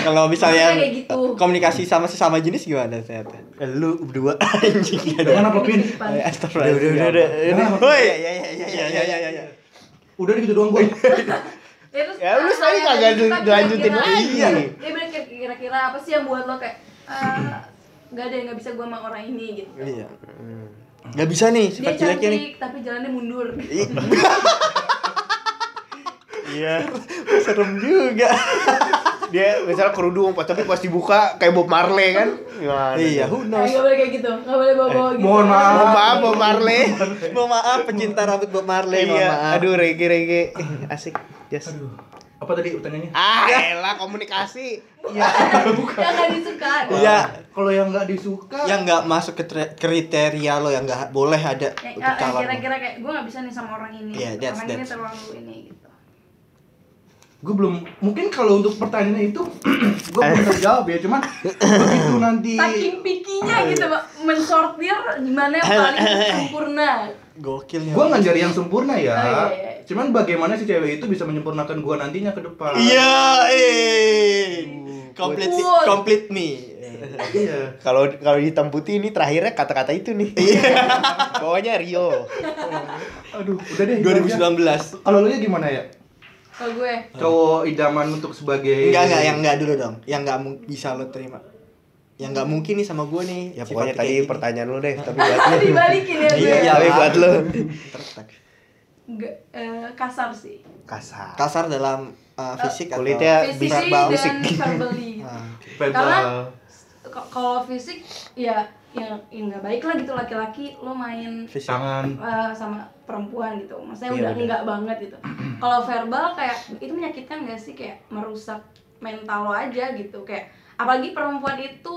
[SPEAKER 2] Kalau misalnya
[SPEAKER 1] Maksudnya kayak gitu.
[SPEAKER 2] komunikasi sama sesama jenis gimana ternyata? Lu berdua anjing.
[SPEAKER 4] dengan apa pin
[SPEAKER 2] Eh,
[SPEAKER 1] Depan.
[SPEAKER 2] Astagfirullah.
[SPEAKER 3] Udah, udah, udah, udah.
[SPEAKER 2] Woi. Iya iya iya iya iya iya.
[SPEAKER 4] udah deh gitu doang gue
[SPEAKER 1] Ya, terus,
[SPEAKER 3] Ya, lu
[SPEAKER 1] ah,
[SPEAKER 3] tadi
[SPEAKER 1] yang
[SPEAKER 3] kagak
[SPEAKER 1] kita
[SPEAKER 3] di- dilanjutin
[SPEAKER 1] kira-kira-
[SPEAKER 3] lagi.
[SPEAKER 1] Iya. Dia bilang kayak kira-kira apa sih yang buat lo kayak eh, Gak ada yang gak bisa gue sama orang ini gitu
[SPEAKER 2] Iya. Gak bisa nih,
[SPEAKER 1] Dia
[SPEAKER 2] sifat jeleknya nih.
[SPEAKER 1] cantik tapi jalannya mundur
[SPEAKER 3] Iya.
[SPEAKER 2] Serem juga.
[SPEAKER 3] Dia misalnya kerudung, pas- tapi pas dibuka kayak Bob Marley kan. Gimana?
[SPEAKER 2] iya, who
[SPEAKER 1] Nah,
[SPEAKER 2] knows.
[SPEAKER 1] gak boleh kayak gitu, gak boleh bawa-bawa gitu
[SPEAKER 4] mohon maaf.
[SPEAKER 3] Mohon maaf Bob Marley.
[SPEAKER 2] Mohon maaf pecinta rambut Bob Marley, ya. mohon
[SPEAKER 3] Iya.
[SPEAKER 2] maaf.
[SPEAKER 3] Aduh rege-rege. Eh, asik. Yes.
[SPEAKER 4] aduh apa tadi pertanyaannya
[SPEAKER 3] Ah, elah komunikasi.
[SPEAKER 4] iya
[SPEAKER 1] Yang gak disuka
[SPEAKER 2] Iya.
[SPEAKER 4] kalau yang nggak disuka
[SPEAKER 2] Yang nggak masuk ke tre- kriteria lo yang nggak boleh ada
[SPEAKER 1] Kayak,
[SPEAKER 2] untuk
[SPEAKER 1] ah, yang
[SPEAKER 2] calon.
[SPEAKER 1] kira-kira kayak gue gak bisa nih sama orang ini
[SPEAKER 2] Iya, that's-
[SPEAKER 1] Orang ini
[SPEAKER 2] that's-
[SPEAKER 1] terlalu ini gitu
[SPEAKER 4] gue belum mungkin kalau untuk pertanyaan itu gue
[SPEAKER 2] Eh.
[SPEAKER 4] belum terjawab ya cuman begitu nanti
[SPEAKER 1] Saking pikinya gitu, Pak. mensortir gimana yang paling sempurna
[SPEAKER 2] Gokil ya.
[SPEAKER 4] gue nggak nyari yang sempurna ya
[SPEAKER 1] Oh, iya, iya.
[SPEAKER 4] cuman bagaimana si cewek itu bisa menyempurnakan gue nantinya ke depan
[SPEAKER 2] Iya, eh. Complete
[SPEAKER 1] Cool.
[SPEAKER 2] complete me. Eh,
[SPEAKER 4] iya
[SPEAKER 3] Kalau kalau di hitam putih ini terakhirnya kata-kata itu nih.
[SPEAKER 2] Iya.
[SPEAKER 3] Bawahnya Rio.
[SPEAKER 4] aduh udah deh itu aja.
[SPEAKER 2] 2019.
[SPEAKER 4] kalau lu nya gimana ya
[SPEAKER 1] Kalau gue
[SPEAKER 4] cowok idaman untuk sebagai
[SPEAKER 2] Enggak enggak yang enggak dulu dong. Yang enggak mu- bisa lo terima. Yang enggak mungkin nih sama gue nih.
[SPEAKER 3] Ya pokoknya
[SPEAKER 2] sifatnya
[SPEAKER 3] tadi
[SPEAKER 2] kayak gini.
[SPEAKER 3] pertanyaan lu deh, tapi buat lu.
[SPEAKER 1] Dibalikin ya gue
[SPEAKER 2] Iya.
[SPEAKER 3] tapi buat lu.
[SPEAKER 2] Tertek.
[SPEAKER 1] Nggak, eh, Kasar sih
[SPEAKER 3] Kasar.
[SPEAKER 2] Kasar dalam uh, fisik
[SPEAKER 3] Kulitnya
[SPEAKER 2] atau
[SPEAKER 1] Fisik
[SPEAKER 2] verbal.
[SPEAKER 1] dan
[SPEAKER 2] Fisik.
[SPEAKER 1] verbally
[SPEAKER 2] Ah, oke.
[SPEAKER 4] Verbal.
[SPEAKER 1] Karena- K- Kalau fisik, ya yang ya nggak baik lah gitu laki-laki lo main
[SPEAKER 2] Fisik.
[SPEAKER 4] tangan
[SPEAKER 1] eh, sama perempuan gitu Maksudnya
[SPEAKER 3] Iya,
[SPEAKER 1] udah
[SPEAKER 3] udah.
[SPEAKER 1] enggak banget gitu Kalau verbal kayak, itu menyakitkan gak sih? Kayak merusak mental lo aja gitu Kayak apalagi perempuan itu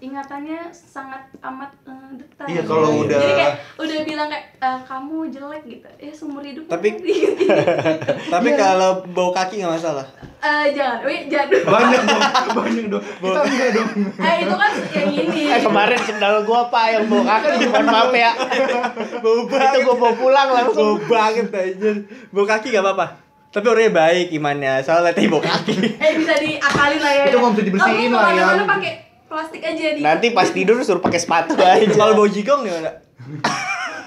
[SPEAKER 1] ingatannya sangat amat eh, detail
[SPEAKER 4] Iya, kalau udah-
[SPEAKER 1] Jadi kayak udah bilang kayak, "Eh, kamu jelek gitu Ya seumur hidup
[SPEAKER 2] Tapi-
[SPEAKER 1] gitu.
[SPEAKER 2] Tapi
[SPEAKER 1] Iya.
[SPEAKER 2] kalau bau kaki nggak masalah.
[SPEAKER 1] Eh, jangan, wih jangan
[SPEAKER 4] banyak dong banyak dong kita enggak dong
[SPEAKER 1] Eh itu kan yang ini
[SPEAKER 3] Eh kemarin sendal gua pak yang bawa kaki, mohon maaf ya.
[SPEAKER 2] Bau
[SPEAKER 3] Itu gua bawa pulang langsung.
[SPEAKER 2] Bau banget aja. Bau kaki nggak apa-apa. Tapi orangnya baik imannya. Soalnya tadi bau kaki.
[SPEAKER 1] Eh bisa diakalin lah ya.
[SPEAKER 4] Itu nggak bisa dibersihin
[SPEAKER 1] Kamu
[SPEAKER 4] lah ya. Nah,
[SPEAKER 1] kemana-mana pakai plastik aja di.
[SPEAKER 2] Iya.
[SPEAKER 3] Nanti pas tidur suruh pakai sepatu aja.
[SPEAKER 2] Kalau bau jigong gimana?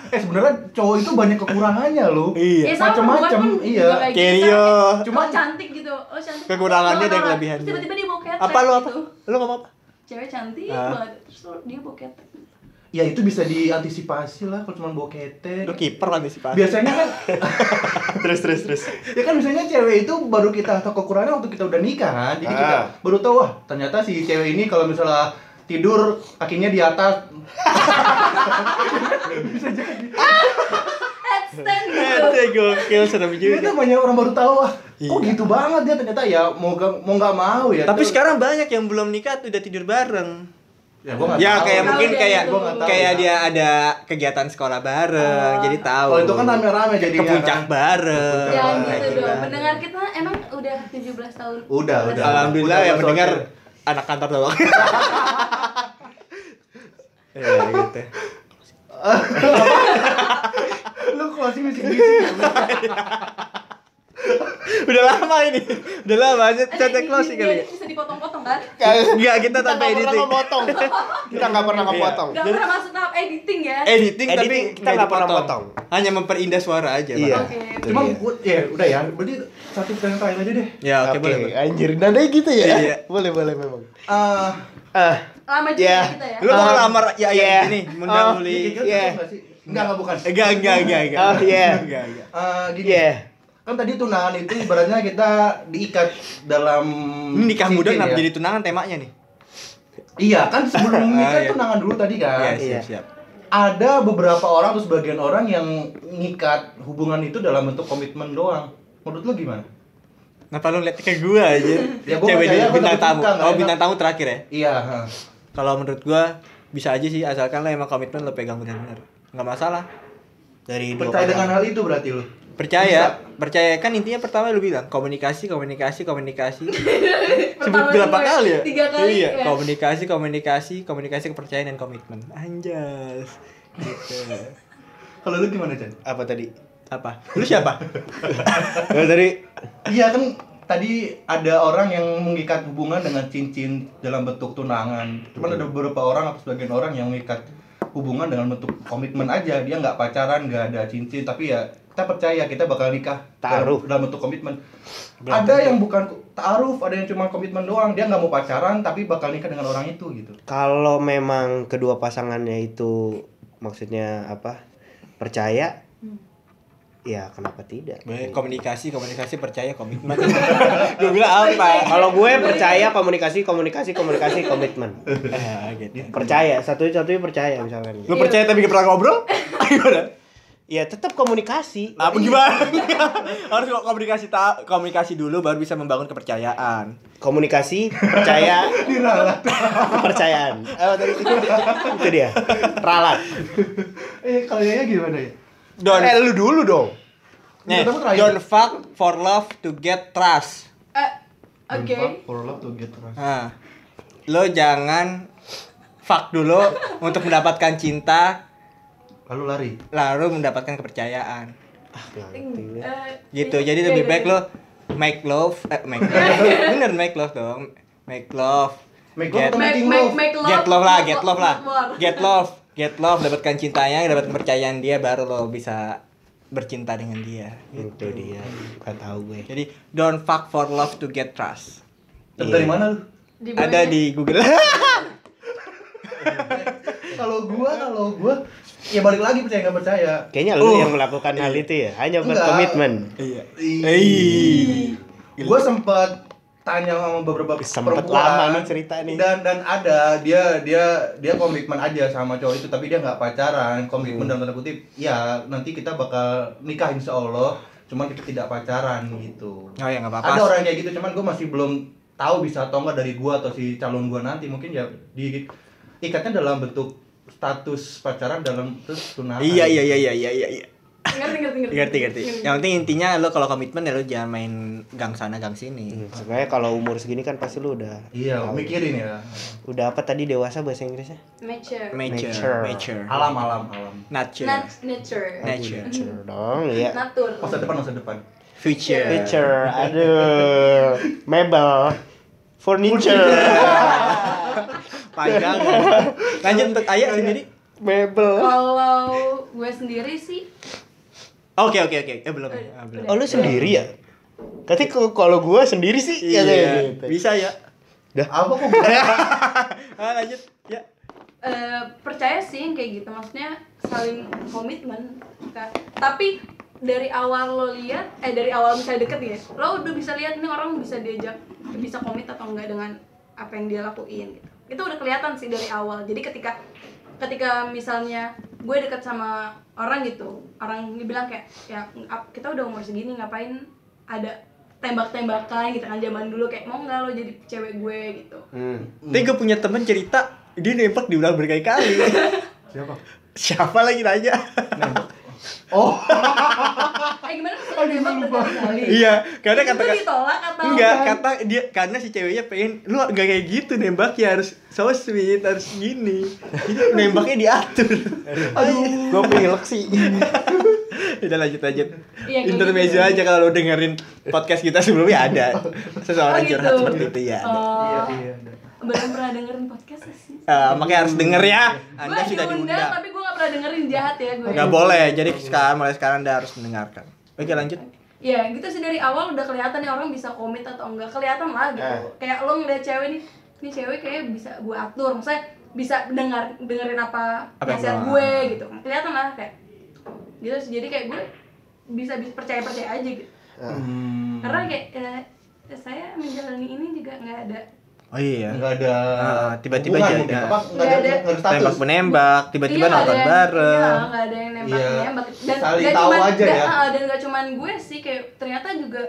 [SPEAKER 4] eh sebenarnya cowok itu banyak kekurangannya loh
[SPEAKER 2] Iya.
[SPEAKER 1] Ya, sama,
[SPEAKER 4] macam-macam
[SPEAKER 1] perempuan pun juga
[SPEAKER 4] iya
[SPEAKER 1] kayak gitu.
[SPEAKER 2] Kerio.
[SPEAKER 1] Misalnya,
[SPEAKER 4] Cuma-
[SPEAKER 1] oh, cantik gitu. Oh, cantik.
[SPEAKER 2] Kekurangannya
[SPEAKER 1] Lo
[SPEAKER 2] dan
[SPEAKER 1] kenal,
[SPEAKER 2] kelebihannya.
[SPEAKER 1] terus Tiba-tiba dia bawa ketek
[SPEAKER 2] Apa lu apa?
[SPEAKER 1] gitu.
[SPEAKER 2] Lu ngomong apa?
[SPEAKER 1] Cewek cantik
[SPEAKER 2] Ah.
[SPEAKER 1] banget. Terus lo- dia bawa ketek.
[SPEAKER 4] ya itu bisa diantisipasi lah kalau cuma bawa ketek
[SPEAKER 2] Lu kiper lah sih Pak.
[SPEAKER 4] biasanya kan
[SPEAKER 3] terus terus terus
[SPEAKER 4] ya kan biasanya cewek itu baru kita tahu kekurangan waktu kita udah nikah kan jadi kita
[SPEAKER 3] Ah.
[SPEAKER 4] baru tahu wah ternyata si cewek ini kalau misalnya tidur kakinya di atas
[SPEAKER 1] Headstand gitu.
[SPEAKER 2] Ente gokil serem
[SPEAKER 3] Iya,
[SPEAKER 4] ternyata
[SPEAKER 2] juga.
[SPEAKER 4] banyak orang baru tahu wah kok
[SPEAKER 2] Iya.
[SPEAKER 4] gitu banget dia ternyata ya mau gak mau nggak mau ya
[SPEAKER 2] Tapi
[SPEAKER 4] Tuh.
[SPEAKER 2] sekarang banyak yang belum nikah tuh udah tidur bareng.
[SPEAKER 4] ya, gua nggak
[SPEAKER 2] Ya
[SPEAKER 4] tahu.
[SPEAKER 2] kayak
[SPEAKER 1] Tahu
[SPEAKER 2] mungkin
[SPEAKER 1] dia
[SPEAKER 2] kayak
[SPEAKER 1] itu. Gua nggak tahu.
[SPEAKER 2] kayak dia ada kegiatan sekolah bareng,
[SPEAKER 1] Ah.
[SPEAKER 2] jadi tahu.
[SPEAKER 4] Kalau itu kan rame-rame
[SPEAKER 2] ke
[SPEAKER 4] jadinya,
[SPEAKER 2] puncak
[SPEAKER 4] kan?
[SPEAKER 2] bareng.
[SPEAKER 1] Jangan
[SPEAKER 4] Nah,
[SPEAKER 1] gitu
[SPEAKER 4] gitu
[SPEAKER 1] dong.
[SPEAKER 4] kan.
[SPEAKER 1] Pendengar kita emang udah 17 tahun.
[SPEAKER 4] Udah, udah.
[SPEAKER 2] Alhamdulillah
[SPEAKER 4] Udah,
[SPEAKER 2] yang
[SPEAKER 4] udah,
[SPEAKER 2] mendengar
[SPEAKER 4] udah.
[SPEAKER 2] anak kantor doang. ya gitu.
[SPEAKER 4] lu closing bisik bisik
[SPEAKER 2] Iya. Udah lama ini. Udah lama aja cetek
[SPEAKER 1] sih
[SPEAKER 2] closing kali. ya?
[SPEAKER 1] Bisa dipotong-potong kan?
[SPEAKER 2] Enggak kita tanpa
[SPEAKER 3] nggak pernah
[SPEAKER 2] editing.
[SPEAKER 3] memotong kita nggak pernah
[SPEAKER 2] Iya.
[SPEAKER 3] memotong
[SPEAKER 1] Gak pernah masuk tahap editing ya?
[SPEAKER 2] Editing, tapi
[SPEAKER 3] Editing kita nggak pernah
[SPEAKER 2] dipotong. Hanya memperindah suara aja. Bang.
[SPEAKER 3] Iya.
[SPEAKER 1] Oke.
[SPEAKER 3] Itu
[SPEAKER 4] cuma
[SPEAKER 3] dia.
[SPEAKER 4] gua ya udah ya berarti satu pertanyaan terakhir aja deh
[SPEAKER 2] Ya oke boleh. boleh.
[SPEAKER 3] anjir nadanya gitu ya
[SPEAKER 2] Iya.
[SPEAKER 3] boleh boleh memang
[SPEAKER 4] ah
[SPEAKER 3] ah
[SPEAKER 1] Lama juga
[SPEAKER 3] ya
[SPEAKER 1] kita ya.
[SPEAKER 2] Lu
[SPEAKER 4] Um,
[SPEAKER 2] mau ngelamar ya ya
[SPEAKER 3] Yeah.
[SPEAKER 2] ini
[SPEAKER 3] Oh,
[SPEAKER 2] mendahului.
[SPEAKER 4] kira-kira
[SPEAKER 3] Iya.
[SPEAKER 4] cocok nggak sih enggak enggak bukan
[SPEAKER 2] Enggak enggak enggak enggak.
[SPEAKER 3] Oh, iya.
[SPEAKER 2] Enggak enggak.
[SPEAKER 4] Ah, gini
[SPEAKER 3] Iya.
[SPEAKER 4] kan tadi tunangan itu ibaratnya kita diikat dalam
[SPEAKER 2] Ini Hmm, nikah muda
[SPEAKER 4] cincin
[SPEAKER 2] kenapa
[SPEAKER 4] ya?
[SPEAKER 2] jadi tunangan temanya nih?
[SPEAKER 4] iya kan sebelum nikah
[SPEAKER 2] Ah, iya.
[SPEAKER 4] tunangan dulu tadi kan
[SPEAKER 2] Iya,
[SPEAKER 3] iya.
[SPEAKER 2] siap siap.
[SPEAKER 4] ada beberapa orang atau sebagian orang yang ngikat hubungan itu dalam bentuk komitmen doang menurut lo gimana
[SPEAKER 2] Kenapa lu lihat ke gua aja?
[SPEAKER 4] Ya, gua
[SPEAKER 2] Cewek
[SPEAKER 4] percaya,
[SPEAKER 2] dulu
[SPEAKER 4] gua
[SPEAKER 2] bintang
[SPEAKER 4] takut
[SPEAKER 2] tamu.
[SPEAKER 4] suka, nggak
[SPEAKER 2] Oh
[SPEAKER 4] enak.
[SPEAKER 2] bintang tamu terakhir ya.
[SPEAKER 4] iya ha.
[SPEAKER 2] Kalau menurut gua bisa aja sih asalkan lo emang komitmen lo pegang benar-benar. Nggak masalah. Dari dua
[SPEAKER 4] percaya
[SPEAKER 2] pasangan.
[SPEAKER 4] dengan hal itu berarti lo
[SPEAKER 2] percaya percaya kan intinya pertama lu bilang komunikasi komunikasi komunikasi sebut
[SPEAKER 1] Pertama
[SPEAKER 2] berapa
[SPEAKER 1] gue,
[SPEAKER 2] kali ya
[SPEAKER 1] tiga kali,
[SPEAKER 2] iya
[SPEAKER 1] ya.
[SPEAKER 2] komunikasi komunikasi komunikasi kepercayaan dan komitmen anjas gitu
[SPEAKER 4] kalau lo gimana Chan
[SPEAKER 3] apa tadi
[SPEAKER 2] apa lu siapa Lu dari
[SPEAKER 4] iya kan tadi ada orang yang mengikat hubungan dengan cincin dalam bentuk tunangan cuman ada beberapa orang atau sebagian orang yang mengikat hubungan dengan bentuk komitmen aja dia nggak pacaran nggak ada cincin tapi ya kita percaya kita bakal nikah
[SPEAKER 3] Taruh.
[SPEAKER 4] dalam, dalam bentuk komitmen ada yang bukan ko- taaruf ada yang cuma komitmen doang dia nggak mau pacaran tapi bakal nikah dengan orang itu gitu
[SPEAKER 3] kalau memang kedua pasangannya itu maksudnya apa percaya ya kenapa tidak
[SPEAKER 2] Baik, komunikasi komunikasi percaya komitmen gue bilang apa
[SPEAKER 3] kalau gue percaya komunikasi komunikasi komunikasi komitmen
[SPEAKER 2] Eh, gitu.
[SPEAKER 3] percaya satu satunya percaya misalkan
[SPEAKER 2] lu percaya tapi gak pernah ngobrol gimana
[SPEAKER 3] ya tetap komunikasi
[SPEAKER 2] Nah, apa gimana? Harus kok komunikasi ta- komunikasi dulu baru bisa membangun kepercayaan.
[SPEAKER 3] komunikasi percaya
[SPEAKER 4] diralat
[SPEAKER 3] percayaan Eh, tadi itu, itu dia ralat
[SPEAKER 4] eh kalau Yaya gimana ya
[SPEAKER 2] Don,
[SPEAKER 3] eh lu dulu dong
[SPEAKER 2] Nih,
[SPEAKER 4] Menurut aku terakhir.
[SPEAKER 2] don't fuck for love to get trust.
[SPEAKER 1] Eh,
[SPEAKER 4] Don't
[SPEAKER 1] Oke.
[SPEAKER 4] fuck for love to get trust.
[SPEAKER 2] Nah, lo jangan fuck dulu untuk mendapatkan cinta,
[SPEAKER 4] lalu lari
[SPEAKER 2] lalu mendapatkan kepercayaan.
[SPEAKER 1] Eh,
[SPEAKER 2] Gitu.
[SPEAKER 1] iya,
[SPEAKER 2] Jadi
[SPEAKER 1] iya,
[SPEAKER 2] lebih
[SPEAKER 1] iya,
[SPEAKER 2] baik
[SPEAKER 1] iya.
[SPEAKER 2] lo make love, eh, make love. Bener make love dong. Make love.
[SPEAKER 4] Make
[SPEAKER 2] get,
[SPEAKER 4] love atau
[SPEAKER 1] eh, Make,
[SPEAKER 4] Making
[SPEAKER 1] make,
[SPEAKER 4] love.
[SPEAKER 1] make love.
[SPEAKER 2] get love lah,
[SPEAKER 1] not
[SPEAKER 2] get
[SPEAKER 1] wa-
[SPEAKER 2] love lah.
[SPEAKER 1] not war.
[SPEAKER 2] Get love, get love dapatkan cintanya, dapat kepercayaan dia baru lo bisa bercinta dengan dia.
[SPEAKER 3] itu dia gak tahu gue
[SPEAKER 2] Jadi don't fuck for love to get trust.
[SPEAKER 4] Tapi
[SPEAKER 3] Iya.
[SPEAKER 4] dari mana lu
[SPEAKER 1] Di
[SPEAKER 2] Ada
[SPEAKER 1] bawahnya.
[SPEAKER 2] di Google.
[SPEAKER 4] kalau gua kalau gua ya balik lagi percaya nggak percaya Oh,
[SPEAKER 3] kayaknya lu
[SPEAKER 2] Uh.
[SPEAKER 3] yang melakukan hal itu ya hanya
[SPEAKER 4] Enggak.
[SPEAKER 3] berkomitmen
[SPEAKER 2] Iya.
[SPEAKER 4] Ih.
[SPEAKER 2] Ih.
[SPEAKER 4] Gue sempet tanya sama beberapa
[SPEAKER 3] Sempet
[SPEAKER 4] perempuan
[SPEAKER 3] lama nih cerita nih.
[SPEAKER 4] dan dan ada dia dia dia komitmen aja sama cowok itu tapi dia nggak pacaran
[SPEAKER 3] Hmm.
[SPEAKER 4] komitmen dalam tanda kutip ya nanti kita bakal nikah insya Allah cuman kita tidak pacaran gitu
[SPEAKER 2] Oh ya nggak apa-apa.
[SPEAKER 4] ada orang kayak gitu cuman gue masih belum tahu bisa atau enggak dari gua atau si calon gua nanti mungkin ya di ikatnya dalam bentuk status pacaran dalam terus tunangan
[SPEAKER 2] Iya iya iya iya iya iya. iya.
[SPEAKER 1] Ngerti, ngerti, ngerti.
[SPEAKER 2] Ngerti ngerti. Yang penting intinya lo kalau komitmen ya lo jangan main gang sana gang sini.
[SPEAKER 3] Hmm, sebenarnya kalau umur segini kan pasti lu udah
[SPEAKER 4] iya
[SPEAKER 3] tahu.
[SPEAKER 4] mikirin ya
[SPEAKER 3] udah apa tadi dewasa bahasa Inggrisnya
[SPEAKER 1] Nature.
[SPEAKER 2] Mature,
[SPEAKER 3] Mature.
[SPEAKER 2] mature.
[SPEAKER 4] alam alam alam
[SPEAKER 1] Not
[SPEAKER 2] Nature.
[SPEAKER 1] nature.
[SPEAKER 2] Nature.
[SPEAKER 3] Nature dong ya
[SPEAKER 1] Natur.
[SPEAKER 4] masa depan masa depan
[SPEAKER 2] Future.
[SPEAKER 3] Nature, aduh, mebel, furniture.
[SPEAKER 2] Panjang. Lanjut untuk ayah sendiri.
[SPEAKER 3] Mebel.
[SPEAKER 1] Kalau gue sendiri sih
[SPEAKER 2] Oke oke oke. Eh belum. ya? Ah, belum.
[SPEAKER 3] Oh lu sendiri ya? Katanya kalau- kalau gua sendiri sih ya kayak gitu.
[SPEAKER 2] Bisa ya.
[SPEAKER 4] Apa kok berat?
[SPEAKER 2] Ah, lanjut. Ya.
[SPEAKER 1] eh, percaya sih yang kayak gitu maksudnya saling komitmen Ka- tapi dari awal lo lihat eh dari awal misalnya deket ya lo udah bisa lihat nih orang bisa diajak bisa komit atau enggak dengan apa yang dia lakuin gitu itu udah kelihatan sih dari awal jadi ketika ketika misalnya gue deket sama orang gitu orang dibilang kayak ya ap- kita udah umur segini ngapain ada tembak-tembakan gitu kan zaman dulu kayak mau nggak lo jadi cewek gue gitu
[SPEAKER 2] Tapi gue punya temen cerita dia nembak diulang berkali-kali.
[SPEAKER 4] Siapa?
[SPEAKER 2] Siapa lagi nanya?
[SPEAKER 4] Oh,
[SPEAKER 1] eh gimana maksudnya nembak berkali-kali
[SPEAKER 2] iya, karena kata
[SPEAKER 1] itu ditolak atau
[SPEAKER 2] enggak
[SPEAKER 3] kan?
[SPEAKER 2] kata dia karena si ceweknya pengen lu enggak kayak gitu nembak ya harus so sweet harus gini. Jadi nembaknya diatur.
[SPEAKER 3] Aduh, gua pilek sih.
[SPEAKER 2] Udah lanjut lanjut.
[SPEAKER 1] Iya, kayak
[SPEAKER 2] Intermezzo
[SPEAKER 1] gitu.
[SPEAKER 2] aja kalau lu dengerin podcast kita sebelumnya ada seseorang
[SPEAKER 1] Oh,
[SPEAKER 2] curhat
[SPEAKER 1] gitu.
[SPEAKER 2] seperti itu ya. ada.
[SPEAKER 1] Oh,
[SPEAKER 4] iya.
[SPEAKER 1] belum pernah dengerin podcast sih
[SPEAKER 2] Eh, makanya harus denger ya. Anda
[SPEAKER 1] Gua
[SPEAKER 2] sudah diundang.
[SPEAKER 1] tapi gue gak pernah dengerin jahat ya gue
[SPEAKER 2] Nggak boleh. Jadi sekarang mulai sekarang Anda harus mendengarkan. Oke, lanjut.
[SPEAKER 1] ya gitu sih dari awal udah kelihatan nih orang bisa komit atau enggak kelihatan lah gitu
[SPEAKER 4] Eh.
[SPEAKER 1] kayak lo ngeliat cewek nih ini cewek kayak bisa gue atur maksudnya bisa dengar dengerin apa
[SPEAKER 2] Apa yang
[SPEAKER 1] nasihat
[SPEAKER 2] gua-
[SPEAKER 1] gue gitu kelihatan lah kayak gitu sih. jadi kayak gue bisa bisa percaya percaya aja gitu
[SPEAKER 4] Hmm.
[SPEAKER 1] karena kayak eh, saya menjalani ini juga nggak ada
[SPEAKER 2] Oh iya.
[SPEAKER 4] Enggak ada.
[SPEAKER 2] Ah, tiba-tiba
[SPEAKER 4] hubungan
[SPEAKER 2] jadi-
[SPEAKER 4] mungkin.
[SPEAKER 2] ah.
[SPEAKER 4] Apa enggak ada
[SPEAKER 1] Nggak ada.
[SPEAKER 4] enggak ada status.
[SPEAKER 2] Tembak menembak, tiba-tiba
[SPEAKER 1] Iya, nggak
[SPEAKER 2] nonton
[SPEAKER 1] ada yang-
[SPEAKER 2] bareng.
[SPEAKER 1] Iya, nggak ada yang nembak
[SPEAKER 4] Iya.
[SPEAKER 1] nembak.
[SPEAKER 4] Saling
[SPEAKER 1] nggak
[SPEAKER 4] tahu
[SPEAKER 1] cuman-
[SPEAKER 4] aja
[SPEAKER 1] nggak-
[SPEAKER 4] ya.
[SPEAKER 1] ah, dan nggak cuman gue sih, kayak ternyata juga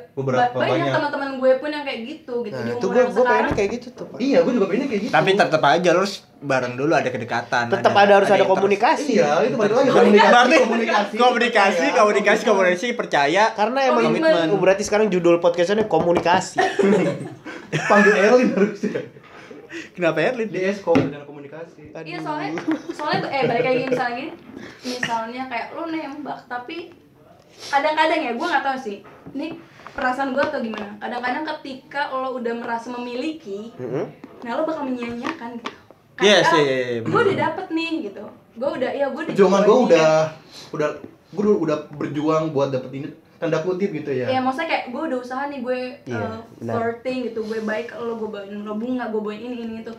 [SPEAKER 1] ba-
[SPEAKER 4] Beberapa
[SPEAKER 1] banyak
[SPEAKER 4] banyak.
[SPEAKER 1] teman-teman gue pun yang kayak gitu gitu.
[SPEAKER 3] Nah,
[SPEAKER 1] di
[SPEAKER 3] itu
[SPEAKER 1] umur
[SPEAKER 3] gua
[SPEAKER 1] yang
[SPEAKER 3] gua
[SPEAKER 1] sekarang.
[SPEAKER 3] pengennya kayak gitu tuh. Pak.
[SPEAKER 4] Iya, gue juga pengennya kayak gitu.
[SPEAKER 2] Tapi tetap aja lu harus bareng dulu ada kedekatan.
[SPEAKER 3] Tetap ada harus ada
[SPEAKER 2] yang terus.
[SPEAKER 3] komunikasi.
[SPEAKER 4] Iya, itu balik lagi
[SPEAKER 2] Berarti
[SPEAKER 4] komunikasi, Iya.
[SPEAKER 2] komunikasi, komunikasi,
[SPEAKER 4] percaya.
[SPEAKER 2] komunikasi, percaya.
[SPEAKER 3] Karena emang
[SPEAKER 1] Komitmen.
[SPEAKER 3] Oh, berarti sekarang judul podcastnya komunikasi.
[SPEAKER 4] Panggil Erlin harusnya.
[SPEAKER 2] Kenapa ya, Erlin?
[SPEAKER 4] Di Eskom dan komunikasi.
[SPEAKER 1] Iya soalnya soalnya eh balik lagi misalnya gini, misalnya kayak lo nembak tapi kadang-kadang ya gue nggak tahu sih. Ini perasaan gue atau gimana? Kadang-kadang ketika lo udah merasa memiliki, nah lo bakal menyia-nyiakan gitu.
[SPEAKER 2] Iya,
[SPEAKER 1] Kayak,
[SPEAKER 2] sih,
[SPEAKER 1] ah,
[SPEAKER 2] iya, iya,
[SPEAKER 1] Gue udah dapet nih gitu. Gue udah ya gue
[SPEAKER 4] Perjuangan gue udah udah gue udah berjuang buat dapet ini tanda kutip gitu
[SPEAKER 1] Ya
[SPEAKER 4] ya.
[SPEAKER 1] maksudnya kayak gue udah usaha nih gue
[SPEAKER 3] Iya,
[SPEAKER 1] eh,
[SPEAKER 3] benar.
[SPEAKER 1] flirting gitu gue baik ke lo gue bawain lo bunga gue bawain ini ini itu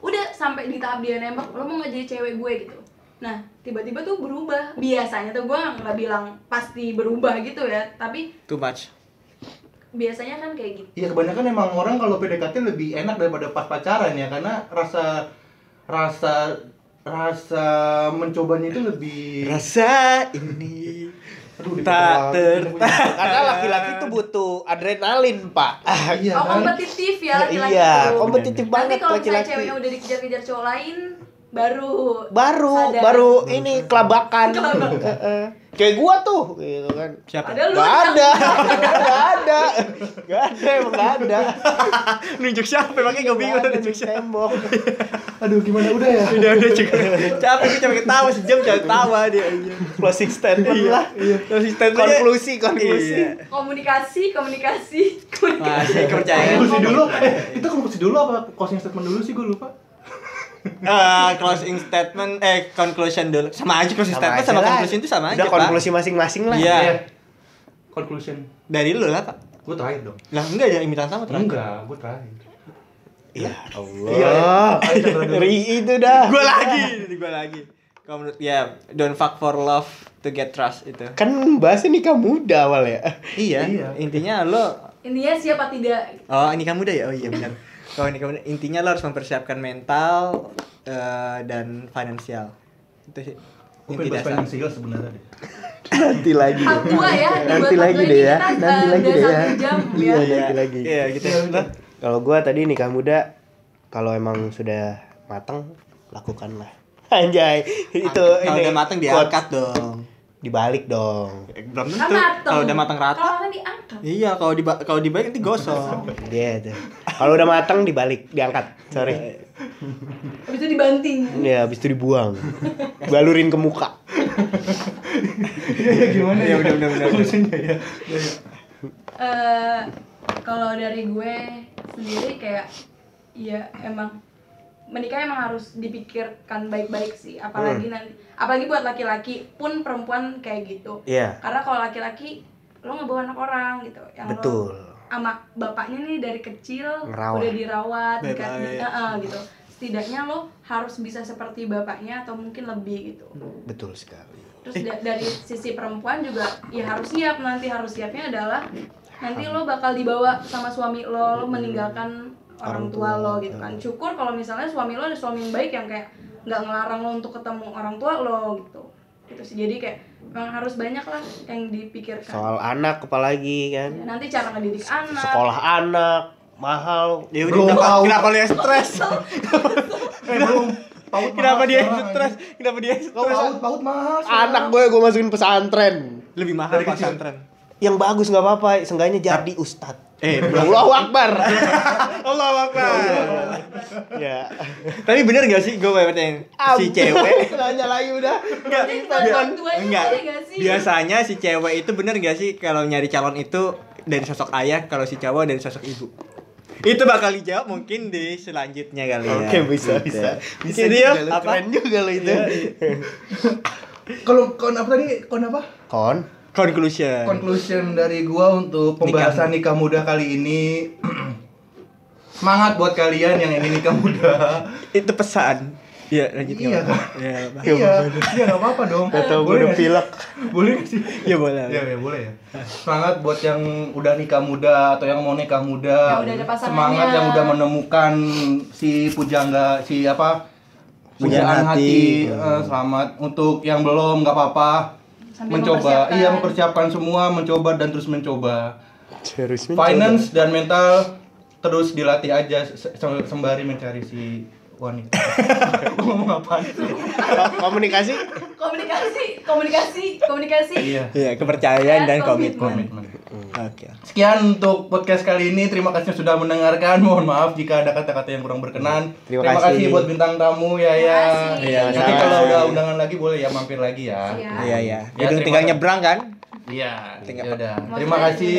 [SPEAKER 1] udah sampai di tahap dia nembak lo mau nggak jadi cewek gue gitu nah tiba-tiba tuh berubah biasanya tuh gue nggak bilang pasti berubah gitu ya tapi
[SPEAKER 2] Too much.
[SPEAKER 1] biasanya kan kayak gitu
[SPEAKER 4] Iya kebanyakan emang orang kalau PDKT lebih enak daripada pas pacaran ya karena rasa rasa rasa mencobanya itu lebih
[SPEAKER 2] Rasa ini
[SPEAKER 4] Aduh,
[SPEAKER 2] tak ter
[SPEAKER 4] diketawa.
[SPEAKER 3] Karena laki-laki itu butuh adrenalin, Pak.
[SPEAKER 4] Iya
[SPEAKER 1] oh
[SPEAKER 4] kan?
[SPEAKER 1] kompetitif ya laki-laki
[SPEAKER 3] iya,
[SPEAKER 1] tuh.
[SPEAKER 3] kompetitif
[SPEAKER 1] nanti
[SPEAKER 3] banget
[SPEAKER 1] kalau misalnya
[SPEAKER 3] laki-laki.
[SPEAKER 1] ceweknya udah dikejar-kejar cowok lain baru
[SPEAKER 3] Baru,
[SPEAKER 1] sadar.
[SPEAKER 3] baru ini kelabakan.
[SPEAKER 1] Kelabakan.
[SPEAKER 3] Heeh. Kayak gua tuh gitu kan.
[SPEAKER 2] Siapa?
[SPEAKER 1] Padahal lu
[SPEAKER 3] Gak ada, gak ada, gak ada, emang gak ada.
[SPEAKER 2] Nunjuk siapa? Makanya gue bingung
[SPEAKER 3] Gak ada di
[SPEAKER 2] nunjuk siapa.
[SPEAKER 3] tembok.
[SPEAKER 4] Aduh gimana udah ya?
[SPEAKER 2] Udah udah cukup. Capek gue capek ketawa sejam capek ketawa dia.
[SPEAKER 3] Closing statement
[SPEAKER 2] Iya.
[SPEAKER 3] lah.
[SPEAKER 2] Terus statement dia-
[SPEAKER 3] Konklusi, konklusi.
[SPEAKER 2] Iya.
[SPEAKER 1] komunikasi komunikasi komunikasi
[SPEAKER 2] Masih kepercayaan.
[SPEAKER 4] Konklusi dulu. Eh, kita konklusi dulu apa closing statement dulu sih gue lupa.
[SPEAKER 2] Eh, closing statement eh conclusion dulu. Sama aja closing statement
[SPEAKER 3] aja
[SPEAKER 2] sama
[SPEAKER 3] lah.
[SPEAKER 2] conclusion itu sama aja,
[SPEAKER 3] Udah
[SPEAKER 2] Pak.
[SPEAKER 3] konklusi masing-masing lah.
[SPEAKER 2] Iya.
[SPEAKER 4] Eh, Conclusion.
[SPEAKER 2] Dari lu lah, Pak.
[SPEAKER 4] Gue terakhir dong.
[SPEAKER 2] Lah enggak ada imitan sama terakhir.
[SPEAKER 4] Enggak, gue terakhir.
[SPEAKER 3] Ya
[SPEAKER 4] Iya,
[SPEAKER 3] Allah.
[SPEAKER 4] ayo Chandra dulu.
[SPEAKER 3] Ri itu dah.
[SPEAKER 2] Gua lagi, gua lagi. Kalau menurut ya, don't fuck for love to get trust itu.
[SPEAKER 3] Kan bahasnya nikah muda awal ya.
[SPEAKER 2] Iya,
[SPEAKER 4] Iya.
[SPEAKER 2] intinya lo
[SPEAKER 1] intinya ya siapa tidak
[SPEAKER 2] Oh, ini kamu udah ya? Oh iya benar. Kalau ini kamu udah- intinya lo harus mempersiapkan mental eh, dan finansial. Itu sih.
[SPEAKER 4] Gue
[SPEAKER 2] Inti
[SPEAKER 4] pengen bahas
[SPEAKER 2] dasar.
[SPEAKER 4] financial sebenarnya deh.
[SPEAKER 3] Nanti lagi.
[SPEAKER 1] Hak gua ya, dibuat
[SPEAKER 3] Nanti
[SPEAKER 1] hak
[SPEAKER 3] lagi
[SPEAKER 1] gua
[SPEAKER 3] deh
[SPEAKER 1] ini
[SPEAKER 3] ya.
[SPEAKER 1] kita,
[SPEAKER 3] Nanti
[SPEAKER 1] eh,
[SPEAKER 3] lagi
[SPEAKER 1] udah
[SPEAKER 3] deh ya.
[SPEAKER 1] satu jam ya.
[SPEAKER 3] Iya, nanti lagi. Nah,
[SPEAKER 2] Iya, gitu. Lo-
[SPEAKER 3] Kalau gua tadi nikah muda kalau emang sudah matang lakukanlah. Anjay, itu
[SPEAKER 2] Kalau
[SPEAKER 3] ini
[SPEAKER 2] udah matang
[SPEAKER 3] quote.
[SPEAKER 2] diangkat dong.
[SPEAKER 3] dibalik dong.
[SPEAKER 2] Eh, Belum
[SPEAKER 1] Nggak
[SPEAKER 2] tentu.
[SPEAKER 1] mateng.
[SPEAKER 2] Kalau udah matang rata.
[SPEAKER 1] Kalau matang diangkat.
[SPEAKER 2] Iya, kalau di kalau dibalik nanti gosong.
[SPEAKER 3] Dia itu. Kalau udah matang dibalik, diangkat. Sorry.
[SPEAKER 1] Habis itu dibanting.
[SPEAKER 3] Ya, habis itu dibuang. Balurin ke muka.
[SPEAKER 4] Iya, iya gimana
[SPEAKER 2] Iya, udah, udah, udah.
[SPEAKER 4] Conclusionnya ya. Iya, iya.
[SPEAKER 1] Eh, kalau dari gue sendiri kayak ya iya, emang menikah emang harus dipikirkan baik-baik sih
[SPEAKER 2] Hmm.
[SPEAKER 1] apalagi nanti apalagi buat laki-laki pun perempuan kayak gitu
[SPEAKER 2] Iya.
[SPEAKER 1] karena kalau laki-laki lo ngebawa anak orang gitu yang lo-
[SPEAKER 2] Betul.
[SPEAKER 1] sama bapaknya nih dari kecil
[SPEAKER 3] Ngerawat.
[SPEAKER 1] udah dirawat
[SPEAKER 2] Baik-baik.
[SPEAKER 1] dikat- di- eh, gitu setidaknya lo harus bisa seperti bapaknya atau mungkin lebih gitu
[SPEAKER 3] Betul sekali.
[SPEAKER 1] terus da- dari sisi perempuan juga ya harus siap nanti harus siapnya adalah nanti lo bakal dibawa sama suami lo lo meninggalkan orang tua lo gitu kan syukur kalau misalnya suami lo ada suami yang baik yang kayak nggak ngelarang lo untuk ketemu orang tua lo gitu gitu sih jadi kayak memang harus banyak lah yang dipikirkan
[SPEAKER 3] Soal anak apalagi kan.
[SPEAKER 1] Ya, nanti cara ngedidik anak
[SPEAKER 3] Sekolah anak mahal.
[SPEAKER 2] Ya
[SPEAKER 3] Bro,
[SPEAKER 2] udah kenapa, kenapa lu yang stres?
[SPEAKER 4] Eh, belum. Paut
[SPEAKER 2] kenapa
[SPEAKER 4] mahal
[SPEAKER 2] dia yang
[SPEAKER 4] sekarang,
[SPEAKER 2] stres?
[SPEAKER 4] anjing.
[SPEAKER 2] Kenapa dia yang stres?
[SPEAKER 4] Paut, paut mahal. sekarang.
[SPEAKER 3] anak gue gue masukin pesantren.
[SPEAKER 2] Lebih mahal
[SPEAKER 4] Dari kecil.
[SPEAKER 2] pesantren.
[SPEAKER 3] Yang bagus nggak apa-apa, seenggaknya jadi ustad.
[SPEAKER 2] Eh,
[SPEAKER 3] Allahu Akbar.
[SPEAKER 2] Allah Akbar.
[SPEAKER 3] ya.
[SPEAKER 2] Tapi bener gak sih gue pertanyaan si
[SPEAKER 3] Am.
[SPEAKER 2] cewek?
[SPEAKER 3] Nanya lagi udah.
[SPEAKER 2] Enggak,
[SPEAKER 1] Jadi
[SPEAKER 2] bia-
[SPEAKER 1] calon duanya
[SPEAKER 2] enggak.
[SPEAKER 1] boleh nggak sih?
[SPEAKER 2] Biasanya si cewek itu bener gak sih kalau nyari calon itu dari sosok ayah, kalau si cowok dari sosok ibu. Itu bakal dijawab mungkin di selanjutnya kali ya.
[SPEAKER 3] Oke, bisa bisa. Bisa
[SPEAKER 2] Gitu
[SPEAKER 3] juga
[SPEAKER 2] ya,
[SPEAKER 3] lo,
[SPEAKER 2] apa?
[SPEAKER 3] keren juga lo itu.
[SPEAKER 4] Kalau kon apa tadi? Kon apa?
[SPEAKER 3] Kon.
[SPEAKER 2] Conclusion.
[SPEAKER 4] Conclusion dari gua untuk pembahasan nikah, muda kali ini semangat buat kalian yang ingin nikah muda.
[SPEAKER 2] itu pesan. Iya, lanjut
[SPEAKER 4] Iya,
[SPEAKER 2] nggak apa-apa.
[SPEAKER 4] kan?
[SPEAKER 2] Iya, nggak apa-apa.
[SPEAKER 4] iya, iya nggak apa-apa dong.
[SPEAKER 3] Atau gue
[SPEAKER 4] Boleh
[SPEAKER 3] udah
[SPEAKER 4] nggak sih?
[SPEAKER 3] pilek.
[SPEAKER 4] Boleh nggak sih?
[SPEAKER 2] Iya, boleh.
[SPEAKER 4] Iya, ya, boleh ya. Semangat buat yang udah nikah muda atau yang mau nikah muda.
[SPEAKER 1] Yang Ya, udah ada pasangannya.
[SPEAKER 4] Semangat yang udah menemukan si pujangga si apa?
[SPEAKER 2] Pujaan
[SPEAKER 4] Pujaan
[SPEAKER 2] hati. Hmm.
[SPEAKER 4] hati. Eh, selamat untuk yang belum nggak apa-apa.
[SPEAKER 1] Sambil
[SPEAKER 4] Mencoba,
[SPEAKER 1] mempersiapkan.
[SPEAKER 4] iya mempersiapkan semua, mencoba dan terus mencoba.
[SPEAKER 3] Serius mencoba.
[SPEAKER 4] Finance dan mental terus dilatih aja se- se- sembari mencari si wanita. Gua Ngomong apaan? sih?
[SPEAKER 3] komunikasi
[SPEAKER 1] komunikasi komunikasi komunikasi
[SPEAKER 4] Iya.
[SPEAKER 2] Iya, kepercayaan dan
[SPEAKER 1] Ya, Komitmen.
[SPEAKER 2] komitmen.
[SPEAKER 4] Komitmen.
[SPEAKER 2] Oke.
[SPEAKER 4] Sekian untuk podcast kali ini. Terima kasih sudah mendengarkan. Mohon maaf jika ada kata-kata yang kurang berkenan.
[SPEAKER 3] Terima
[SPEAKER 4] Terima,
[SPEAKER 3] kasih.
[SPEAKER 4] kasih. buat bintang tamu ya ya.
[SPEAKER 1] Terima kasih. Iya,
[SPEAKER 4] Nanti
[SPEAKER 3] sama-sama.
[SPEAKER 4] kalau udah undangan lagi boleh ya mampir lagi ya.
[SPEAKER 1] Iya.
[SPEAKER 2] Iya, iya.
[SPEAKER 4] Ya,
[SPEAKER 2] Gedung
[SPEAKER 4] terima
[SPEAKER 2] tinggal
[SPEAKER 4] kasih.
[SPEAKER 2] nyebrang kan?
[SPEAKER 4] Iya.
[SPEAKER 2] Tinggal-
[SPEAKER 4] Ya udah.
[SPEAKER 1] Maksudnya iya.
[SPEAKER 4] Terima
[SPEAKER 1] juga.
[SPEAKER 4] kasih.